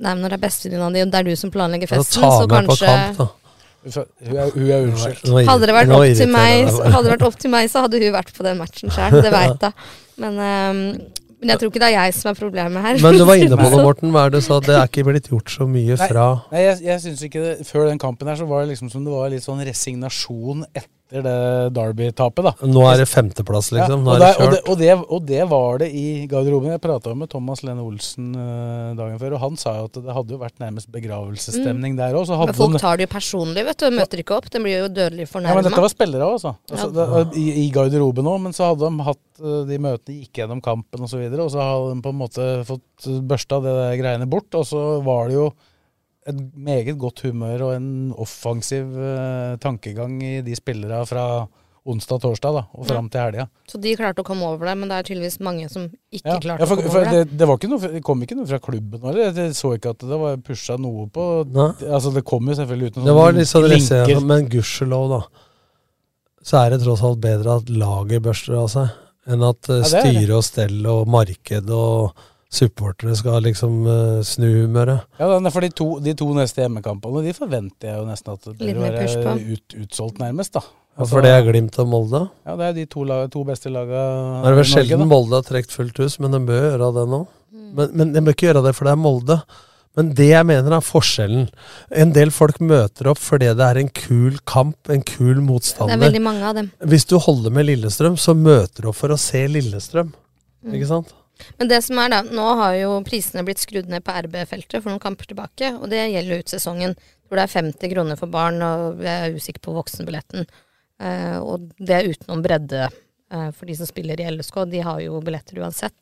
[SPEAKER 3] nei, men når det er bestevenninna di, og det er du som planlegger
[SPEAKER 4] Ja,
[SPEAKER 3] festen,
[SPEAKER 4] ta
[SPEAKER 3] så
[SPEAKER 4] med på
[SPEAKER 3] kanskje
[SPEAKER 4] kamp, da.
[SPEAKER 5] Hun er, hun er unnskyldt.
[SPEAKER 4] Nå irri-
[SPEAKER 3] Hadde det vært
[SPEAKER 4] nå
[SPEAKER 3] opp til
[SPEAKER 4] irriterer
[SPEAKER 3] meg,
[SPEAKER 4] jeg
[SPEAKER 3] så-
[SPEAKER 4] meg.
[SPEAKER 3] hadde det vært opp til meg, så hadde hun vært på den matchen sjøl. Det veit jeg. Men, ehm, men jeg tror ikke det er jeg som er problemet her.
[SPEAKER 4] Men du var
[SPEAKER 3] [LAUGHS]
[SPEAKER 4] inne på det, Morten. Hva er det du sa? Det er ikke blitt gjort så mye
[SPEAKER 5] Nei.
[SPEAKER 4] fra
[SPEAKER 5] Nei, jeg, jeg synes ikke det, Før den kampen her så var det liksom som det var litt sånn resignasjon etter det Derby-tapet, da.
[SPEAKER 4] Nå er det femteplass, liksom. Nå
[SPEAKER 5] og,
[SPEAKER 4] er det
[SPEAKER 5] der- og, det,
[SPEAKER 4] kjørt.
[SPEAKER 5] og, det, og det var det i garderoben. Jeg prata med Thomas Lene Olsen eh, dagen før, og han sa jo at det hadde jo vært nærmest begravelsesstemning der òg.
[SPEAKER 3] Mm. Men folk tar det jo personlig, vet du. og Møter ikke opp. Den blir jo dødelig
[SPEAKER 5] Ja, men dette
[SPEAKER 3] fornærma.
[SPEAKER 5] var spillere òg, altså. altså det, i, I garderoben òg, men så hadde de hatt eh, de møtene, gikk gjennom kampen osv., og så hadde de på en måte fått børsta det der greiene bort, og så var det jo et meget godt humør og en offensiv eh, tankegang i de spillere fra onsdag-torsdag da, og fram til helga.
[SPEAKER 3] Så de klarte å komme over det, men det er tydeligvis mange som ikke
[SPEAKER 5] Ja.
[SPEAKER 3] klarte
[SPEAKER 5] Ja, for,
[SPEAKER 3] å komme
[SPEAKER 5] for
[SPEAKER 3] over det.
[SPEAKER 5] det, det, var ikke noe, det kom ikke noe fra klubben eller? Jeg så ikke at det var pusha noe på
[SPEAKER 4] Nei.
[SPEAKER 5] Altså, det kom jo selvfølgelig ut noen
[SPEAKER 4] Det var litt sånn
[SPEAKER 5] linker.
[SPEAKER 4] resignasjon, men gudskjelov, da. Så er det tross alt bedre at laget børster av seg, enn at eh,
[SPEAKER 5] Ja, det er det.
[SPEAKER 4] styre og stell og marked og supportere skal liksom eh, snu humøret.
[SPEAKER 5] Ja, den er for de to, de to neste hjemmekampene de forventer jeg jo nesten at det
[SPEAKER 3] Litt
[SPEAKER 5] bør
[SPEAKER 3] mer push
[SPEAKER 5] være
[SPEAKER 3] på.
[SPEAKER 5] ut, utsolgt, nærmest. da.
[SPEAKER 4] Og for det er Glimt og Molde.
[SPEAKER 5] Ja, Det er de to, lag, to beste laga
[SPEAKER 4] Det er vel
[SPEAKER 5] i Norge, da.
[SPEAKER 4] sjelden Molde har trukket fullt hus, men den bør gjøre det nå.
[SPEAKER 3] Mm.
[SPEAKER 4] Men, men den bør ikke gjøre det, for det er Molde. Men det jeg mener er forskjellen. En del folk møter opp fordi det er en kul kamp, en kul
[SPEAKER 3] Det er
[SPEAKER 4] motstander.
[SPEAKER 3] veldig mange av dem.
[SPEAKER 4] Hvis du holder med Lillestrøm, så møter du opp for å se Lillestrøm.
[SPEAKER 3] Mm.
[SPEAKER 4] Ikke sant?
[SPEAKER 3] Men det som er da, nå har jo prisene blitt skrudd ned på RB-feltet for noen kamper tilbake, og det gjelder jo ut sesongen. Jeg Tror det er 50 kroner for barn, og jeg er usikker på voksenbilletten. Eh, og det er utenom bredde eh, for de som spiller i LSK, de har jo billetter uansett.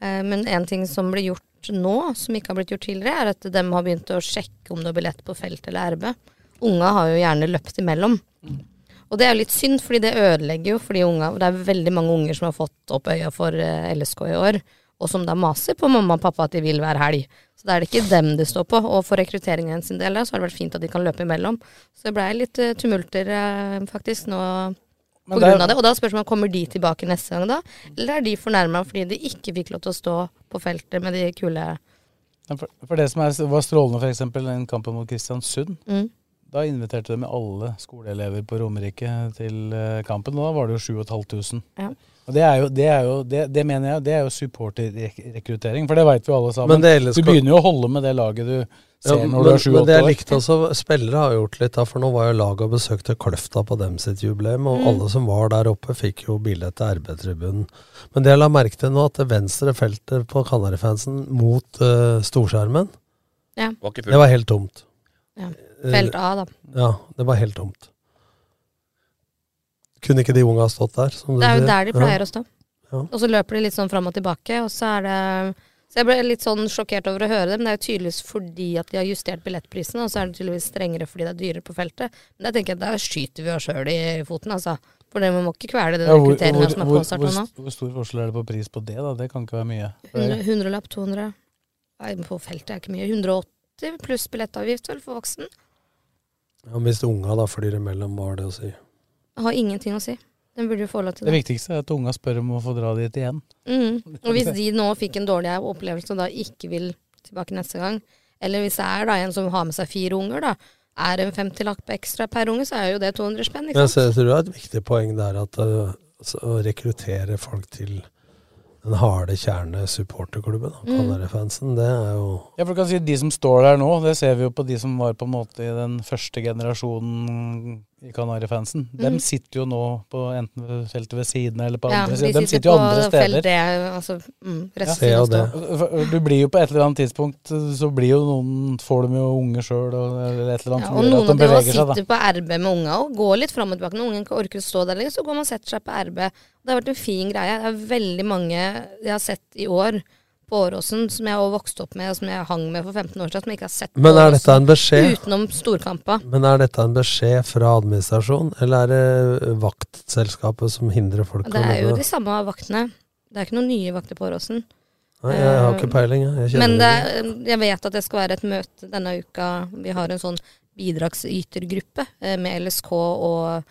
[SPEAKER 3] Eh, men en ting som blir gjort nå, som ikke har blitt gjort tidligere, er at dem har begynt å sjekke om du har billett på felt eller RB. Unga har jo gjerne løpt imellom. Og det er jo litt synd, fordi det ødelegger jo for de unga. Det er veldig mange unger som har fått opp øya for eh, LSK i år, og som da maser på mamma og pappa at de vil hver helg. Så da er det ikke dem det står på. Og for rekrutteringen sin del da, så har det vært fint at de kan løpe imellom. Så det blei litt eh, tumulter eh, faktisk nå på
[SPEAKER 5] Men det er-
[SPEAKER 3] grunn av det. Og da spørs man kommer de tilbake neste gang da, eller er de fornærma fordi de ikke fikk lov til å stå på feltet med de kule
[SPEAKER 5] Ja, For, for det som er, var strålende, f.eks. den kampen mot Kristiansund.
[SPEAKER 3] Mm.
[SPEAKER 5] Da inviterte de alle skoleelever på Romerike til eh, kampen, og da var det jo 7500.
[SPEAKER 3] Ja.
[SPEAKER 5] Og det, er jo, det, er jo, det, det mener jeg det er jo supporterrekruttering, for det veit vi jo alle sammen.
[SPEAKER 4] Men det ellers-
[SPEAKER 5] du begynner jo å holde med det laget du
[SPEAKER 4] Ja,
[SPEAKER 5] ser
[SPEAKER 4] men,
[SPEAKER 5] når du er
[SPEAKER 4] men det
[SPEAKER 5] 7-8
[SPEAKER 4] jeg
[SPEAKER 5] år.
[SPEAKER 4] likte også, spillere har gjort litt da, for nå var jo laget og besøkte Kløfta på dem sitt jubileum,
[SPEAKER 5] Mm.
[SPEAKER 4] og alle som var der oppe fikk jo billett til RB-tribunen. Men det jeg la merke til nå, at det venstre feltet på Kanarifansen mot eh, storskjermen,
[SPEAKER 3] ja,
[SPEAKER 6] Var ikke fullt.
[SPEAKER 4] det var helt tomt. Eh,
[SPEAKER 3] ja, felt A, da.
[SPEAKER 4] Ja, det var helt tomt. Kunne ikke de unga ha stått der? Som du
[SPEAKER 3] Det er jo
[SPEAKER 4] sier?
[SPEAKER 3] der de pleier å stå.
[SPEAKER 4] Ja.
[SPEAKER 3] Og så løper de litt sånn fram og tilbake, og så er det Så jeg ble litt sånn sjokkert over å høre det, men det er jo tydeligvis fordi at de har justert billettprisene, og så er det tydeligvis strengere fordi det er dyrere på feltet. Men jeg tenker jeg at der skyter vi oss sjøl i foten, altså. For det, man må ikke kvele den
[SPEAKER 5] Ja, hvor,
[SPEAKER 3] rekrutteringa
[SPEAKER 5] hvor,
[SPEAKER 3] som er
[SPEAKER 5] hvor,
[SPEAKER 3] påstarta
[SPEAKER 5] hvor,
[SPEAKER 3] nå.
[SPEAKER 5] hvor stor forskjell er det på pris på det, da? Det kan ikke være mye.
[SPEAKER 3] 100 Hundrelapp, 200 Nei, men på feltet er ikke mye. 180 pluss billettavgift vel for voksen.
[SPEAKER 4] Ja, hvis unga da flyr imellom, hva har det å si?
[SPEAKER 3] Har ingenting å si. Den burde jo få lov til
[SPEAKER 5] Det viktigste er at unga spør om å få dra dit igjen. [LAUGHS]
[SPEAKER 3] Mm. Og hvis de nå fikk en dårlig opplevelse og da ikke vil tilbake neste gang, eller hvis det er da en som har med seg fire unger, da, er en 50-lapp ekstra per unge, så er jo det 200 spenn,
[SPEAKER 4] Men
[SPEAKER 3] ikke
[SPEAKER 4] jeg
[SPEAKER 3] sant?
[SPEAKER 4] ser- tror det er et viktig poeng der at øh, altså, å rekruttere folk til den harde kjerne supporterklubben, da,
[SPEAKER 3] Mm.
[SPEAKER 4] Kanarifansen, det er jo
[SPEAKER 5] Ja, for du kan si De som står der nå, det ser vi jo på de som var på en måte i den første generasjonen i Kanarifansen. Dem
[SPEAKER 3] Mhm.
[SPEAKER 5] sitter jo nå på enten ved feltet ved siden eller på
[SPEAKER 3] Ja,
[SPEAKER 5] andre
[SPEAKER 3] de
[SPEAKER 5] siden.
[SPEAKER 3] sitter
[SPEAKER 5] De sitter jo
[SPEAKER 3] på
[SPEAKER 5] andre
[SPEAKER 3] felt
[SPEAKER 5] steder.
[SPEAKER 3] D, altså, mm, resten
[SPEAKER 4] Ja,
[SPEAKER 3] av
[SPEAKER 4] det.
[SPEAKER 3] stå.
[SPEAKER 5] For Du blir jo på et eller annet tidspunkt så blir jo noen, får de jo unge sjøl eller et eller
[SPEAKER 3] Ja,
[SPEAKER 5] annet som
[SPEAKER 3] og
[SPEAKER 5] gjør
[SPEAKER 3] noen
[SPEAKER 5] at
[SPEAKER 3] av
[SPEAKER 5] de
[SPEAKER 3] de også
[SPEAKER 5] beveger seg, da.
[SPEAKER 3] sitter på RB med unga og går litt fram og tilbake. Når ungen ikke orker å stå der lenger, så går man og setter seg på RB. Det har vært en fin greie. Det er veldig mange jeg har sett i år på Åråsen, som jeg også vokste opp med, og som jeg hang med for 15 år siden, som jeg ikke har sett på
[SPEAKER 4] Men er dette
[SPEAKER 3] Åråsen,
[SPEAKER 4] en beskjed?
[SPEAKER 3] Utenom storkampa.
[SPEAKER 4] Men er dette en beskjed fra administrasjon, eller er det vaktselskapet som hindrer folk
[SPEAKER 3] Det er jo
[SPEAKER 4] gå?
[SPEAKER 3] de samme vaktene. Det er ikke noen nye vakter på Åråsen.
[SPEAKER 4] Nei, jeg har ikke peiling, jeg. Jeg kjenner
[SPEAKER 3] eh, Men det, er-
[SPEAKER 4] det
[SPEAKER 3] jeg vet at det skal være et møte denne uka. Vi har en sånn bidragsytergruppe eh, med LSK og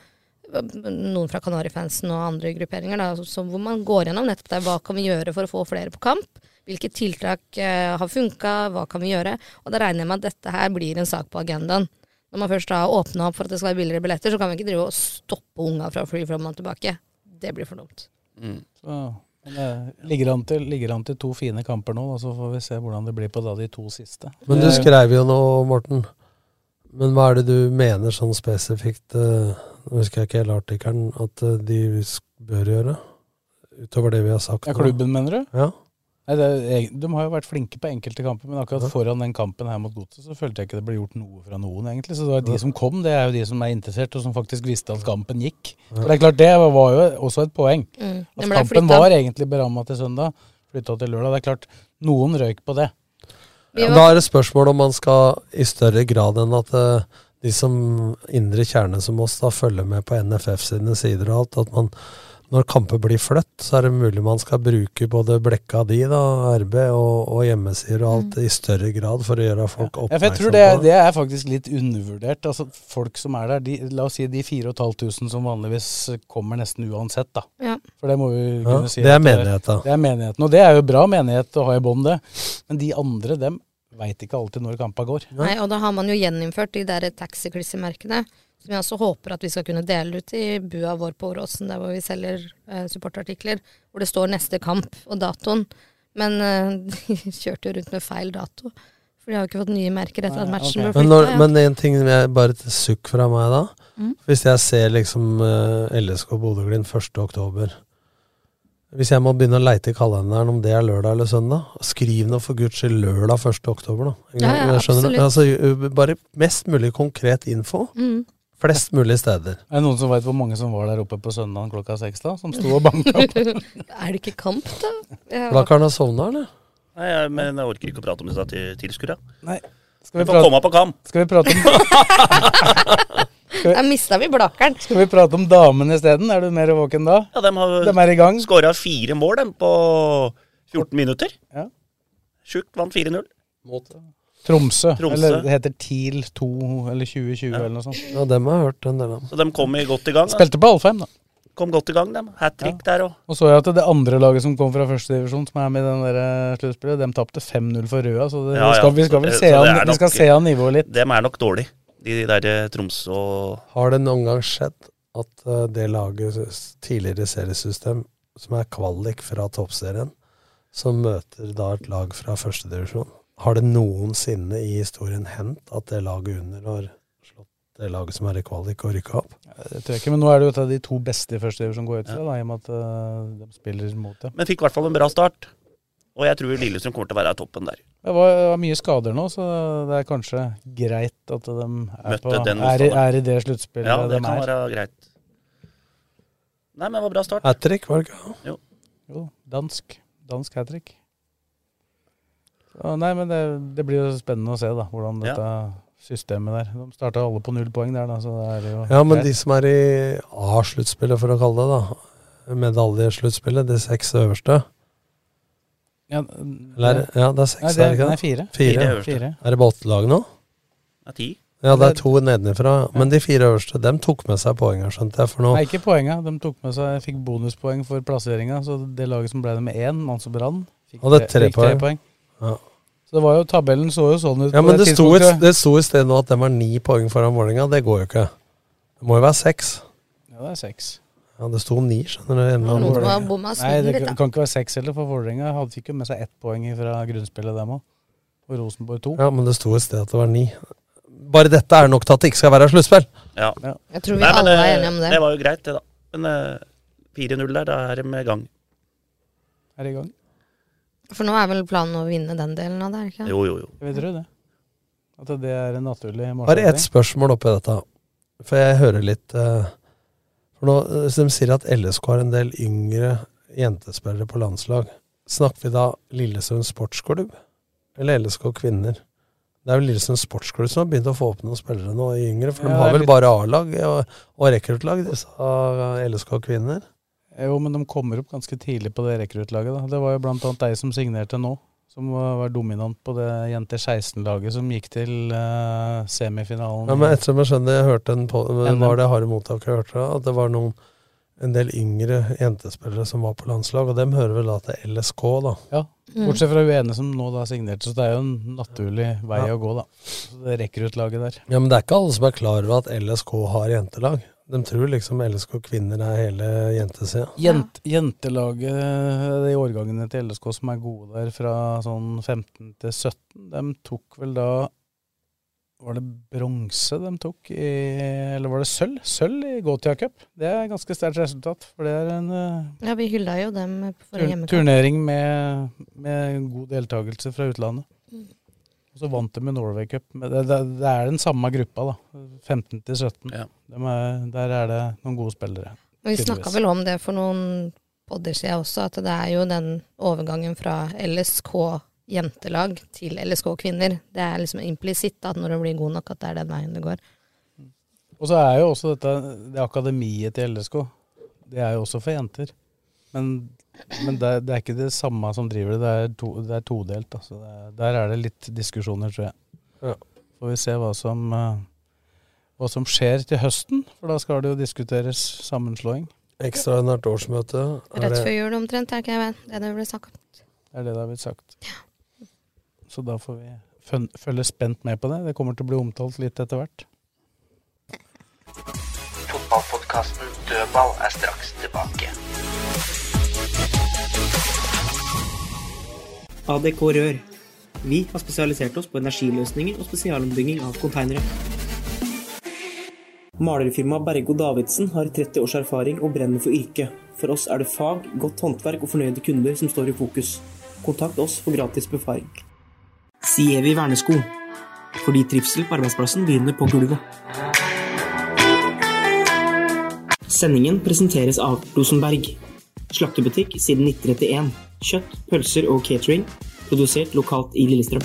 [SPEAKER 3] eh, noen fra Kanarifansen og andre grupperinger, da, som, hvor man går gjennom nettopp det. Hva kan vi gjøre for å få flere på kamp? Hvilke tiltak eh, har funka? Hva kan vi gjøre? Og da regner jeg med at dette her blir en sak på agendaen. Når man først har åpna opp for at det skal være billigere billetter, så kan vi ikke drive og stoppe unga fra å fly fram og tilbake. Det blir for dumt.
[SPEAKER 5] Så, men det ligger an, til, ligger an til to fine kamper nå, da, så får vi se hvordan det blir på da de to siste. Eh,
[SPEAKER 4] Men du
[SPEAKER 5] Det er-
[SPEAKER 4] skrev jo noe, Morten. Men hva er det du mener sånn spesifikt eh, Nå husker jeg ikke hele artikkelen. At eh, de s- bør gjøre? Utover det vi har sagt.
[SPEAKER 5] Ja,
[SPEAKER 4] nå.
[SPEAKER 5] klubben, mener du?
[SPEAKER 4] Ja.
[SPEAKER 5] Nei, det er, eg- de har jo vært flinke på enkelte kamper, men akkurat
[SPEAKER 4] Ja.
[SPEAKER 5] foran den kampen her mot Godset, så følte jeg ikke det ble gjort noe fra noen, egentlig. Så det var de som kom, det er jo de som er interessert, og som faktisk visste at kampen gikk.
[SPEAKER 4] Ja.
[SPEAKER 5] For det er klart, det var jo også et poeng.
[SPEAKER 3] Mm. Den
[SPEAKER 5] At
[SPEAKER 3] ble
[SPEAKER 5] Altså, kampen
[SPEAKER 3] flyttet.
[SPEAKER 5] var egentlig beramma til søndag, flytta til lørdag. Det er klart, noen røyk på det.
[SPEAKER 3] Vi var-
[SPEAKER 4] Da er det spørsmål om man skal i større grad enn at eh, de som indre kjerne som oss da følger med på NFF sine sider og alt, at man når kamper blir flytt, så er det mulig man skal bruke både blekka di, da, RB, og, og hjemmesider og
[SPEAKER 3] Mm.
[SPEAKER 4] alt i større grad for å gjøre folk
[SPEAKER 5] Ja, for jeg tror
[SPEAKER 4] oppmerksom
[SPEAKER 5] det,
[SPEAKER 4] på
[SPEAKER 5] det er faktisk litt undervurdert. Altså, folk som er der, de, la oss si de 4500 som vanligvis kommer nesten uansett, da.
[SPEAKER 3] Ja.
[SPEAKER 5] For det må vi
[SPEAKER 4] Ja,
[SPEAKER 5] kunne si.
[SPEAKER 4] det er
[SPEAKER 5] at
[SPEAKER 4] menigheten.
[SPEAKER 5] Det er menigheten, og det er jo bra menighet å ha i bånd, det. Men de andre, dem veit ikke alltid når kampa går.
[SPEAKER 3] Nei, og da har man jo gjeninnført de der taxiklissemerkene, som jeg også håper at vi skal kunne dele ut i bua vår på Åråsen, der hvor vi selger eh, supportartikler, hvor det står neste kamp og datoen. Men eh, [LAUGHS] de kjørte jo rundt med feil dato, for de har jo ikke fått nye merker etter at matchen ble
[SPEAKER 4] Men,
[SPEAKER 3] flytta.
[SPEAKER 4] når, men en ting jeg bare et sukk fra meg da.
[SPEAKER 3] Mm.
[SPEAKER 4] Hvis jeg ser liksom eh, LSK Bodø-Glimt 1. oktober Hvis jeg må begynne å leite i kalenderen om det er lørdag eller søndag, skriv nå for guds skyld lørdag 1. oktober, da.
[SPEAKER 3] Ja, ja,
[SPEAKER 4] Jeg skjønner-
[SPEAKER 3] absolutt.
[SPEAKER 4] altså, jo, bare mest mulig konkret info.
[SPEAKER 3] Mm.
[SPEAKER 4] Flest mulig steder.
[SPEAKER 5] Er det noen som veit hvor mange som var der oppe på søndagen klokka seks, da? Som sto og banka
[SPEAKER 6] [LAUGHS]
[SPEAKER 5] opp?
[SPEAKER 3] er det ikke kamp, da? Jeg-
[SPEAKER 4] Blakkaren har sovna, eller?
[SPEAKER 6] Nei, jeg, men jeg orker ikke å prate om disse til- tilskuere.
[SPEAKER 5] Nei.
[SPEAKER 6] Skal vi får komme på kamp.
[SPEAKER 5] Skal vi prate om Skal
[SPEAKER 3] Der mista vi Blakkeren.
[SPEAKER 5] Skal vi prate om damene isteden? Er du mer våken da?
[SPEAKER 6] Ja, de har
[SPEAKER 5] De er i gang.
[SPEAKER 6] skåra fire mål dem, på 14 minutter.
[SPEAKER 5] Ja.
[SPEAKER 6] Sjukt, vant 4-0.
[SPEAKER 5] Tromsø.
[SPEAKER 6] Tromsø.
[SPEAKER 5] Eller det heter TIL 2 eller 2020 eller noe sånt.
[SPEAKER 4] Ja, dem har jeg hørt en del om.
[SPEAKER 6] Så de kom i godt i gang. da.
[SPEAKER 5] Spilte på Alfheim, da.
[SPEAKER 6] Kom godt i gang, dem. Hat trick der òg.
[SPEAKER 5] Og så jeg at det andre laget som kom fra førstedivisjon, som er med i den der eh, sluttspillet, de tapte 5-0 for Røa, så det,
[SPEAKER 6] Ja, ja.
[SPEAKER 5] Skal, vi skal vel
[SPEAKER 6] Så
[SPEAKER 5] se
[SPEAKER 6] det er
[SPEAKER 5] an, vi
[SPEAKER 6] nok-
[SPEAKER 5] skal se an nivået litt.
[SPEAKER 6] Dem er nok dårlig, de der eh, Tromsø og
[SPEAKER 4] Har det noen gang skjedd at eh, det laget s- tidligere seriesystem, som er kvalik fra toppserien, som møter da et lag fra førstedivisjon Har det noensinne i historien hendt at det laget under har slått det laget som er i kvalik, og rykka opp?
[SPEAKER 5] Det tror jeg ikke, men nå er det jo et av de to beste i førstedivisjon går ut fra, da, i og med at eh, de spiller mot dem.
[SPEAKER 6] Men fikk i hvert fall en bra start. Og jeg tror Lillestrøm kommer til å være i toppen der.
[SPEAKER 5] Det var, det var mye skader nå, så det er kanskje greit at de er,
[SPEAKER 6] Møtte
[SPEAKER 5] på, er,
[SPEAKER 6] den
[SPEAKER 5] i,
[SPEAKER 6] motstanderen.
[SPEAKER 5] er i det sluttspillet
[SPEAKER 6] Ja, det
[SPEAKER 5] de
[SPEAKER 6] kan
[SPEAKER 5] er.
[SPEAKER 6] være greit. Nei, men det var bra start.
[SPEAKER 4] Hat trick, var det ikke?
[SPEAKER 5] Jo, dansk. Dansk hat trick. Nei, men det, det blir jo spennende å se da, hvordan
[SPEAKER 6] Ja.
[SPEAKER 5] dette systemet der De starta alle på null poeng der, da, så det er jo
[SPEAKER 4] Ja, men
[SPEAKER 5] greit.
[SPEAKER 4] de som er i A-sluttspillet, for å kalle det da, medaljesluttspillet, de seks øverste
[SPEAKER 5] ja,
[SPEAKER 4] Eller,
[SPEAKER 5] det-
[SPEAKER 4] ja, det er seks,
[SPEAKER 5] Nei, det,
[SPEAKER 4] er det ikke
[SPEAKER 5] Nei,
[SPEAKER 4] det?
[SPEAKER 5] fire.
[SPEAKER 6] Fire
[SPEAKER 4] Fire.
[SPEAKER 6] øverste.
[SPEAKER 5] fire.
[SPEAKER 4] Er det båtlag nå?
[SPEAKER 6] Det er ti.
[SPEAKER 4] Ja, det er to nedenifra. Men de fire øverste, dem tok med seg poenga, skjønte jeg. For nå
[SPEAKER 5] Nei, ikke poenga. De tok med seg, fikk bonuspoeng for plasseringa, så det laget som ble det med én, altså Brann, fikk,
[SPEAKER 4] Og det er tre
[SPEAKER 5] fikk tre
[SPEAKER 4] poeng.
[SPEAKER 5] poeng.
[SPEAKER 4] Ja.
[SPEAKER 5] Så det var jo, tabellen så jo sånn ut.
[SPEAKER 4] Ja,
[SPEAKER 5] på
[SPEAKER 4] men det sto, et,
[SPEAKER 5] tidspunktet.
[SPEAKER 4] det sto i sted nå at den var ni poeng foran Vålerenga. Det går jo ikke. Det må jo være seks.
[SPEAKER 5] Ja, det er seks.
[SPEAKER 4] Ja, det sto ni, skjønner du. En eller
[SPEAKER 3] Noen
[SPEAKER 4] annen.
[SPEAKER 3] må ha bomma
[SPEAKER 5] Nei,
[SPEAKER 3] snuden
[SPEAKER 5] det
[SPEAKER 3] litt, da.
[SPEAKER 5] kan, kan ikke være seks heller, for Vålerenga hadde- fikk jo med seg ett poeng fra grunnspillet, dem òg. Og Rosenborg to.
[SPEAKER 4] Ja, men det sto i sted at det var ni. Bare dette er nok til at det ikke skal være sluttspill.
[SPEAKER 6] Ja.
[SPEAKER 3] Jeg tror vi
[SPEAKER 6] Nei, men
[SPEAKER 3] alle
[SPEAKER 6] det-
[SPEAKER 3] er enige om det.
[SPEAKER 6] Det var jo greit, det, da. Men eh, 4-0 der, da er de i gang.
[SPEAKER 5] Er i gang.
[SPEAKER 3] For nå er vel planen å vinne den delen av det, er det ikke?
[SPEAKER 6] Jo, jo,
[SPEAKER 3] [LAUGHS]
[SPEAKER 6] jo.
[SPEAKER 5] Jeg tror det. At det er en naturlig
[SPEAKER 4] Bare ett
[SPEAKER 5] marsjordning.
[SPEAKER 4] spørsmål oppi dette. For jeg hører litt eh, For nå, eh, De sier at LSK har en del yngre jentespillere på landslag. Snakker vi da Lillesund sportsklubb eller LSK kvinner? Det er jo Lillesund sportsklubb som har begynt å få opp noen spillere nå, i yngre. For de
[SPEAKER 5] Ja, det er
[SPEAKER 4] har vel
[SPEAKER 5] litt-
[SPEAKER 4] bare A-lag og, og rekruttlag, disse eh, av LSK kvinner.
[SPEAKER 5] Eh, Jo, men de kommer opp ganske tidlig på det rekruttlaget. da. Det var jo blant annet deg som signerte nå, som var var dominant på det jenter 16-laget som gikk til eh, semifinalen.
[SPEAKER 4] Ja, men ettersom jeg skjønner, jeg hørte en på,
[SPEAKER 5] NM.
[SPEAKER 4] var det harde mottaket jeg hørte, at det var noen, en del yngre jentespillere som var på landslag, og dem hører vel da til LSK, da.
[SPEAKER 5] Ja,
[SPEAKER 3] Mm.
[SPEAKER 5] Bortsett fra hun ene som nå da signerte, så det er jo en naturlig vei
[SPEAKER 4] Ja.
[SPEAKER 5] å gå, da. Så det rekruttlaget der.
[SPEAKER 4] Ja, men det er ikke alle som er klar over at LSK har jentelag. De tror liksom LSK kvinner er hele jentesida.
[SPEAKER 5] Jent, Jentelaget, de årgangene til LSK som er gode der fra sånn 15 til 17, de tok vel da Var det bronse de tok i Eller var det sølv? Sølv i Gotia Cup. Det er et ganske sterkt resultat, for det er en eh,
[SPEAKER 3] Ja, vi hylla jo dem for
[SPEAKER 5] tur
[SPEAKER 3] hjemmekamp.
[SPEAKER 5] turnering med, med god deltakelse fra utlandet.
[SPEAKER 3] Mm.
[SPEAKER 5] Og så vant de med Norway Cup. Men det, det, det er den samme gruppa, da. 15 til 17. Dem er, der er det noen gode spillere.
[SPEAKER 3] Og vi snakka
[SPEAKER 5] tydeligvis.
[SPEAKER 3] vel om det for noen podder siden også, at det er jo den overgangen fra LSK jentelag til LSK kvinner. Det er liksom implisitt at når du blir god nok, at det er den veien det går.
[SPEAKER 5] Og så er jo også dette det akademiet til LSK. Det er jo også for jenter. Men, men det, er- det er ikke det samme som driver det. Det er, to, det er todelt. Altså. Det er, der er det litt diskusjoner, tror jeg. Får vi se hva som, eh, hva som skjer til høsten, for da skal det jo diskuteres sammenslåing.
[SPEAKER 4] Ekstraordinært årsmøte.
[SPEAKER 3] Rett før jul omtrent, er ikke jeg vet. Det er det ble snakka om.
[SPEAKER 5] Det er det det har blitt sagt. Så da får vi føn- følge spent med på det. Det kommer til å bli omtalt litt etter hvert.
[SPEAKER 7] Fotballpodkasten Dødball er straks tilbake.
[SPEAKER 1] ADK Rør. Vi har spesialisert oss på energiløsninger og spesialombygging av konteinere. Malerfirmaet Bergo Davidsen har 30 års erfaring og brenner for yrket. For oss er det fag, godt håndverk og fornøyde kunder som står i fokus. Kontakt oss for gratis befaring. Sievi vernesko. Fordi trivsel på arbeidsplassen begynner på gulvet. Sendingen presenteres av Rosenberg. Slaktebutikk siden 1931. Kjøtt, pølser og catering. Produsert lokalt i Lillestrøm.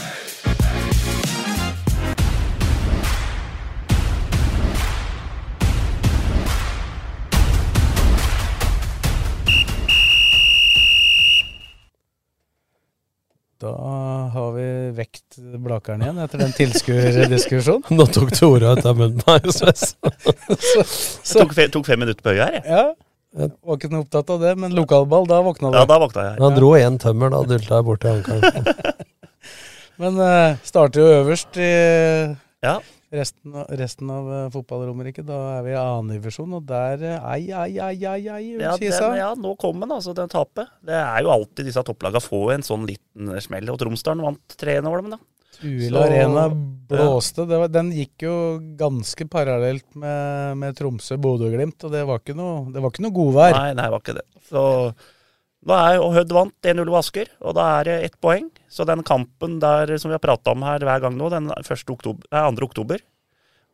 [SPEAKER 5] Da har vi vekt Blakeren igjen etter den tilskuerdiskusjonen.
[SPEAKER 4] Nå tok du ordet ut av munnen på meg, Sves.
[SPEAKER 5] Så-
[SPEAKER 6] Tok, fe, tok fem minutter på øya her, jeg.
[SPEAKER 5] Ja. Jeg var ikke noe opptatt av det, men lokalball, da våkna du.
[SPEAKER 6] Ja, da våkna jeg.
[SPEAKER 4] Han dro én tømmer, da dulta jeg borti ankelen.
[SPEAKER 5] Men eh, starter jo øverst i
[SPEAKER 6] ja.
[SPEAKER 5] resten, av- resten av eh, fotball-Romerike. Da er vi i annendivisjon, og der eh, Ai, ai, ai, ai, ai,
[SPEAKER 6] Ja,
[SPEAKER 5] Ullkisa.
[SPEAKER 6] den, ja, nå kom den, altså, den tapet. Det er jo alltid disse topplagene får en sånn liten smell, og Tromsdalen vant 3-1 over dem, da.
[SPEAKER 5] Tuil
[SPEAKER 6] Så-
[SPEAKER 5] Arena
[SPEAKER 6] Ja.
[SPEAKER 5] blåste. Det var, den gikk jo ganske parallelt med, med Tromsø, Bodø og Glimt, og det var ikke noe, det var ikke noe godvær.
[SPEAKER 6] Nei, nei, det var ikke det. Så nå er jo og Hødd vant 1-0 over Asker, og da er det ett poeng. Så den kampen der som vi har prata om her hver gang nå, den 1. oktober, nei, 2. oktober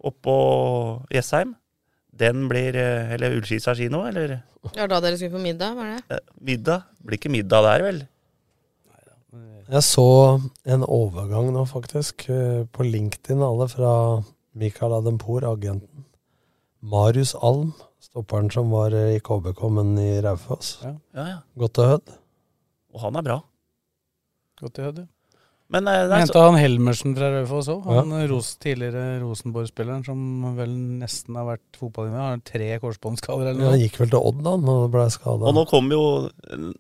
[SPEAKER 6] oppå Jessheim, den blir eh, Eller Ullskisa kino, eller
[SPEAKER 3] Det var da dere skulle på middag, var det?
[SPEAKER 6] eh, middag? Blir ikke middag der, vel?
[SPEAKER 4] Jeg så en overgang nå, faktisk, eh, på LinkedIn, alle, fra Mikael Adempour, agenten. Marius Alm, stopperen som var eh, i KBK, men i Raufoss.
[SPEAKER 6] Ja, ja.
[SPEAKER 4] Godt å høre.
[SPEAKER 6] Og han er bra.
[SPEAKER 5] Godt i høyde.
[SPEAKER 6] Men eh, det er
[SPEAKER 5] Henta han Helmersen fra Raufoss òg. Han
[SPEAKER 6] Ja.
[SPEAKER 5] Ros, tidligere Rosenborg-spilleren som vel nesten har vært fotballinne. Har tre korsbåndskaller eller
[SPEAKER 4] Ja, Han gikk vel til Odd, da, når han ble skada.
[SPEAKER 6] Og nå kom jo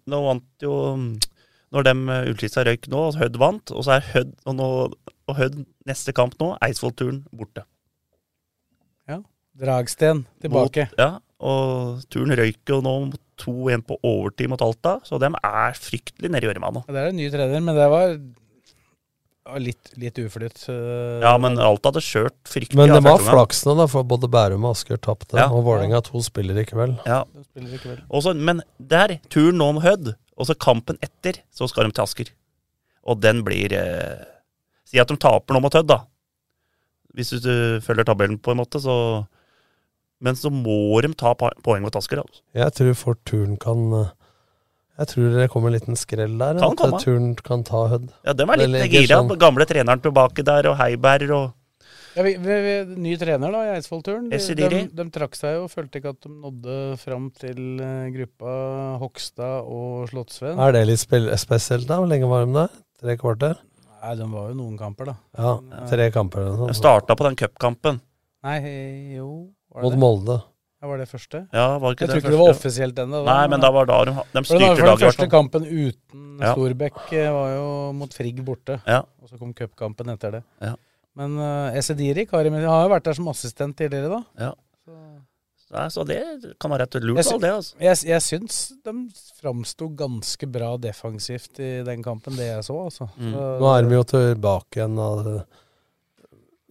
[SPEAKER 6] Nå vant jo Når dem eh, Ullskisa røyk nå, og Hødd vant, og så er Hødd Og, nå, og Hødd neste kamp nå, Eidsvollturen borte.
[SPEAKER 5] Ja. Dragsten tilbake.
[SPEAKER 6] Mot, ja, og Turen røyk jo nå mot 2-1 på overtid mot Alta, så dem er fryktelig nede i gjørma nå.
[SPEAKER 5] Ja, Det er en ny trener, men det var, det var litt, litt uflytt. eh,
[SPEAKER 6] Ja, men Alta hadde skjørt fryktelig.
[SPEAKER 4] Men
[SPEAKER 6] av
[SPEAKER 4] det var
[SPEAKER 6] første omgang.
[SPEAKER 4] flaks nå, da, for både Bærum og Asker tapte.
[SPEAKER 6] Ja.
[SPEAKER 4] Og Vålerenga to spiller i kveld.
[SPEAKER 6] Ja.
[SPEAKER 5] spiller i kveld.
[SPEAKER 6] Og så- men der, turen nå med Hødd, og så kampen etter, så skal de til Asker. Og den blir eh, Si at de taper nå mot Hødd, da. Hvis du eh, følger tabellen på en måte, så Men så må de ta pa- poeng mot Asker. Altså.
[SPEAKER 4] Jeg tror fort Turn kan eh, Jeg tror det kommer en liten skrell der.
[SPEAKER 6] Kan
[SPEAKER 4] at
[SPEAKER 6] komme.
[SPEAKER 4] Turn kan ta Hødd.
[SPEAKER 6] Ja, de er
[SPEAKER 4] Det
[SPEAKER 6] litt
[SPEAKER 4] ligger
[SPEAKER 6] gira.
[SPEAKER 4] sånn-
[SPEAKER 6] Gamle treneren tilbake der, og Heiberg og
[SPEAKER 5] Ja, vi, vi, vi, ny trener da i Eidsvollturen. De, de,
[SPEAKER 6] Essediri.
[SPEAKER 5] de trakk seg jo, følte ikke at de nådde fram til eh, gruppa Hogstad og Slottsveen.
[SPEAKER 4] Er det litt spe- spesielt, da? Hvor lenge var de der? Tre kvarter?
[SPEAKER 5] Nei, de var jo noen kamper, da.
[SPEAKER 4] Ja, tre kamper eller noe
[SPEAKER 6] Jeg
[SPEAKER 4] sånt.
[SPEAKER 6] starta på den cupkampen.
[SPEAKER 5] Nei, jo var det
[SPEAKER 4] Mot
[SPEAKER 5] det?
[SPEAKER 4] Molde.
[SPEAKER 5] Ja, var det første?
[SPEAKER 6] Ja, var ikke
[SPEAKER 5] jeg
[SPEAKER 6] det
[SPEAKER 5] tror ikke det var
[SPEAKER 6] første?
[SPEAKER 5] offisielt ennå.
[SPEAKER 6] Nei, men da var da de- de
[SPEAKER 5] For det var
[SPEAKER 6] styrte
[SPEAKER 5] for
[SPEAKER 6] laget, i
[SPEAKER 5] den
[SPEAKER 6] hvert
[SPEAKER 5] første
[SPEAKER 6] fall.
[SPEAKER 5] kampen uten
[SPEAKER 6] Ja.
[SPEAKER 5] Storbekk eh, var jo mot Frigg borte.
[SPEAKER 6] Ja.
[SPEAKER 5] Og så kom cupkampen etter det.
[SPEAKER 6] Ja.
[SPEAKER 5] Men uh, Esediri Karim, han har jo vært der som assistent tidligere, da.
[SPEAKER 6] Ja. Nei, så det kan være et lurt valg, det. altså.
[SPEAKER 5] Jeg, jeg syns de framsto ganske bra defensivt i den kampen, det jeg så, altså.
[SPEAKER 4] Mm.
[SPEAKER 5] Så-
[SPEAKER 4] Nå er de jo tilbake igjen. av det.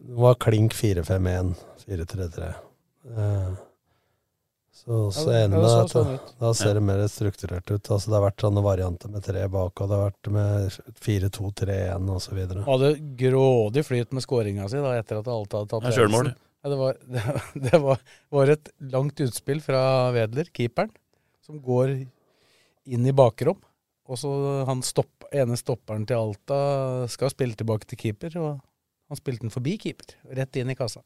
[SPEAKER 4] Det var klink 4-5-1, 4-3-3. Eh, Så, så
[SPEAKER 5] Ja, det-
[SPEAKER 4] enig
[SPEAKER 5] ja,
[SPEAKER 4] med
[SPEAKER 5] det så
[SPEAKER 4] deg. at
[SPEAKER 5] sånn
[SPEAKER 4] det-
[SPEAKER 5] ut.
[SPEAKER 4] Da ser det mer strukturert ut. Altså, det har vært sånne varianter med tre bak, og det har vært med 4-2-3-1 osv.
[SPEAKER 5] Han hadde grådig flyt med skåringa si da, etter at Alta hadde tatt
[SPEAKER 4] Ja, selvmål.
[SPEAKER 5] ledelsen. Ja, det var, [LAUGHS] det, var- det var, var et langt utspill fra Wedler, keeperen, som går inn i bakrom. Og så han stopp, ene stopperen til Alta skal spille tilbake til keeper, og han spilte den forbi keeper, rett inn i kassa.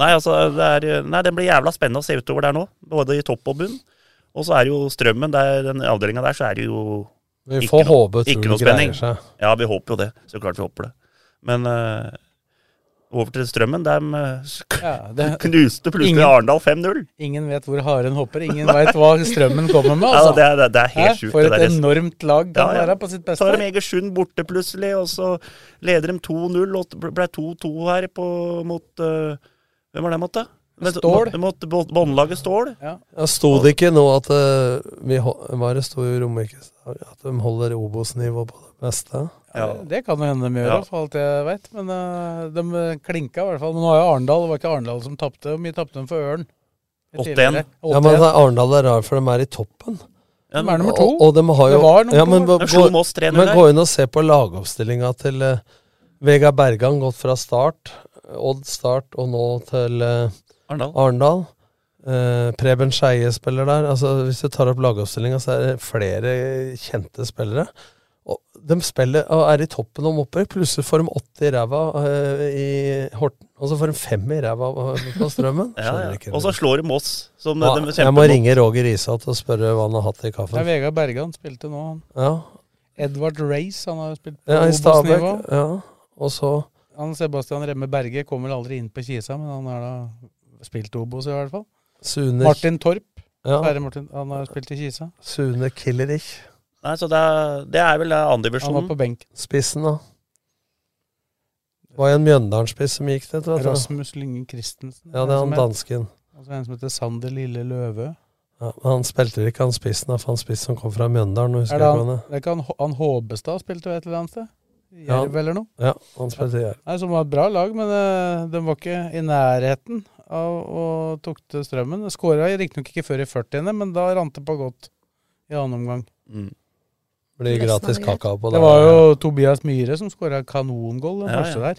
[SPEAKER 6] Nei, altså, det, er, nei, det blir jævla spennende å se utover der nå, både i topp og bunn. Og så er jo strømmen, der, den avdelinga der, så er det jo
[SPEAKER 4] Vi får håpe, tror
[SPEAKER 6] ikke
[SPEAKER 4] vi
[SPEAKER 6] noe
[SPEAKER 4] greier
[SPEAKER 6] spenning.
[SPEAKER 4] seg.
[SPEAKER 6] Ja, vi håper jo det. Så klart vi håper det. Men eh, over til strømmen. De eh, sk-
[SPEAKER 5] Ja, det-
[SPEAKER 6] [LAUGHS] knuste plutselig
[SPEAKER 5] Ingen-
[SPEAKER 6] Arendal 5-0.
[SPEAKER 5] Ingen vet hvor haren hopper, ingen veit hva strømmen kommer med.
[SPEAKER 6] Ja,
[SPEAKER 5] Altså.
[SPEAKER 6] det er- det er- det er helt
[SPEAKER 5] Hæ?
[SPEAKER 6] sjukt,
[SPEAKER 5] For
[SPEAKER 6] det
[SPEAKER 5] et
[SPEAKER 6] der.
[SPEAKER 5] enormt lag kan
[SPEAKER 6] Ja, ja.
[SPEAKER 5] være på sitt beste.
[SPEAKER 6] Så har de Egersund borte plutselig, og så leder de 2-0, og det ble 2-2 her på, mot eh, Hvem var det mot, da? Men-
[SPEAKER 4] Stål.
[SPEAKER 6] Mot, mot båndlaget Stål.
[SPEAKER 4] Ja, sto det ikke nå at eh, vi hol- Hva det sto i Romerike? At de holder Obos-nivå på det beste?
[SPEAKER 6] Ja.
[SPEAKER 5] Det kan jo hende de gjør,
[SPEAKER 4] Ja.
[SPEAKER 5] for alt jeg veit. Men eh, de klinka i hvert fall. Men nå er jo Arendal, det var ikke Arendal som tapte. Hvor mye tapte de for Ørn? Tidligere.
[SPEAKER 4] Ja, men Arendal er rar, for de er i toppen.
[SPEAKER 5] De er nummer to.
[SPEAKER 4] Og, og de har jo,
[SPEAKER 5] Det var nummer
[SPEAKER 4] ja,
[SPEAKER 5] to.
[SPEAKER 4] men,
[SPEAKER 5] De slo
[SPEAKER 4] gå,
[SPEAKER 5] Moss 3-0
[SPEAKER 4] men
[SPEAKER 5] der.
[SPEAKER 4] gå inn og se på lagoppstillinga til eh, Vegard Bergan, gått fra start, Odd start, og nå til eh,
[SPEAKER 6] Arendal.
[SPEAKER 4] Eh, Preben Skeie spiller der. Altså, hvis du tar opp lagoppstillinga, så er det flere kjente spillere. Og de spiller og er i toppen om opprykk. Plutselig får de åtte i ræva eh, i Horten, og så får de fem i ræva eh, på Strømmen.
[SPEAKER 6] [LAUGHS] Ja,
[SPEAKER 4] Skjønner
[SPEAKER 6] ja.
[SPEAKER 4] ikke det.
[SPEAKER 6] Og så slår de Moss. Som
[SPEAKER 4] Ja,
[SPEAKER 6] de kjemper
[SPEAKER 4] jeg må
[SPEAKER 6] mot.
[SPEAKER 4] ringe Roger Isholt og spørre hva han har hatt i
[SPEAKER 5] Det
[SPEAKER 4] kaffen.
[SPEAKER 5] er Vegard Bergan spilte nå, han.
[SPEAKER 4] Ja,
[SPEAKER 5] Edvard Race, han har jo spilt på
[SPEAKER 4] ja I Stabæk.
[SPEAKER 5] Obos-nivå.
[SPEAKER 4] Ja. Og så
[SPEAKER 5] Han Sebastian Remme Berge kom vel aldri inn på Kisa, men han har da spilt Obos i hvert fall.
[SPEAKER 4] Suner.
[SPEAKER 5] Martin Torp.
[SPEAKER 4] Ja.
[SPEAKER 5] Sverre Martin, han har spilt i Kisa.
[SPEAKER 4] Sune Killerich.
[SPEAKER 6] Nei, så det er, det er vel
[SPEAKER 5] Han var
[SPEAKER 6] andredivisjonen.
[SPEAKER 5] på benk.
[SPEAKER 4] Spissen, da. Det var jo en Mjøndalen-spiss som gikk det. vet du.
[SPEAKER 5] Rasmus Lyngen Christensen.
[SPEAKER 4] Ja, det er
[SPEAKER 5] som
[SPEAKER 4] han
[SPEAKER 5] het.
[SPEAKER 4] dansken.
[SPEAKER 5] Og så en som heter Sander Lille Løve.
[SPEAKER 4] Ja, men han spilte vel ikke han spissen, da, for han spiss som kom fra Mjøndalen.
[SPEAKER 5] Er
[SPEAKER 4] Husker jeg ikke hva
[SPEAKER 5] det han,
[SPEAKER 4] han
[SPEAKER 5] det er ikke han, H- han Håbestad spilte jo et eller annet sted? I
[SPEAKER 4] Ja.
[SPEAKER 5] Jerv eller noe?
[SPEAKER 4] Ja, han spilte i Jerv.
[SPEAKER 5] Nei, Som var et bra lag, men eh, de var ikke i nærheten av å tok til strømmen. Skåra riktignok ikke før i 40., men da rant det på godt i annen omgang.
[SPEAKER 6] Mm.
[SPEAKER 4] Blir
[SPEAKER 5] Resten
[SPEAKER 4] gratis
[SPEAKER 5] av det
[SPEAKER 4] kakao
[SPEAKER 5] greit.
[SPEAKER 4] på
[SPEAKER 5] Det
[SPEAKER 4] det.
[SPEAKER 5] var jo Tobias Myhre som skåra kanongål den
[SPEAKER 6] Ja,
[SPEAKER 5] første
[SPEAKER 6] ja.
[SPEAKER 5] der.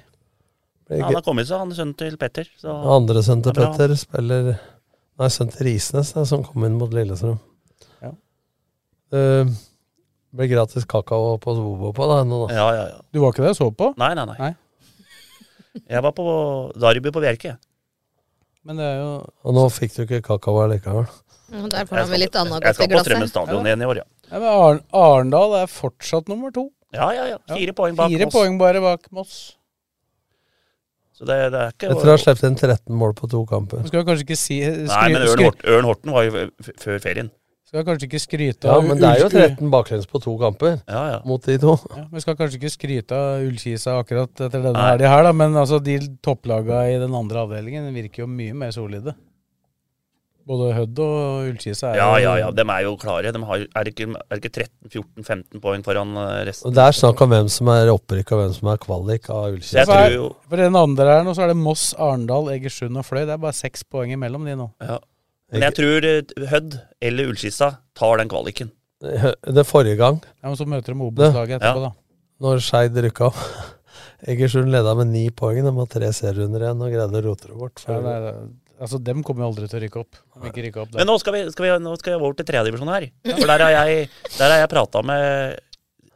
[SPEAKER 6] Ja, han har kommet seg, han er sønnen til Petter. Så
[SPEAKER 4] Andre sønnen til
[SPEAKER 6] Det er bra.
[SPEAKER 4] Petter spiller Nei, sønnen til Risnes, det, som kom inn mot Lillestrøm.
[SPEAKER 5] Ja.
[SPEAKER 4] Eh, blir gratis kakao på Vobo på deg nå, da.
[SPEAKER 6] Ja, ja, ja.
[SPEAKER 5] Du var ikke der og så på?
[SPEAKER 6] Nei, nei, nei. Jeg var på Darby på Bjerke.
[SPEAKER 5] Men det er jo
[SPEAKER 4] Og nå fikk du ikke kakao allikevel.
[SPEAKER 3] Ja, Der får
[SPEAKER 6] Jeg
[SPEAKER 3] han vel litt annet
[SPEAKER 6] Jeg
[SPEAKER 3] godt i
[SPEAKER 6] skal på Strømmen
[SPEAKER 3] glasset.
[SPEAKER 6] stadion igjen i år, ja.
[SPEAKER 5] ja, men Arn Arendal er fortsatt nummer to.
[SPEAKER 6] Ja, ja, ja. Fire poeng bak
[SPEAKER 5] Fire
[SPEAKER 6] Moss.
[SPEAKER 5] poeng bare bak Moss.
[SPEAKER 6] Så det, det er ikke
[SPEAKER 4] Etter å ha sluppet inn 13 mål på to kamper.
[SPEAKER 5] Nå skal jeg kanskje ikke si
[SPEAKER 6] Nei, men Ørn, Hort, Ørn Horten var jo f- f- før ferien.
[SPEAKER 5] Skal kanskje ikke skryte
[SPEAKER 4] Ja,
[SPEAKER 5] av
[SPEAKER 4] men det er jo
[SPEAKER 5] Ullski-
[SPEAKER 4] 13 baklengs på to kamper mot de to.
[SPEAKER 5] Ja, vi skal kanskje ikke skryte av Ullkisa akkurat etter denne
[SPEAKER 4] Nei.
[SPEAKER 5] helga her, da, men altså, de topplaga i den andre avdelingen virker jo mye mer solide. Både Hødd og Ullkisa er
[SPEAKER 6] Ja, ja, ja.
[SPEAKER 5] jo
[SPEAKER 6] De er jo klare. De har, er, det ikke, er det ikke 13-14-15 poeng foran eh,
[SPEAKER 4] Og
[SPEAKER 6] resten?
[SPEAKER 4] Det er snakk om hvem som er opprykk og hvem som er kvalik av
[SPEAKER 6] Så jeg
[SPEAKER 4] Ullkisa.
[SPEAKER 6] tror jo
[SPEAKER 5] For den andre her nå, så er det Moss, Arendal, Egersund og Fløy. Det er bare seks poeng imellom de nå.
[SPEAKER 6] ja. Men jeg tror eh, Hødd eller Ullskissa tar den kvaliken.
[SPEAKER 4] Det forrige gang
[SPEAKER 5] Ja, men så møter de
[SPEAKER 4] Det-
[SPEAKER 5] Obos-laget etterpå, da.
[SPEAKER 4] Når Skeid rykka opp. [LAUGHS] Egersund leda med ni poeng. De har tre serierunder igjen og greide å rote det bort.
[SPEAKER 5] Ja, det er, Altså, dem kommer jo aldri til å rykke opp. Om ikke rykke opp der.
[SPEAKER 6] Men nå skal, vi, skal vi, nå skal jeg over til tredjedivisjon her. For der har jeg, der har jeg prata med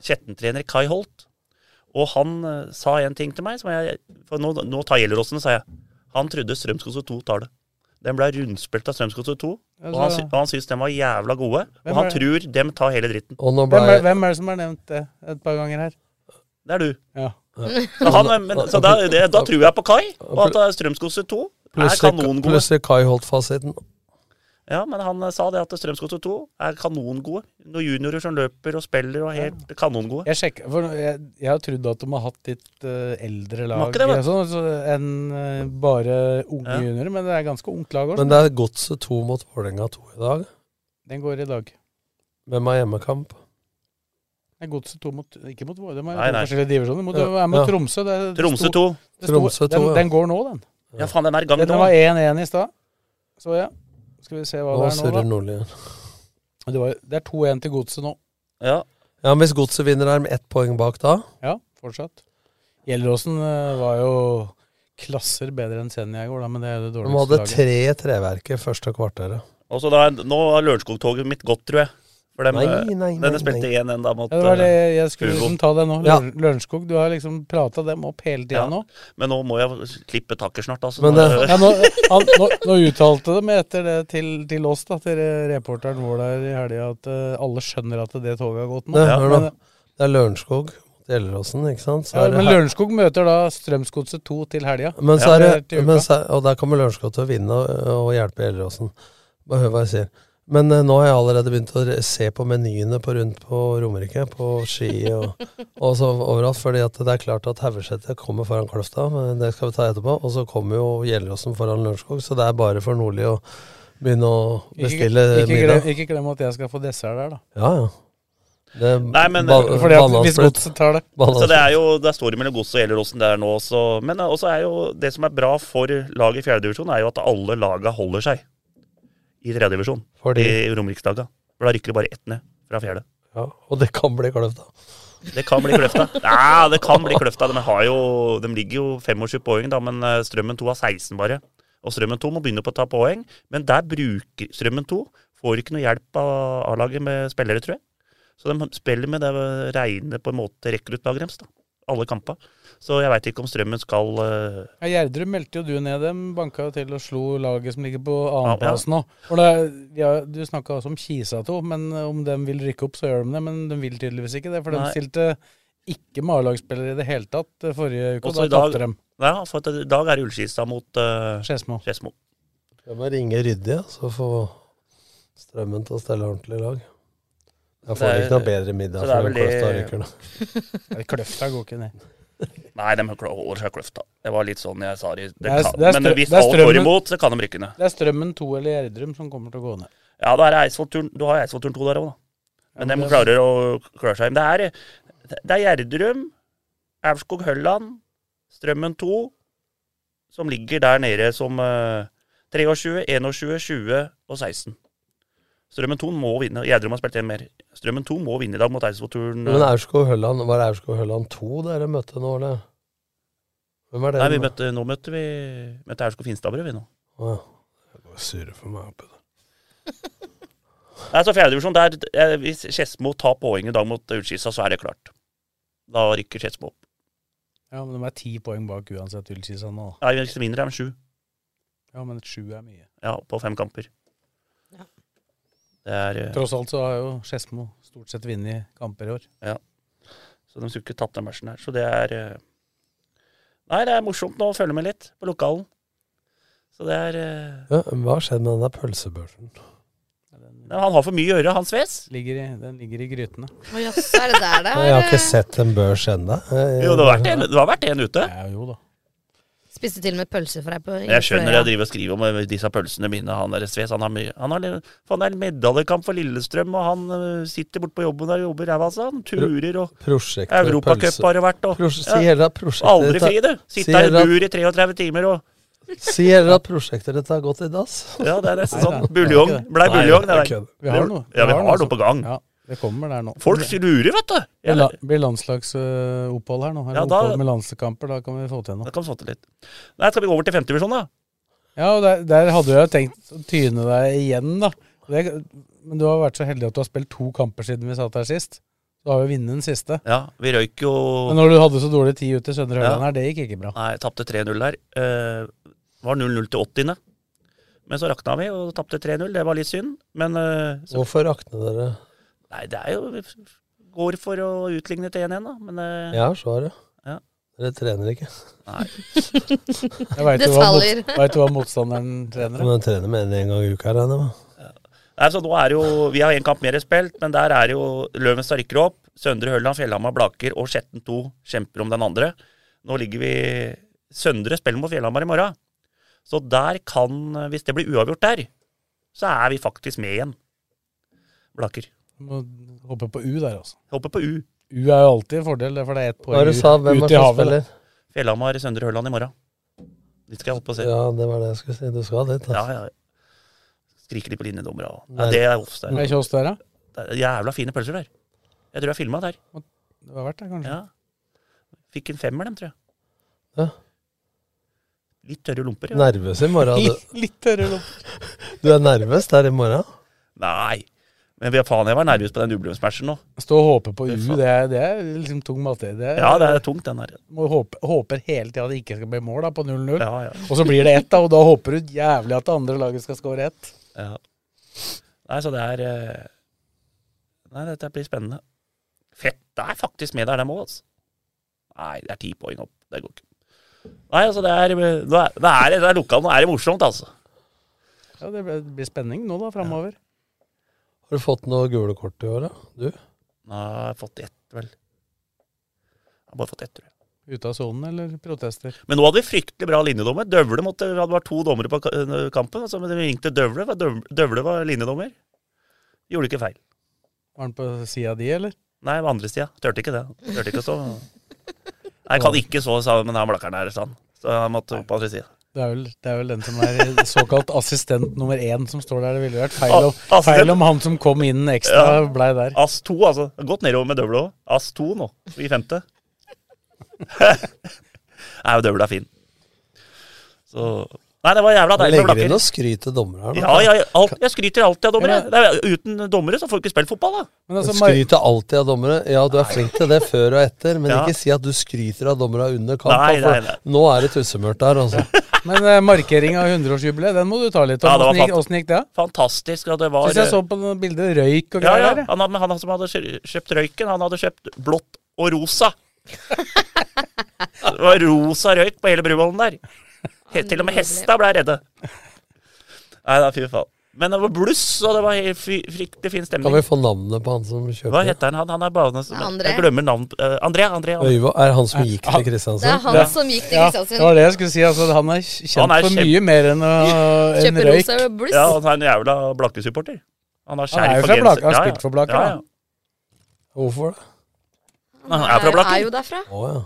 [SPEAKER 6] Kjetten-trener Kai Holt. Og han eh, sa en ting til meg som jeg For nå, nå tar Gjelleråsen, sa jeg. Han trodde Strømsgodset 2 tar det. Den ble rundspilt av Strømsgodset 2.
[SPEAKER 5] Ja,
[SPEAKER 6] Og han,
[SPEAKER 5] så-
[SPEAKER 6] sy- og han syns den var jævla gode.
[SPEAKER 5] Hvem
[SPEAKER 6] Og han
[SPEAKER 5] er-
[SPEAKER 6] tror dem tar hele dritten.
[SPEAKER 5] hvem, er, hvem er det som har nevnt det et par ganger her?
[SPEAKER 6] Det er du.
[SPEAKER 5] Ja.
[SPEAKER 6] Så, han, men, så da, det, da tror jeg på Kai, og at eh, Strømsgodset 2 er
[SPEAKER 4] Plutselig,
[SPEAKER 6] kanongode.
[SPEAKER 4] plutselig Kai holdt fasiten.
[SPEAKER 6] Ja, men han eh, sa det at Strømsgodset 2 er kanongode. Noen juniorer som løper og spiller og er helt kanongode.
[SPEAKER 5] Jeg sjekker, for jeg, jeg har trodd at de har hatt litt eh, eldre
[SPEAKER 6] Må
[SPEAKER 5] lag
[SPEAKER 6] ikke det, vet du.
[SPEAKER 5] sånn, så- enn eh, bare unge juniorer, men det er ganske ungt lag også.
[SPEAKER 4] Men det er Godset 2 mot Vålerenga 2 i dag.
[SPEAKER 5] Den går i dag.
[SPEAKER 4] Hvem har hjemmekamp?
[SPEAKER 5] Det er Godset 2 mot Ikke mot Vålerenga,
[SPEAKER 6] Nei,
[SPEAKER 5] men
[SPEAKER 6] nei.
[SPEAKER 5] forskjellige divisjoner. Mot,
[SPEAKER 6] Ja,
[SPEAKER 5] det er mot
[SPEAKER 6] ja.
[SPEAKER 5] Tromsø. Det, det
[SPEAKER 6] Tromsø
[SPEAKER 5] sto-
[SPEAKER 6] 2.
[SPEAKER 5] det sto-
[SPEAKER 4] Tromsø 2,
[SPEAKER 5] den,
[SPEAKER 4] ja.
[SPEAKER 5] den går nå, den.
[SPEAKER 6] Ja, faen, den er i gang
[SPEAKER 5] Den
[SPEAKER 6] nå.
[SPEAKER 5] var e- 1-1 i stad, så jeg. Skal vi se hva
[SPEAKER 4] Nå
[SPEAKER 5] det er nå, da.
[SPEAKER 4] surrer Nordli igjen.
[SPEAKER 5] Det, var, det er 2-1 til Godset nå.
[SPEAKER 6] Ja.
[SPEAKER 4] Ja, men Hvis Godset vinner, er de ett poeng bak da?
[SPEAKER 5] Ja, fortsatt. Gjelleråsen eh, var jo klasser bedre enn Senja i går, da, men det er jo det
[SPEAKER 4] De
[SPEAKER 5] dårligste
[SPEAKER 4] hadde
[SPEAKER 5] laget.
[SPEAKER 4] tre i treverket første kvarteret.
[SPEAKER 6] Og så da, nå har Lørenskog-toget mitt gått, tror jeg. For dem,
[SPEAKER 4] Nei,
[SPEAKER 6] eh,
[SPEAKER 4] nei, nei,
[SPEAKER 6] denne spilte 1-1 da mot
[SPEAKER 5] Ja, det var det
[SPEAKER 6] eh,
[SPEAKER 5] jeg skulle
[SPEAKER 6] Hugo.
[SPEAKER 5] liksom ta det nå.
[SPEAKER 4] Ja.
[SPEAKER 5] Løren- Lørenskog, du har liksom prata dem opp hele tida
[SPEAKER 6] Ja.
[SPEAKER 5] nå. eh,
[SPEAKER 6] Men nå må jeg klippe takker snart, altså.
[SPEAKER 4] Men
[SPEAKER 6] Nå-
[SPEAKER 5] Ja, nå, han, nå, nå uttalte de etter det til, til oss, da, til reporteren vår der i helga, at eh, alle skjønner at det toget har gått nå.
[SPEAKER 4] Det, hør nå.
[SPEAKER 5] men,
[SPEAKER 4] Det er Lørenskog mot Gjelleråsen, ikke sant? Så
[SPEAKER 5] ja,
[SPEAKER 4] er det
[SPEAKER 5] men
[SPEAKER 4] her-
[SPEAKER 5] Lørenskog møter da Strømsgodset 2 til helga.
[SPEAKER 4] Men så
[SPEAKER 5] Ja,
[SPEAKER 4] er
[SPEAKER 5] til
[SPEAKER 4] det,
[SPEAKER 5] uka.
[SPEAKER 4] men så, er- og der kommer Lørenskog til å vinne og, og hjelpe Gjelleråsen. Bare hør hva jeg sier. Men eh, nå har jeg allerede begynt å re- se på menyene på rundt på Romerike, på Ski og, og så overalt. fordi at det er klart at Haugeseter kommer foran Kløfta, men det skal vi ta etterpå. Og så kommer jo Gjelleråsen foran Lørenskog, så det er bare for Nordli å begynne å bestille
[SPEAKER 5] ikke, ikke, glem,
[SPEAKER 4] middag.
[SPEAKER 5] ikke glem at jeg skal få dessert der, da.
[SPEAKER 4] Ja, ja. Det er
[SPEAKER 6] Nei, men-
[SPEAKER 4] ba-
[SPEAKER 5] Fordi at hvis
[SPEAKER 4] banansplitt.
[SPEAKER 5] godset tar det.
[SPEAKER 6] [LAUGHS] Så det
[SPEAKER 4] Banansplitt.
[SPEAKER 6] er jo, det står jo mellom Gods og Gjelleråsen der nå også. Men eh, også er jo det som er bra for laget i fjerdedivisjon, er jo at alle laga holder seg i tredjedivisjon.
[SPEAKER 4] Fordi?
[SPEAKER 6] I Romerikslaga. For da rykker det bare ett ned fra fjerde.
[SPEAKER 4] Ja, og det kan bli Kløfta.
[SPEAKER 6] Det kan bli Kløfta. Nei, det kan bli Kløfta. De, har jo, de ligger jo 25 poeng, da, men eh, Strømmen 2 har 16 bare. Og Strømmen 2 må begynne på å ta poeng, men der bruker Strømmen 2 Får ikke noe hjelp av A-laget med spillere, tror jeg. Så de spiller med det reine på en måte rekruttlaget deres, da. Alle kampa. Så jeg veit ikke om Strømmen skal eh,
[SPEAKER 5] Ja, Gjerdrum meldte jo du ned dem, banka jo til og slo laget som ligger på
[SPEAKER 6] Ja, ja.
[SPEAKER 5] annenplass nå. For det, ja, du snakka også om Kisa 2, men eh, om de vil rykke opp, så gjør de det. Men de vil tydeligvis ikke det, for
[SPEAKER 6] Nei.
[SPEAKER 5] de stilte ikke med A-lagsspillere i det hele tatt eh, forrige uke, og
[SPEAKER 6] Også
[SPEAKER 5] da
[SPEAKER 6] i dag-
[SPEAKER 5] tapte dem.
[SPEAKER 6] Ja, for altså, at i dag er det Ullskisa mot eh,
[SPEAKER 5] Skedsmo.
[SPEAKER 6] Skedsmo.
[SPEAKER 4] Jeg må ringe ryddig, ja, så få strømmen til å stelle ordentlig i lag. Jeg får
[SPEAKER 6] Det er-
[SPEAKER 4] ikke noe bedre
[SPEAKER 6] så
[SPEAKER 4] middag
[SPEAKER 6] det er
[SPEAKER 4] for
[SPEAKER 6] vel
[SPEAKER 4] den kløfta
[SPEAKER 6] det-
[SPEAKER 4] ryker nå.
[SPEAKER 5] Nei, Kløfta går ikke ned.
[SPEAKER 6] Nei, de holder seg kløfta. Det var litt sånn jeg sa det.
[SPEAKER 5] Det er-
[SPEAKER 6] kan,
[SPEAKER 5] det er strø-
[SPEAKER 6] men hvis
[SPEAKER 5] det er
[SPEAKER 6] alt går
[SPEAKER 5] strømmen-
[SPEAKER 6] imot, så kan de rykke ned.
[SPEAKER 5] Det er Strømmen 2 eller Gjerdrum som kommer til å gå ned.
[SPEAKER 6] Ja, da er det Eidsvollturen. Du har Eidsvollturen 2 der òg, da. Men
[SPEAKER 5] Ja, men
[SPEAKER 6] de
[SPEAKER 5] det-
[SPEAKER 6] klarer å klare seg. Men Det er, det er Gjerdrum, Aurskog Hølland, Strømmen 2 som ligger der nede som eh, 23, 21, 20 og 16. Strømmen 2 må vinne. Gjerdrum har spilt en mer. Strømmen 2 må vinne i dag mot Eidsvollturen.
[SPEAKER 4] Men Aurskog-Hølland, var det Aurskog-Hølland 2 dere møtte nå, eller? Hvem er det?
[SPEAKER 6] Nei, vi møtte, nå møtte vi møtte Aurskog Finstadbrød, vi nå.
[SPEAKER 4] Å, ja. Det går surre for meg oppi der.
[SPEAKER 6] Nei, så fjerdedivisjon, der eh, Hvis Skedsmo tar poeng i dag mot Ullskissa, så er det klart. Da rykker Skedsmo opp.
[SPEAKER 5] Ja, men de er ti poeng bak uansett Ullkisa nå.
[SPEAKER 6] Ja, hvis de vinner, er de sju.
[SPEAKER 5] Ja, men sju er mye.
[SPEAKER 6] Ja, på fem kamper. Det er eh,
[SPEAKER 5] Tross alt så har jo Skedsmo stort sett vunnet kamper i år.
[SPEAKER 6] Ja. Så de skulle ikke tatt den matchen her. Så det er eh, Nei, det er morsomt nå å følge med litt på lokalen. Så det er eh,
[SPEAKER 4] Ja, hva har skjedd med den der pølsebørsen?
[SPEAKER 6] nei, Han har for mye å gjøre, han Sves.
[SPEAKER 5] Ligger i, den ligger i grytene.
[SPEAKER 3] Å jaså, er det der det
[SPEAKER 4] Jeg har
[SPEAKER 3] er?
[SPEAKER 4] ikke sett en børs ennå.
[SPEAKER 6] Jo, det har vært en, det har vært en ute.
[SPEAKER 5] Ja, jo da.
[SPEAKER 3] Spiste til og med pølse for deg på
[SPEAKER 6] Jeg skjønner jeg driver og skriver om eh, disse pølsene mine. Han der Sves, han har mye Han har, litt- faen, det er medaljekamp for Lillestrøm, og han eh, sitter borte på jobben der og jobber ræva altså. Han turer og
[SPEAKER 4] Prosjektet
[SPEAKER 6] Europacup har det vært, og
[SPEAKER 4] Prosje- si hele prosjektet
[SPEAKER 6] Aldri
[SPEAKER 4] ditt er-
[SPEAKER 6] fri, du.
[SPEAKER 4] si
[SPEAKER 6] Sitte her i
[SPEAKER 4] hele-
[SPEAKER 6] bur i 33 timer og
[SPEAKER 4] Si heller at prosjektet ditt har gått i dass.
[SPEAKER 6] Ja, det er nesten
[SPEAKER 4] Nei,
[SPEAKER 6] sånn.
[SPEAKER 4] nei.
[SPEAKER 6] Buljong.
[SPEAKER 4] Nei,
[SPEAKER 6] Blei
[SPEAKER 4] nei,
[SPEAKER 6] buljong, det
[SPEAKER 4] jeg
[SPEAKER 6] der.
[SPEAKER 4] kødder.
[SPEAKER 5] Vi har noe.
[SPEAKER 6] Ja, vi har
[SPEAKER 5] altså.
[SPEAKER 6] noe på gang.
[SPEAKER 5] Ja, det kommer der nå.
[SPEAKER 6] Folk lurer, vet du.
[SPEAKER 5] Det
[SPEAKER 6] Jeg,
[SPEAKER 5] la- blir landslagsopphold her nå. Her
[SPEAKER 6] Ja,
[SPEAKER 5] er
[SPEAKER 6] da-
[SPEAKER 5] opphold med landskamper, da kan vi få til noe.
[SPEAKER 6] da kan vi få til litt. Nei, skal vi gå over til femtedivisjon, da?
[SPEAKER 5] Ja, og der, der hadde jeg tenkt å tyne deg igjen, da. Det, men du har vært så heldig at du har spilt to kamper siden vi satt her sist. Du har jo vunnet den siste.
[SPEAKER 6] Ja, vi røyk jo
[SPEAKER 5] Men når du hadde så dårlig tid ut til Søndre Ørland her, det gikk ikke bra.
[SPEAKER 6] Nei, tapte 3-0 der. Eh, var 0-0 til 80. Men så rakna vi og tapte 3-0. Det var litt synd, men eh, så,
[SPEAKER 4] Hvorfor rakne dere?
[SPEAKER 6] Nei, det er jo vi Går for å utligne til 1-1, da. Men eh,
[SPEAKER 4] Ja, svaret.
[SPEAKER 6] Ja.
[SPEAKER 4] Dere trener ikke.
[SPEAKER 6] Nei.
[SPEAKER 5] Jeg veit jo hva, mot, vet du hva motstanderen trener.
[SPEAKER 4] Men den trener med en gang i uka, regner jeg med.
[SPEAKER 6] Nei, så nå er det jo, Vi har én kamp mer spilt, men der er det jo Løvenstad rykker opp. Søndre Hølland, Fjellhamar, Blaker og Skjetten 2 kjemper om den andre. Nå ligger vi Søndre spiller mot Fjellhamar i morgen. Så der kan, hvis det blir uavgjort der, så er vi faktisk med igjen. Blaker.
[SPEAKER 5] Må håpe på U der, altså.
[SPEAKER 6] Håper på U.
[SPEAKER 5] U er jo alltid en fordel, for det er ett
[SPEAKER 4] Hva
[SPEAKER 5] poeng
[SPEAKER 4] du sa, hvem
[SPEAKER 5] ut
[SPEAKER 4] var
[SPEAKER 5] i
[SPEAKER 4] det som
[SPEAKER 5] havet. da.
[SPEAKER 4] spiller?
[SPEAKER 6] Fjellhamar, Søndre Hølland i morgen. Dit skal jeg holde på å se.
[SPEAKER 4] Ja, det var det jeg skulle si. Du skal dit.
[SPEAKER 6] Ja,
[SPEAKER 4] Altså.
[SPEAKER 6] ja. Skriker de på linjedommere og ja, Det er oss der.
[SPEAKER 5] Er ikke oss der, da?
[SPEAKER 6] Det er Jævla fine pølser der. Jeg tror jeg filma der.
[SPEAKER 5] Det var verdt det, kanskje.
[SPEAKER 6] Ja. Fikk en femmer, dem, tror jeg.
[SPEAKER 4] Ja.
[SPEAKER 6] Litt tørre lomper. ja.
[SPEAKER 4] Nervøs i
[SPEAKER 6] [LAUGHS]
[SPEAKER 4] morgen. Du,
[SPEAKER 5] Litt, litt tørre lopp.
[SPEAKER 4] du er nervøs der i morgen?
[SPEAKER 6] Nei. Men vi- faen, jeg var nervøs på den jubileumsmatchen nå.
[SPEAKER 5] Stå og håpe på U,
[SPEAKER 6] Fy faen.
[SPEAKER 5] det er, det er liksom tung materie. Det er,
[SPEAKER 6] Ja, det er tungt, den der.
[SPEAKER 5] Må håpe, håper hele tida det ikke skal bli mål da, på 0-0.
[SPEAKER 6] Ja, ja.
[SPEAKER 5] Og så blir det ett, da, og da håper du jævlig at det andre laget skal skåre ett.
[SPEAKER 6] ja. Nei, så det er eh, Nei, dette blir spennende. Fett. Det er faktisk med der, dem òg, altså. Nei, det er ti poeng opp. Det går ikke. Nei, altså, det er Nå er, nå er, det- det er lokalt, nå er det morsomt, altså.
[SPEAKER 5] Ja, det blir- blir spenning nå da, framover.
[SPEAKER 4] Har du fått noe gule kort i år, da? Du?
[SPEAKER 6] Nå har jeg fått ett, vel. Jeg har bare fått ett, tror jeg.
[SPEAKER 5] Ute av sonen eller protester.
[SPEAKER 6] Men nå hadde vi fryktelig bra linjedommer. Døvle måtte, det var to dommere på ka- kampen, altså, men vi ringte Døvle. var Døv- Døvle var linjedommer. Gjorde ikke feil.
[SPEAKER 5] Var han på sida di, eller?
[SPEAKER 6] Nei, på andre sida. Tørte ikke det. Tørte ikke å stå. Jeg kan ikke så, sa men han blakkeren her, sa han. Så han måtte opp på andre sida.
[SPEAKER 5] Det er, vel, det er vel den som er såkalt assistent nummer én som står der. Det ville vært feil,
[SPEAKER 6] Ah,
[SPEAKER 5] om,
[SPEAKER 6] assistent.
[SPEAKER 5] feil om han som kom inn ekstra,
[SPEAKER 6] Ja.
[SPEAKER 5] blei der.
[SPEAKER 6] Ass 2, altså. Godt nedover med Døvle òg. Ass 2 nå, i femte. [LAUGHS] Nei, men Døvle er fin. Så Nei, det var jævla deilig med
[SPEAKER 4] Legger inn
[SPEAKER 6] blakker.
[SPEAKER 4] og skryter dommere her nå.
[SPEAKER 6] Ja, jeg, alt, jeg skryter alltid av dommere. Det er, uten dommere så får vi ikke spilt fotball, da.
[SPEAKER 5] Men altså, Mar
[SPEAKER 4] Skryter alltid av dommere. Ja, du er flink til det før og etter, men
[SPEAKER 6] Ja.
[SPEAKER 4] ikke si at du skryter av dommere under kamp.
[SPEAKER 6] Nei,
[SPEAKER 4] da, for
[SPEAKER 6] nei, nei.
[SPEAKER 4] Nå er det tussemørkt her, altså.
[SPEAKER 5] men eh, markering av 100-årsjubileet, den må du ta litt om.
[SPEAKER 6] Ja, det var
[SPEAKER 5] Åssen gikk-
[SPEAKER 6] fant-
[SPEAKER 5] åssen gikk det?
[SPEAKER 6] Fantastisk. Og det var eh,
[SPEAKER 5] Syns jeg så på noen bilder røyk og
[SPEAKER 6] ja,
[SPEAKER 5] greier.
[SPEAKER 6] ja.
[SPEAKER 5] der, jeg.
[SPEAKER 6] Han, hadde- han som hadde kjø- kjøpt røyken, han hadde kjøpt blått og rosa. det var rosa røyk på hele Bruvollen der. He, til og med hesta ble redde. Nei da, fy faen. Men det var bluss, og det var helt fy- fryktelig fin
[SPEAKER 4] Kan
[SPEAKER 6] stemning.
[SPEAKER 4] vi få navnet på han som
[SPEAKER 6] Hva
[SPEAKER 4] kjøper?
[SPEAKER 6] heter han? Han, han er bare
[SPEAKER 3] André.
[SPEAKER 6] Jeg glemmer navn eh, André. André, André.
[SPEAKER 4] Øyvå er han som gikk til
[SPEAKER 3] Det er
[SPEAKER 4] Kristiansand?
[SPEAKER 3] han som gikk til
[SPEAKER 5] Ja, det var
[SPEAKER 3] Kristiansund.
[SPEAKER 5] det jeg skulle si. Altså, han er kj- kjent
[SPEAKER 6] Han er
[SPEAKER 5] for
[SPEAKER 6] kjem-
[SPEAKER 5] mye mer enn
[SPEAKER 6] [LAUGHS]
[SPEAKER 5] uh, en
[SPEAKER 3] Kjøper
[SPEAKER 5] røyk.
[SPEAKER 3] rosa bluss.
[SPEAKER 6] Ja, han er en jævla Blakke-supporter. Han har
[SPEAKER 5] Han
[SPEAKER 6] skjerf
[SPEAKER 5] er jo
[SPEAKER 6] og
[SPEAKER 5] fra
[SPEAKER 6] genser.
[SPEAKER 5] Blaker, han har
[SPEAKER 6] Ja, ja.
[SPEAKER 5] spilt for Blaker,
[SPEAKER 6] Ja, ja.
[SPEAKER 5] da.
[SPEAKER 4] Hvorfor det?
[SPEAKER 6] Han er fra
[SPEAKER 3] Er
[SPEAKER 6] Blaker.
[SPEAKER 3] jo derfra.
[SPEAKER 4] Å ja.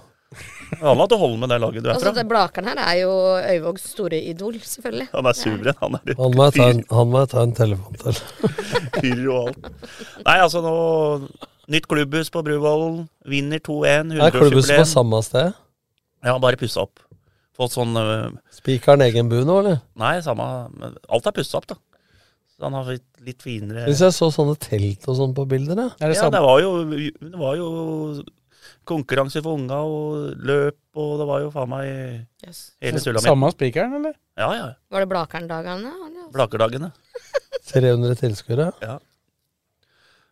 [SPEAKER 6] Han hadde hold med det laget du er
[SPEAKER 3] Altså,
[SPEAKER 6] fra.
[SPEAKER 3] det Blakeren her er jo Øyvågs store idol, selvfølgelig.
[SPEAKER 6] Han er suveren. Han er
[SPEAKER 4] Han må jeg ta en, han må jeg ta en telefon til.
[SPEAKER 6] Fyrer og alt. Nei, altså nå Nytt klubbhus på Bruvollen. Vinner 2-1.
[SPEAKER 4] Er klubbhuset på
[SPEAKER 6] 100-årsjubileum.
[SPEAKER 4] samme sted?
[SPEAKER 6] Ja, bare pussa opp. Fått sånn øh,
[SPEAKER 4] Spiker han egen bu nå, eller?
[SPEAKER 6] Nei, samme men Alt er pussa opp, da. Så han har fått litt finere
[SPEAKER 4] Hvis jeg så sånne telt og sånn på bilder, jeg.
[SPEAKER 5] Er det
[SPEAKER 6] Ja,
[SPEAKER 5] samme?
[SPEAKER 6] det var jo, det var jo konkurranse for unga og løp og Det var jo faen meg
[SPEAKER 3] Yes.
[SPEAKER 6] hele sulla mi.
[SPEAKER 5] Samme spikeren, eller?
[SPEAKER 6] Ja, ja.
[SPEAKER 3] Var det Blakeren-dagene? eller?
[SPEAKER 6] Blakerdagene.
[SPEAKER 4] 300 tilskuere.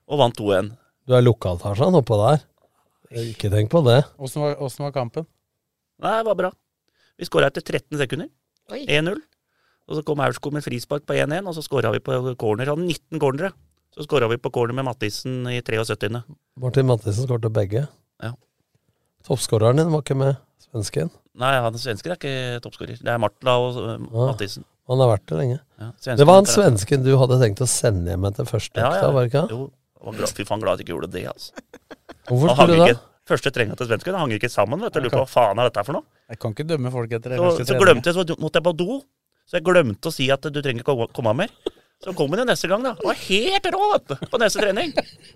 [SPEAKER 6] Og vant 2-1.
[SPEAKER 4] Du er lokaltasjen oppå der. Ikke tenk på det.
[SPEAKER 5] Åssen var, åssen var kampen?
[SPEAKER 6] Nei, det var bra. Vi skåra etter 13 sekunder.
[SPEAKER 3] Oi.
[SPEAKER 6] 1-0. Og så kom Aurskog med frispark på 1-1, og så skåra vi på corner. Han hadde 19 cornere. Så skåra vi på corner med Mattisen i 73.
[SPEAKER 4] Martin Mathisen skårte begge.
[SPEAKER 6] Ja.
[SPEAKER 4] Toppskåreren din var ikke med, svensken.
[SPEAKER 6] Nei, han svensken er ikke toppskårer. Det er Martla og øh,
[SPEAKER 4] Ah.
[SPEAKER 6] Mattisen.
[SPEAKER 4] Han har vært det lenge.
[SPEAKER 6] Ja,
[SPEAKER 4] Det var han svensken du hadde tenkt å sende hjem etter første
[SPEAKER 6] Ja,
[SPEAKER 4] økta,
[SPEAKER 6] ja.
[SPEAKER 4] var det ikke? han?
[SPEAKER 6] Jo, jeg var glad, fy faen glad at jeg ikke gjorde det, altså.
[SPEAKER 4] Hvorfor skulle
[SPEAKER 6] Han hang
[SPEAKER 4] du det?
[SPEAKER 6] ikke, første trenga til svensken hang ikke sammen, vet du. Lurer på hva faen er dette for noe?
[SPEAKER 5] Jeg kan ikke dømme folk etter det
[SPEAKER 6] Så,
[SPEAKER 5] første
[SPEAKER 6] så
[SPEAKER 5] treningen.
[SPEAKER 6] glemte jeg, så måtte jeg på do. Så jeg glemte å si at du trenger ikke å komme mer. Så kom han jo neste gang, da. Han var helt rå vet du, på neste trening.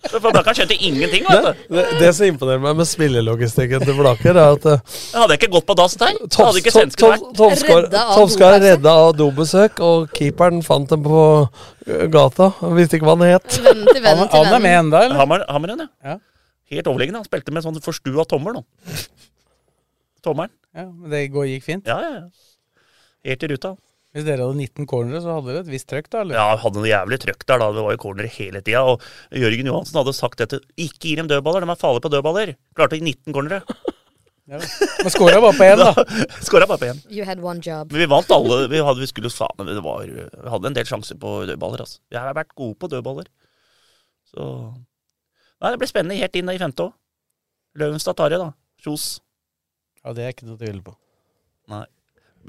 [SPEAKER 6] Så Blakkaren skjønte ingenting. vet du.
[SPEAKER 4] Det, det som imponerer meg med spillelogistikken til Blaker, er at eh,
[SPEAKER 6] Hadde jeg ikke gått på dass der, så [LAUGHS] hadde ikke
[SPEAKER 4] Tom-
[SPEAKER 6] svensken
[SPEAKER 4] Tom-
[SPEAKER 6] vært
[SPEAKER 4] Tomskar Tomskar redda av dobesøk, og keeperen fant dem på eh, gata. Han visste ikke hva han het.
[SPEAKER 3] Vennen til vennen til vennen.
[SPEAKER 6] Hammer, hammeren, ja. Helt overliggende. Han spilte med sånn forstua tommel nå. Tommelen.
[SPEAKER 5] Ja, men det går, gikk fint?
[SPEAKER 6] Ja, ja, ja. Helt i ruta.
[SPEAKER 5] Hvis dere hadde 19 cornere, så hadde dere et visst trøkk, da? eller?
[SPEAKER 6] Ja, han hadde noe jævlig trøkk der, da. Det var jo corner hele tida. Og Jørgen Johansen hadde sagt dette. Ikke gi dem dødballer, de er farlige på dødballer. Klarte 19 cornere.
[SPEAKER 5] Men skåra bare på én,
[SPEAKER 6] [LAUGHS]
[SPEAKER 5] da.
[SPEAKER 6] Skåra bare på én.
[SPEAKER 3] You had one job.
[SPEAKER 6] Men vi vant alle. Vi hadde, vi skulle, jo faen, det var, vi hadde en del sjanser på dødballer. Altså. Vi har vært gode på dødballer. Så Nei, det blir spennende helt inn i femte òg. Løvenstad tar det, da. Kjos.
[SPEAKER 5] Ja, Det er ikke noe å tvile på.
[SPEAKER 6] Nei.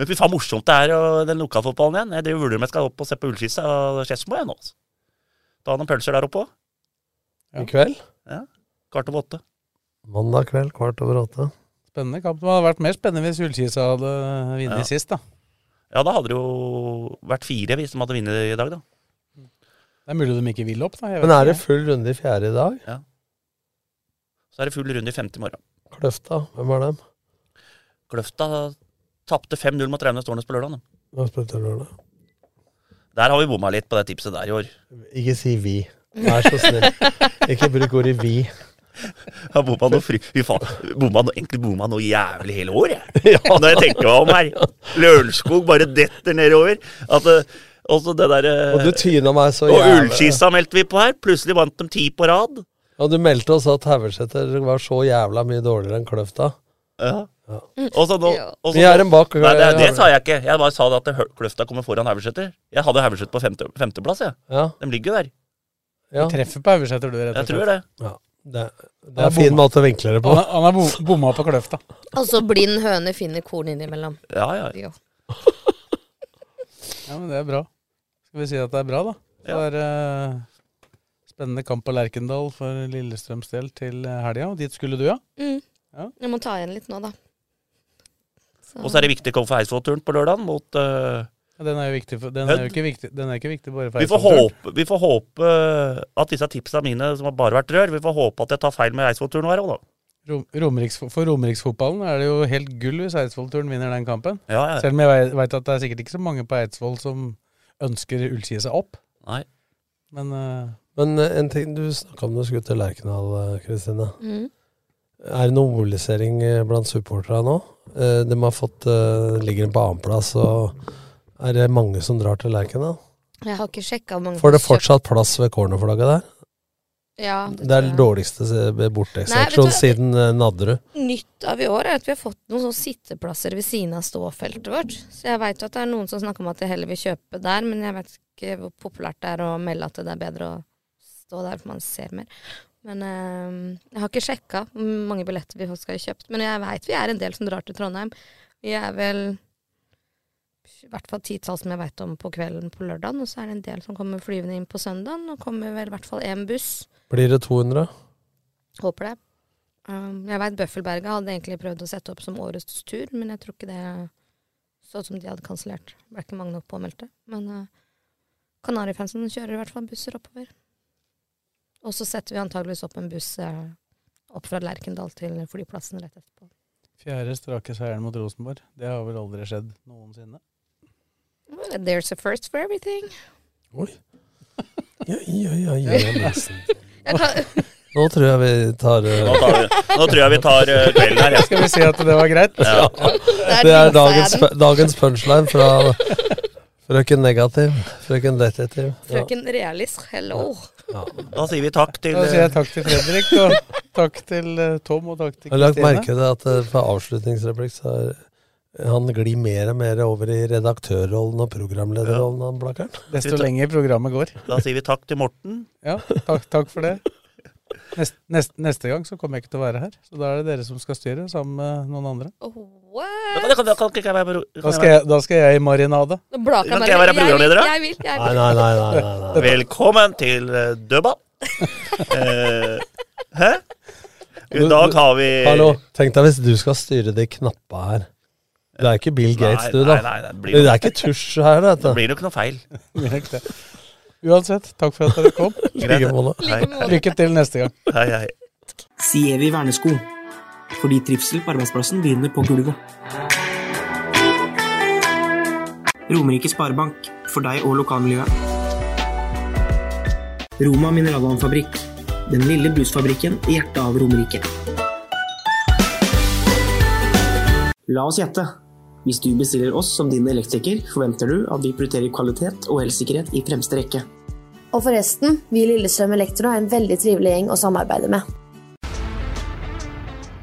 [SPEAKER 6] Men fy faen morsomt det er og den lokalfotballen igjen. Jeg driver og vurderer om jeg skal opp og se på Ullskissa og Skedsmo jeg nå. altså. Ta noen pølser der oppe òg.
[SPEAKER 4] I kveld?
[SPEAKER 6] Ja. Kvart over åtte.
[SPEAKER 4] Mandag kveld kvart over åtte.
[SPEAKER 5] Spennende kamp. Det hadde vært mer spennende hvis Ullkisa hadde vunnet
[SPEAKER 6] Ja.
[SPEAKER 5] sist, da.
[SPEAKER 6] Ja, da hadde det jo vært fire hvis de hadde vunnet i dag, da.
[SPEAKER 5] Det er mulig de ikke vil opp, da. Jeg
[SPEAKER 4] Men er det full runde i fjerde i dag?
[SPEAKER 6] Ja. Så er det full runde i femte i morgen.
[SPEAKER 4] Kløfta, hvem er dem?
[SPEAKER 6] Kløfta tapte 5-0 mot Raunes Tårnes på lørdag.
[SPEAKER 4] Nå spilte jeg lørdag.
[SPEAKER 6] Der har vi bomma litt på det tipset der i år.
[SPEAKER 4] Ikke si vi. Vær så snill. Ikke bruk ordet vi.
[SPEAKER 6] Jeg bomma noe fri... Fy faen. Bomma noe, egentlig bomma noe jævlig hele år, jeg. Når jeg tenker meg om her. Lørenskog bare detter nedover. At eh, også det derre
[SPEAKER 4] Og du tyna meg så
[SPEAKER 6] Og
[SPEAKER 4] jævlig.
[SPEAKER 6] Ullskissa meldte vi på her. Plutselig vant de ti på rad.
[SPEAKER 4] Ja, du meldte oss at Haugesæter var så jævla mye dårligere enn Kløfta.
[SPEAKER 6] Ja. Og så nå og så
[SPEAKER 4] Vi er en bak-
[SPEAKER 6] Nei, det, det sa jeg ikke. Jeg bare sa det at Hø- Kløfta kommer foran Haugesæter. Jeg hadde Haugesæter på femte, femteplass, jeg.
[SPEAKER 4] Ja.
[SPEAKER 6] De ligger jo der.
[SPEAKER 4] Ja.
[SPEAKER 5] Du treffer på Haugesæter, du, rett
[SPEAKER 6] Jeg tror det.
[SPEAKER 4] Ja. Det, det er en fin måte å vinkle det på.
[SPEAKER 5] Han, er- han er bom- bomma på Kløfta.
[SPEAKER 3] Altså, blind høne finner korn innimellom.
[SPEAKER 6] Ja, ja.
[SPEAKER 3] Jo.
[SPEAKER 5] Ja, men det er bra. Skal vi si at det er bra, da? Så er det spennende kamp på Lerkendal for Lillestrøms del til helga. Og dit skulle du, ja?
[SPEAKER 3] Mm. Jeg må ta igjen litt nå, da. Så-
[SPEAKER 6] Og så er det viktig kamp for Eidsvoll-turen på lørdag mot eh,
[SPEAKER 5] Ja, Den er jo viktig, for, den er jo ikke viktig, den er ikke viktig bare for
[SPEAKER 6] vi, får
[SPEAKER 5] Eidsvoll-turen.
[SPEAKER 6] håpe, vi får håpe eh, at disse tipsa mine som har bare vært rør, vi får håpe at jeg tar feil med Eidsvoll-turen her òg, da.
[SPEAKER 5] Rom, Romeriks, for Romeriksfotballen er det jo helt gull hvis Eidsvoll-turen vinner den kampen.
[SPEAKER 6] Ja, ja.
[SPEAKER 5] Selv om jeg veit at det er sikkert ikke så mange på Eidsvoll som ønsker Ullskie seg opp.
[SPEAKER 6] Nei.
[SPEAKER 5] Men eh,
[SPEAKER 4] Men eh, en ting du snakka om da du skulle til Lerkendal, eh, Kristine.
[SPEAKER 3] Mm.
[SPEAKER 4] Er det noe mobilisering eh, blant supporterne nå? Eh, De har fått eh, Ligger på annenplass, og er det mange som drar til Lerkendal?
[SPEAKER 3] Jeg har ikke sjekka mange
[SPEAKER 4] Får det
[SPEAKER 3] som kjøper-
[SPEAKER 4] fortsatt plass ved cornerflagget der?
[SPEAKER 3] Ja,
[SPEAKER 4] Det er den dårligste se-
[SPEAKER 3] Nei, vet du
[SPEAKER 4] borteseksjonen
[SPEAKER 3] hva?
[SPEAKER 4] siden eh, Nadderud.
[SPEAKER 3] Nytt av i år er at vi har fått noen sånne sitteplasser ved siden av ståfeltet vårt. Så jeg veit at det er noen som snakker om at de heller vil kjøpe der, men jeg veit ikke hvor populært det er å melde at det er bedre å stå der, for man ser mer. Men eh, jeg har ikke sjekka hvor mange billetter vi skal ha kjøpt. Men jeg veit vi er en del som drar til Trondheim. Vi er vel i hvert fall titall som jeg veit om på kvelden på lørdagen, og så er det en del som kommer flyvende inn på søndagen, og kommer vel i hvert fall én buss.
[SPEAKER 4] Blir det 200?
[SPEAKER 3] Håper det. Um, jeg veit Bøffelberget hadde egentlig prøvd å sette opp som årets tur, men jeg tror ikke det så ut som de hadde kansellert. Ble ikke mange nok påmeldte. Men uh, Kanarifansen kjører i hvert fall busser oppover. Og så setter vi antageligvis opp en buss eh, opp fra Lerkendal til flyplassen rett etterpå.
[SPEAKER 5] fjerde strake seieren mot Rosenborg, det har vel aldri skjedd noensinne.
[SPEAKER 3] There's a first for everything.
[SPEAKER 4] Ja, ja, ja, ja,
[SPEAKER 3] [LAUGHS]
[SPEAKER 4] nesten.
[SPEAKER 3] Jeg
[SPEAKER 6] [LAUGHS]
[SPEAKER 3] kan-
[SPEAKER 4] Nå tror jeg vi tar eh,
[SPEAKER 6] Nå, tar vi, nå tror jeg vi tar eh, kvelden her. jeg.
[SPEAKER 5] Skal vi si at det var greit?
[SPEAKER 4] [LAUGHS]
[SPEAKER 6] Ja.
[SPEAKER 4] Det er dagens, pu- dagens punchline fra frøken negativ, frøken detektiv. Ja.
[SPEAKER 3] Frøken Realist, hello.
[SPEAKER 6] Da sier vi takk til
[SPEAKER 5] Da sier jeg takk til Fredrik, og takk til eh, Tom, og takk til
[SPEAKER 4] Jeg har lagt merke til
[SPEAKER 5] Kristine.
[SPEAKER 4] at eh, på avslutningsreplikk så er han glir mer og mer over i redaktørrollen og programlederrollen, han blakkeren.
[SPEAKER 5] Desto lenger programmet går.
[SPEAKER 6] Da sier vi takk til Morten.
[SPEAKER 5] Ja, takk, takk for det. Nest, nest, neste gang så kommer jeg ikke til å være her, så da er det dere som skal styre, sammen med noen andre.
[SPEAKER 3] Oh,
[SPEAKER 6] Da kan, da kan, da kan ikke jeg være pro- kan
[SPEAKER 5] Da
[SPEAKER 6] jeg
[SPEAKER 5] skal jeg, da skal jeg i marinade.
[SPEAKER 3] Blaka
[SPEAKER 6] Kan
[SPEAKER 3] meg
[SPEAKER 6] ikke jeg være
[SPEAKER 3] litt. Jeg vil,
[SPEAKER 6] programleder, da?
[SPEAKER 3] jeg vil, jeg vil.
[SPEAKER 4] Nei, nei, nei. nei, nei, nei.
[SPEAKER 6] Velkommen til eh, dødball. Eh, Hæ? I dag har vi
[SPEAKER 4] Hallo, tenk deg hvis du skal styre de knappa her. Du er ikke Bill Gates,
[SPEAKER 6] Nei,
[SPEAKER 4] du, da.
[SPEAKER 6] nei, nei, det blir-
[SPEAKER 4] det er ikke tusj her,
[SPEAKER 6] Det
[SPEAKER 4] dette.
[SPEAKER 6] blir nok noe feil.
[SPEAKER 5] Blir nok det. Uansett, takk for at dere kom.
[SPEAKER 1] Greit.
[SPEAKER 5] Like måte.
[SPEAKER 1] Like måte.
[SPEAKER 5] Lykke til neste gang.
[SPEAKER 6] Hei, hei.
[SPEAKER 1] Sievi vernesko. Fordi trivsel på arbeidsplassen begynner på gulvet. Romerike Sparebank. For deg og lokalmiljøet. Roma mineralvannfabrikk. Den lille brusfabrikken i hjertet av Romerike. La oss gjette. Hvis du bestiller oss som din elektriker, forventer du at vi prioriterer kvalitet og elsikkerhet i fremste rekke.
[SPEAKER 2] Og forresten, vi i Lillestrøm Elektro er en veldig trivelig gjeng å samarbeide med.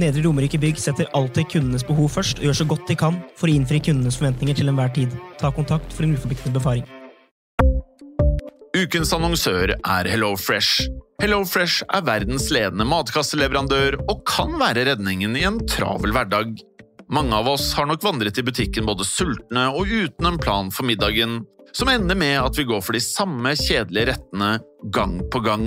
[SPEAKER 1] Nedre Romerike Bygg setter alltid kundenes behov først og gjør så godt de kan for å innfri kundenes forventninger til enhver tid. Ta kontakt for en uforpliktende befaring.
[SPEAKER 8] Ukens annonsør er HelloFresh. HelloFresh er verdens ledende matkasseleverandør og kan være redningen i en travel hverdag. Mange av oss har nok vandret i butikken både sultne og uten en plan for middagen, som ender med at vi går for de samme kjedelige rettene gang på gang.